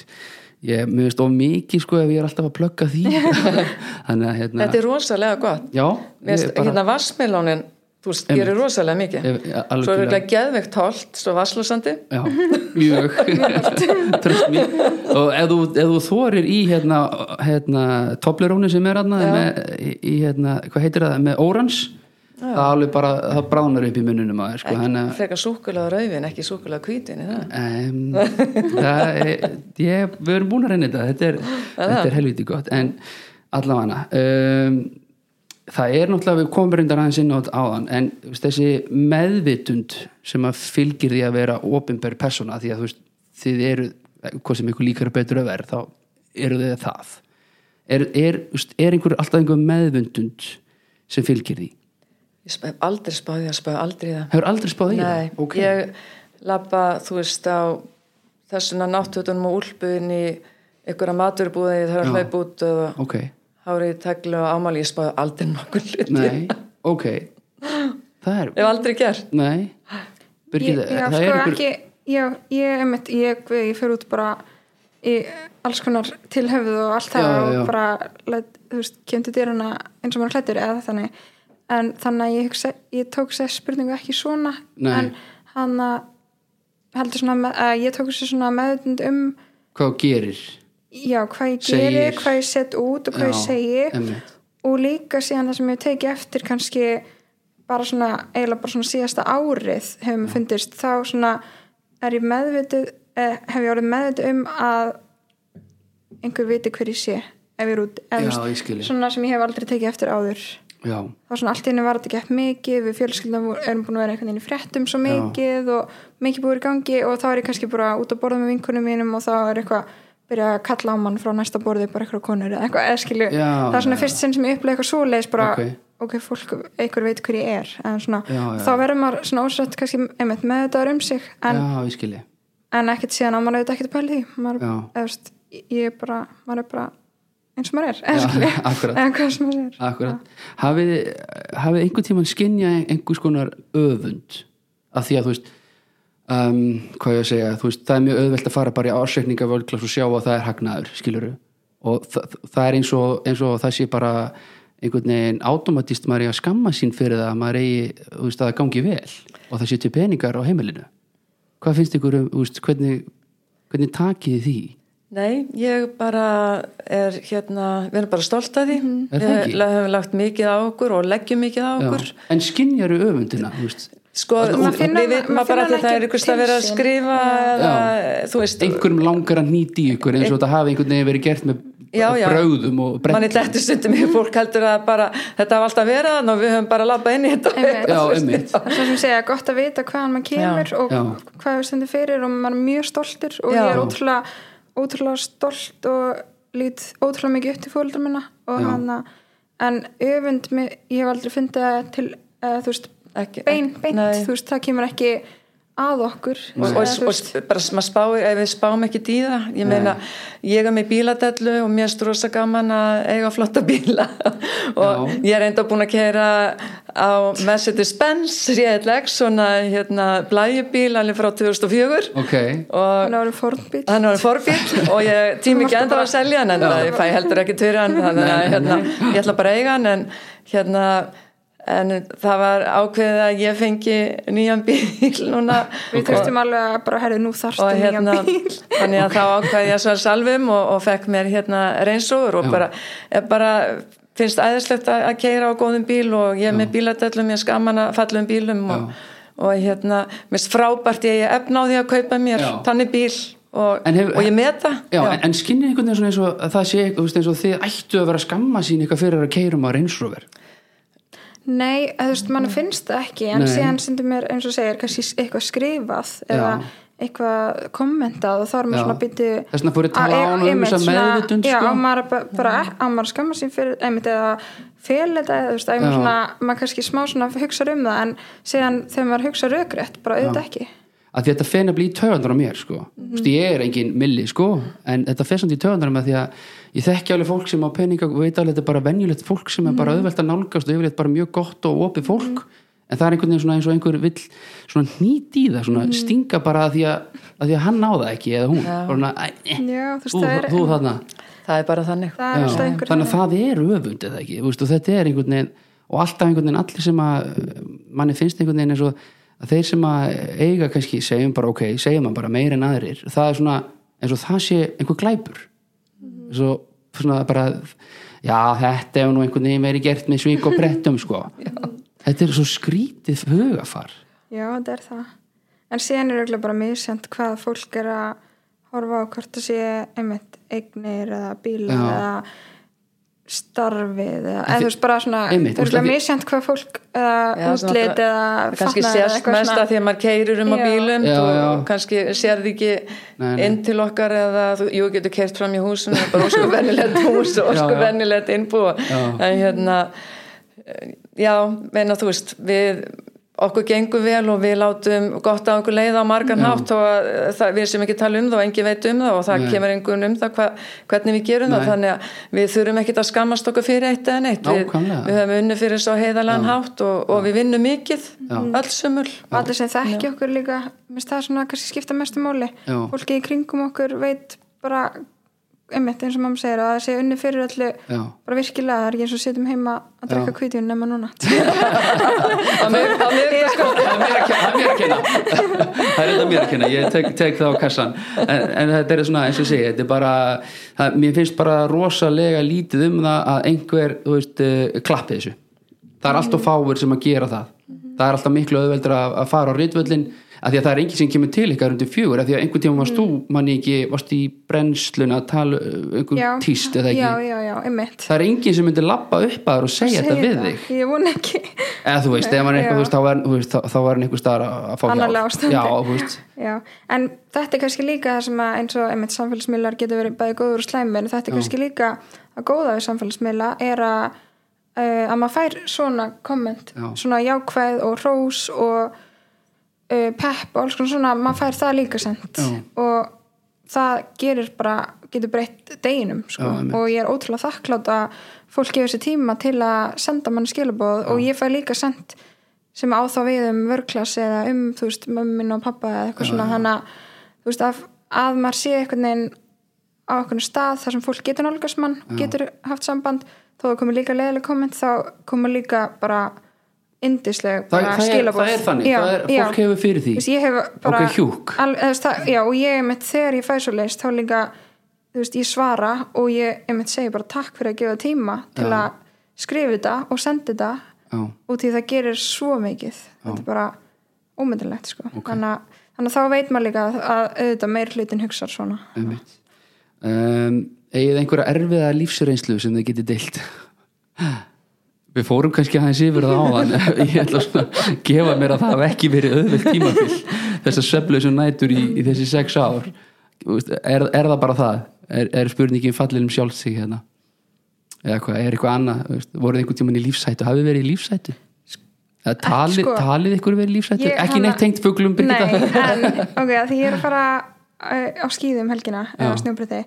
A: ég, mér veist of mikið sko ef ég er alltaf að plugga því þannig að hérna
B: Þetta er rosalega gott
A: já,
B: Vist,
A: ég bara,
B: Hérna vassmelónin, þú veist, gerir rosalega mikið
A: Ég- ja, algjörlega.
B: Svo er þetta geðveikt holt, svo vasslúsandi
A: já, mjög tröst mér og ef þú, ef þú þorir í hérna, hérna toblerónu sem er hérna, með, í, í hérna, hvað heitir það, með órans það alveg bara, það bránar upp í mununum að, sko, hann að
B: Frekar súkulega rauðin, ekki súkulega kvítin er það?
A: Um, það er, ég, við erum búin að reyna þetta þetta er, þetta er helviti gott en allavega um, það er náttúrulega við komum reyndar aðeins inn á þetta áðan en þú veist, þessi meðvitund sem að fylgir því að vera opinber persóna því að þú veist, þið eru hvað sem ykkur líkar betur að vera þá eru þið það er, er, þú veist, er einhver, alltaf einhver meðvitund sem fylgir því
B: Ég spæ, aldrei spáði að spáði aldrei í það
A: hefur aldrei spáð í
B: Nei,
A: það okay.
B: ég lappa, þú veist, á þessuna náttutunum og úlpuðin í einhverja maturbúði, það er að
A: Já.
B: hlaupa út og
A: ok
B: Hárið í tagli og ámáli, ég spáði aldrei nokkur hluti.
A: Nei, ok Það
B: Ég
A: er,
B: hef aldrei gert.
A: nei Birgit,
C: ég, já,
A: það
C: sko,
A: er ykkur
C: ekki, já, ég, einmitt, ég, ég fer út bara í alls konar tilhöfuð og allt það
A: Já, já, já.
C: og bara, let, þú veist, kemdi dyruna eins og maður hlættur eða þannig en þannig að ég, hugsa, ég tók sér spurningu ekki svona
A: Nei.
C: en hann að heldur svona með, að ég tók þessu svona meðutund um
A: hvað þú gerir
C: já, hvað ég
A: Segir.
C: geri, hvað ég set út og hvað ég
A: Já,
C: segi
A: einmitt.
C: og líka síðan það sem ég teki eftir kannski bara svona, eiginlega bara svona síðasta árið hefur mér fundist, þá svona er ég meðvitið, eh, hef ég orðið meðvitið um að einhver viti hver ég sé ef ég er út,
A: Já,
C: eða þú
A: ég skil.
C: veist, svona sem ég hef aldrei tekið eftir áður
A: já,
C: þá svona allt í henni var þetta gett mikið við fjölskyldum erum búin að vera einhvern veginn í fréttum svo mikið og mikið búið í gangi og þá er ég kannski bara út að borða með vinkunum mínum og þá er eitthvað byrja að kalla á mann frá næsta borði bara eitthvað konur eða eitthvað eðskilju
A: Já,
C: það er svona
A: já,
C: fyrst sinn sem ég upplega eitthvað svoleiðis bara ok,
A: Ok.
C: fólk, einhver veit hver ég er en svona,
A: Já, já,
C: þá verður maður svona ósrætt kannski einmitt með þetta um sig en,
A: já, ég skilji
C: en ekkert síðan á maður auðvitað ekkert að pæla í því maður,
A: Já.
C: eða, veist, ég er bara, maður er bara eins og maður er,
A: Já,
C: eðskilju
A: akkurat.
C: eða hvað sem maður er
A: Akkurat. Hafið, hafið einhvern tímann skinja einhvers konar öfund af því að þú veist um, hvað ég að segja, þú veist, það er mjög auðvelt að fara bara í ársreikninga völklass og sjá að það er hagnaður, skiluru og það, það er eins og, eins og það sé bara einhvern veginn automatist maður er að skamma sín fyrir það að maður eigi þú veist, að það gangi vel og það sé til peningar á heimilinu hvað finnst ykkur, um, þú veist, hvernig hvernig takið þið því?
B: Nei, ég bara er hérna, við erum bara stolt að því
A: Er það ekki?
B: Við la- höfum lagt mikið á okkur og leggjum mikið á okkur
A: Já. En skinjaru öfundina, þú veist
B: Sko,
C: Maður
B: við
C: finnur-
B: veitum að
C: maður
B: bara
C: finnur
B: að það er
C: ekki
B: ykkurst að vera að
C: til sín.
B: skrifa eða, þú veist,
A: einhverjum langar að nýti ykkur eins og þetta hafi einhvern veginn verið gert með
B: Já, já.
A: brauðum og
B: manni
A: brett
B: dættu stundum í fólk heldur að bara þetta hafa alltaf verið þannig og við höfum bara labbað inn í þetta
C: Einmitt.
A: Já,
B: Þú veist,
A: einmitt.
C: það er svo sem segja gott að vita hvaðan maður kemur og
A: Já.
C: hvað við stendur fyrir og maður er mjög stoltur og
B: Já.
C: ég er ótrúlega, ótrúlega stolt og lít ótrúlega mikið upp til fóreldra minna og hana, en öfund mig, ég hef aldrei fundið það til uh, þú veist,
B: Ekki-
C: bein,
B: ekki-
C: beint
B: nei.
C: þú veist, það kemur ekki að okkur
B: og, og,
C: eða, þú
B: og
C: veist,
B: sp- bara maður spáir ef við spáum ekki dýða ég meina, ég er með bíladellu og mér er rosa gaman að eiga flotta bíla og ég er enda búin að keira á Mercedes-Benz réðleg, svona hérna blæjubíl alveg frá 2004
A: ok,
B: og
C: hann árum fórnbíl
B: hann var forbíl og ég tími ekki enda á að selja hann en ég fæ heldur ekki tverja hann þannig að hérna, ég ætla bara að eiga hann en hérna en það var ákveðið að ég fengi nýjan bíl núna
C: við þurftum alveg að bara herðu nú þarstu
B: og hérna
C: nýjan bíl
B: þannig að þá ákveði ég svo salvum og, og fekk mér hérna reynsóður og bara, er bara finnst æðislegt að, að keira á góðum bíl og ég er með bíladellum, ég skaman að fallum bílum og, og hérna mest frábært ég er efna á því að kaupa mér
A: Já.
B: þannig bíl og,
A: En hefur-
B: og ég meta
A: já, en- en skinnið einhvern veginn svona eins og að það sé, þú veist, eins og þið ættu að vera að skamma sín eitthvað fyrir að um keirum að reynsróver
C: Nei, að þú veist, mann finnst það ekki en
A: Nei.
C: síðan sindum mér, eins og segir, kannski eitthvað skrifað eða
A: Já.
C: eitthvað kommentað og þá er
A: Já.
C: maður svona býttu
A: Þess vegna fór ég að tala áðan um þessa meðvitund,
C: Já,
A: sko.
C: á maður, bara- bara, á maður að skamma sín fyrir einmitt eða fel þetta eða þú veist, að
A: Já.
C: maður svona, maður kannski smá svona hugsar um það en síðan þegar maður hugsa raukrétt, bara auðvitað ekki
A: að því þetta fer nefnilega í töðandar á mér sko. mm -hmm. ég er engin milli sko, en þetta fer samt í töðandar á mér því að ég þekki alveg fólk sem á peninga og veit alveg þetta er bara venjulegt fólk sem er
C: Mhm.
A: bara auðvelt að nálgast og yfirleitt bara mjög gott og opið fólk en það er einhvern veginn svona eins og einhver vill svona nýti í það,
C: Mhm.
A: svona stinga bara að því að, að því að hann á það ekki eða hún ja. svona, æ, eh,
C: Já, þú veist,
A: þú,
C: það er-
A: þú þarna
B: það er bara þannig
C: Það er
A: Já.
C: alltaf einhver
A: þannig að það er öfund eða ekki, þú veist, og þetta er einhvern veginn og alltaf einhvern veginn allir sem að eh, manni finnst einhvern veginn eins og að þeir sem að eiga kannski, segjum bara ok segjum hann bara meir en aðrir, það er svona eins og það sé einhver glæpur eins og svona bara já, þetta hefur nú einhvern veginn verið gert með svík og brettum sko þetta er svo skrítið hugafar
C: Já, þetta er það. En síðan er auðvitað bara misjönd hvað fólk er að horfa á hvort það sé einmitt eignir eða bílar
A: Já.
C: eða starfið eða eða þú veist bara svona
A: Einmitt, þú veist,
C: auðvitað
A: af því-
C: misjönd hvað fólk eða
B: Já, svona
C: útlit eða
B: það kannski
C: fatnað eða
B: sérst
C: eitthvað
B: mest
C: svona.
B: að því að maður keirir um á
C: Já.
B: bílum
A: Já,
B: og
A: já.
B: kannski sérði ekki
A: Nei, nei.
B: inn til okkar eða þú, jú, getur keirt fram í húsum það er bara ósku venilegt hús og
A: Já,
B: ósku
A: já.
B: venilegt innbú
A: Já.
B: en hérna eh, já, meina þú veist við okkur gengur vel og við látum gott að okkur leiða á margan hátt og að, eh, það, við sem ekki tala um það og engi veit um það og það
A: Nei.
B: kemur einhvern um það hva, hvernig við gerum það
A: Nei.
B: þannig að við þurfum ekkit að skammast okkur fyrir eitt eða neitt við,
A: Nákvæmlega.
B: við höfum unni fyrir svo heiðalan hátt og, og við vinnum mikið öll sumul
C: og allir sem þekki okkur líka minnst það svona kannski skipta mestu máli
A: Já.
C: fólki í kringum okkur veit bara einmitt eins og mamma segir að það sé unni fyrir öllu
A: Já.
C: bara virkilega, það er ekki eins og sitjum heima að drekka
A: Já.
C: kvítjun nema núna
B: að mér, að mér, sko,
A: það er mér að kenna kenna það er þetta mér að kenna, ég tek, tek það á kassan en, en þetta er svona, eins og ég segi þetta er bara, það, mér finnst bara rosalega lítið um það að einhver þú veist, eh, klappi þessu það er alltaf fáir sem að gera það það er alltaf miklu auðveldur að, að fara á rítvöllin af því að það er enginn sem kemur til ykkar undir fjögur, af því að einhvern tíma varst þú manni ekki, varst í brennslun að tala eh, einhver
C: já,
A: tíst eða ekki
C: já, já, já, einmitt
A: það er enginn sem myndir lappa upp að þér og segja þetta við þig
C: ég vona ekki
A: eða þú veist, ef hann er eitthvað,
C: Já.
A: þú veist, þá var, þú veist, þá, þá var hann einhver staðar að að fá
C: annarlega ástandi
A: já, þú veist,
C: Já, en þetta er kannski líka það sem að eins og einmitt samfélagsmiðlar getur verið bæði góður og slæmi en þetta er kannski líka að góða við samfélagsmiðla er að uh, að maður fær svona komment
A: Já.
C: svona jákvæð og rós og uh, pepp og alls konar svona maður fær það líka sent
A: Já.
C: og það gerir bara getur breytt deginum sko.
A: Já, einmitt.
C: og ég er ótrúlega þakklátt að fólk gefur sér tíma til að senda manni skilabóð og ég fæ líka sent sem á þá við um vörklass eða um, þú veist, mömmin og pappa eða eitthvað svona, þannig að, þú veist, að, að maður sé eitthvað neginn á eitthvað stað þar sem fólk getur nálgast mann getur haft samband, þó það komur líka leiðileg komment, þá komur líka bara indisleg,
A: það,
C: bara
A: það, er,
C: skilaboð.
A: það er þannig, það er,
C: já.
A: fólk hefur fyrir því
C: Þú veist, ég hef bara
A: Ok, hjúk.
C: al, eða, þú veist, það, já, og ég einmitt þegar ég fæ svo leist þá líka, þú veist, ég svara og ég einmitt segi bara takk fyrir að gefa tíma til að skrifa þetta og senda þetta
A: Já.
C: og því það gerir svo mikið þetta er bara ómyndilegt sko. þannig, að, þannig að þá veit maður líka að, að auðvitað meir hlutin hugsar svona
A: einmitt um, eigið einhverja erfiða lífsreynslu sem þið getið deilt við fórum kannski aðeins yfir það áðan ég ætla svona að gefa mér að það hafi ekki verið auðveld tímabil þessar sveflösu nætur í, í þessi sex ár Þú veist, er, er það bara það? Er, er spurningin fallin um sjálf sig hérna? eða hvað, er eitthvað annað Þú veist, voruð þið einhvern tímann í lífsættu, hafið þið verið í lífsættu? eða talið,
C: sko.
A: talið ykkur verið í lífsættu?
C: Ég-
A: ekki
C: hana-
A: neitt tengt fuglum
C: Nei, en ok, að því ég er að fara uh, á skýðum helgina eða snjóbriti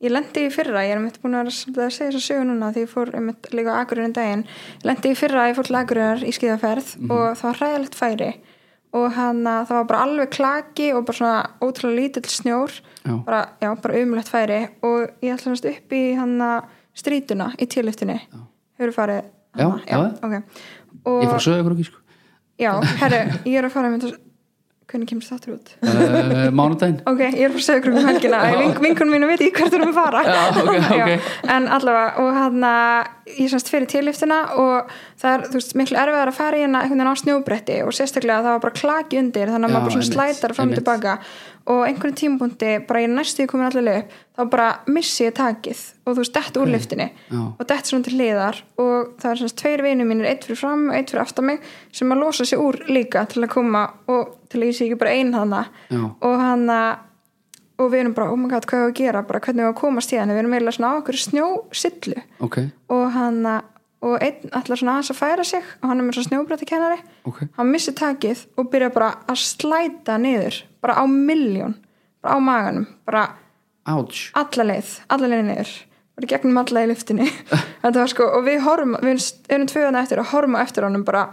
C: ég lendi í fyrra, ég er mitt búin að vera svolítið að segja þess að sögu núna því ég fór mitt líka á Akureyri um daginn ég lendi í fyrra, ég fór til Akureyrar í skýðaferð
A: Mhm.
C: og það var hræðilegt færi og hann að það var bara alveg klaki og bara svona ótrúlega lítill snjór
A: Já.
C: bara, já, bara umlegt færi og ég ætla hans upp í hann að strítuna í tíliftinni hefur farið
A: Já,
C: hana?
A: já.
C: ok.
A: ég
C: og
A: frá sögur okkur sko
C: já, herru, ég er að fara með þetta hvernig kemur þáttur út?
A: uh, mánudaginn
C: Ok, ég er frá sögur um helgina Vink, Vinkunum mínu veit ég hvert erum að fara
A: Já, ok, ok.
C: En allavega, og hann ég semst fyrir tilliftuna og það er, þú veist, miklu erfiðar að fara í hérna einhvern veginn á snjóbretti og sérstaklega það var bara klaki undir þannig að
A: Já,
C: maður bara svona
A: einmitt,
C: slætar fram og
A: einmitt.
C: tilbaka og einhvern tímapunkti, bara ég er næstu ég komin allir leið upp, þá bara missi ég takið og þú veist, dett úr liftinni
A: Já.
C: og dett svona til hliðar og það er svona tveir vinur mínir, eitt fyrir fram og eitt fyrir aftan mig sem að losa sig úr líka til að koma og til að ég sé ekki bara ein hana
A: Já.
C: og hann og við erum bara, oh my god, hvað er að gera bara hvernig við að komast í hann, við erum eiginlega svona á okkur snjósillu
A: ok,
C: og hann og einn ætlar svona aðeins að færa sig og hann er með svona snjóbrættikennari
A: Ok.
C: hann missir takið og byrjar bara að slæta niður, bara á milljón bara á maganum, bara
A: ouch
C: alla leið, alla leið niður bara í gegnum alla í lyftinni þetta var sko, og við horfum, við erum- erum tvöðan eftir og horfum á eftir honum bara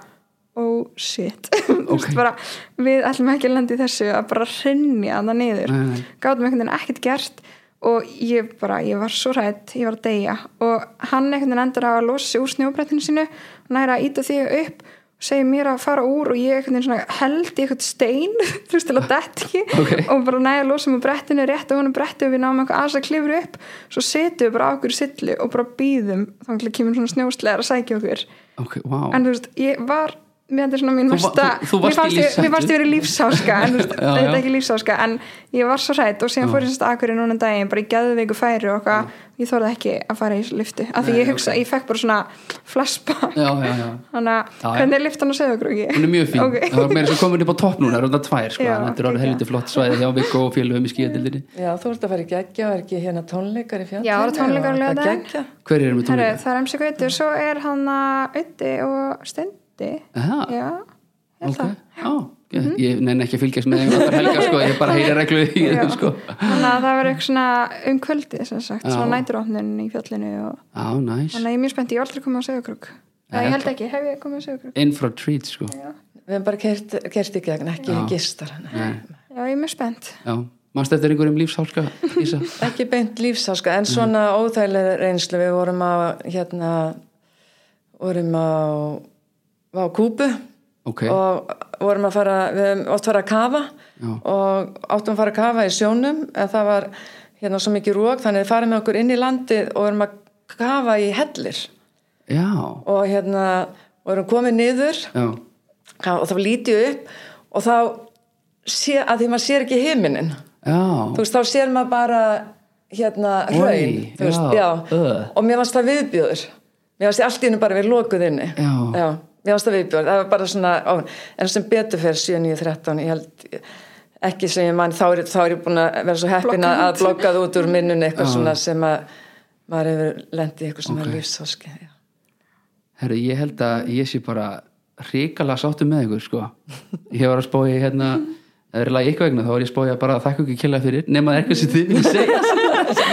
C: oh shit okay. bara, við ætlum ekki að landa í þessu að bara hrinja það niður
A: Nei, nei.
C: gátum einhvern veginn ekkert gert og ég bara, ég var svo rætt, ég var að deyja og hann einhvern veginn endur á að losa sig úr snjóbrettinu sínu næra að íta því upp og segir mér að fara úr og ég einhvern veginn svona held í einhvern stein þú veist til að dett ekki
A: Ok.
C: og bara næja að losa mig úr brettinu rétt og honum brettinu við náum eitthvað aðs að klifra upp svo setjum við bara á okkur sillu og bara býðum þannig að kemur svona snjóslegar að sækja okkur
A: ok, wow
C: en þú veist, ég var mér þetta er svona mín
A: Þú va-
C: mesta
A: þú- þú varst
C: mér
A: í
C: fannst ég-
A: lífshættu.
C: mér fannst ég verið lífsáska en þú veist,
A: Já, já.
C: þetta er ekki lífsáska en ég var svo hrætt og síðan fór ég sérst akkurinn núna um daginn bara í geðveiku færi og eitthvað ég þorði ekki að fara í lyftu af því
A: Nei,
C: ég hugsa, ég fekk bara svona flashback
A: já, já, já
C: þannig
A: Já, já.
C: að hvernig er lyftan að segja okkur ekki
A: hún er mjög fín,
C: Ok.
A: það var meira sem komin upp á topp núna rönda tvær, sko,
C: Já,
A: þannig að þetta er alveg
C: geggjað.
A: helviti flott svæði hjá Viggo og félögum í skíðatildinni
B: Já, þú ert að fara í geggja og er ekki hérna tónleikar í fjallinu
C: Já, það eru tónleikar á
B: og það
C: laugardaginn.
B: geggja
A: hver er með
C: Herru,
A: tónleika?
C: það er MC Gauti og svo er hann að Utti og Stendi
A: Aha,
C: Já, er
A: Ah. ok,
C: það Mhm.
A: já, ok. ég nenni ekki að fylgjast með einhvern annar helga, sko, ég bara heyri reglu í
C: Já.
A: þeim, sko
C: Þannig að það verður eitthvað svona um kvöldi sem sagt,
A: Já.
C: svona næturóknun í fjallinu og
A: já, næs,
C: þannig að ég er mjög spennt, ég hef aldrei komið á Söðukrúk Já, ég held ekki, hef ég komið á Söðukrúk
A: in for a treat, sko
B: Við hefum bara kert, kert í gegn, ekki
A: Já.
B: gistar hann
C: Já, ég er mjög spennt
A: já, mannst eftir einhverjum lífshálska Ísa,
B: Ekki beint lífsáska, en svona mm. óþægilega reynslu Við vorum á, hérna, vorum á, á Kúbu
A: ok,
B: og vorum að fara, við hefum oft farið að kafa
A: Já.
B: og áttum að fara að kafa í sjónum en það var hérna svo mikið rók þannig við farið með okkur inn í landið og vorum að kafa í hellir
A: já,
B: og hérna vorum komið niður
A: já,
B: Já, og þá lít ég upp og þá sé, að því maður sér ekki heiminin þú
A: já,
B: veist, þá sér maður bara hérna
A: Oj,
B: hraun þú veist,
A: já,
B: já.
A: ö.
B: og mér varst það viðbjóður mér varst ég allt í hennu bara við lokuð inni
A: Já.
B: mér varst það viðbjóður, það var bara svona ó, en sem betur fyrir 7, 9, 13 ég held ekki sem ég mann þá er, þá er ég búin að vera svo heppin
C: Blokka
B: að-
C: út.
B: að blokkað út úr minnun eitthvað
A: Já.
B: svona sem að maður hefur lendið eitthvað sem
A: Ok.
B: er lífsóski já.
A: herru, ég held að ég sé bara hrikalega sáttu með ykkur, sko ég var að spója hérna eða er lagi ykkur vegna, þá var ég að spója bara að þakka ykkur killa fyrir, nema það er eitthvað sem þið vilja segja sem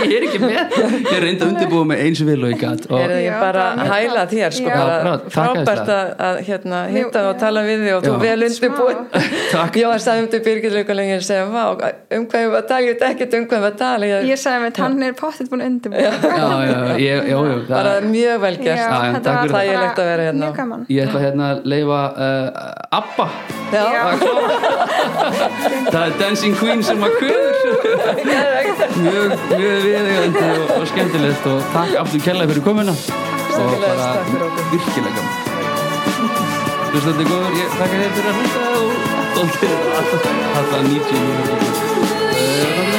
A: ég er ekki með, ég er reynda undirbúið með eins og vil og ég gat og
B: er ég
C: Já,
B: bara
C: bara
B: að hæla þér sko,
C: Já.
B: bara
A: Já, brá- takk
B: frábært
A: æðislega.
B: að, að hérna,
C: Jú,
B: hitta og
C: já.
B: tala við þig og þú
A: Já.
B: vel undirbúin
A: Takk.
B: ég var sagði um til Birgit Leuka lengi að segja, vá, um hvað ég var að tala ég veit ekkert um hvað ég var að tala ég,
C: Ég sagði með hann er pottitt búin undirbúin.
A: já, já, ég, já, já, það
B: bara mjög vel gert
A: Já, en takk fyrir
B: það er leitt að vera hérna
C: Mjög gaman.
A: ég ætla hérna að leifa uh, Abba
B: Já.
A: það er Dancing Queen sem að kvöður mjög, mjög viðegandi og, og skemmtilegt og takk aftur kærlega fyrir komuna og
B: sömuleiðis, takk fyrir okkur.
A: virkilega gaman hlustandi góður, ég þakka þér fyrir að hlusta og stoltir alltaf 90 mínútur. Eh, þangað til.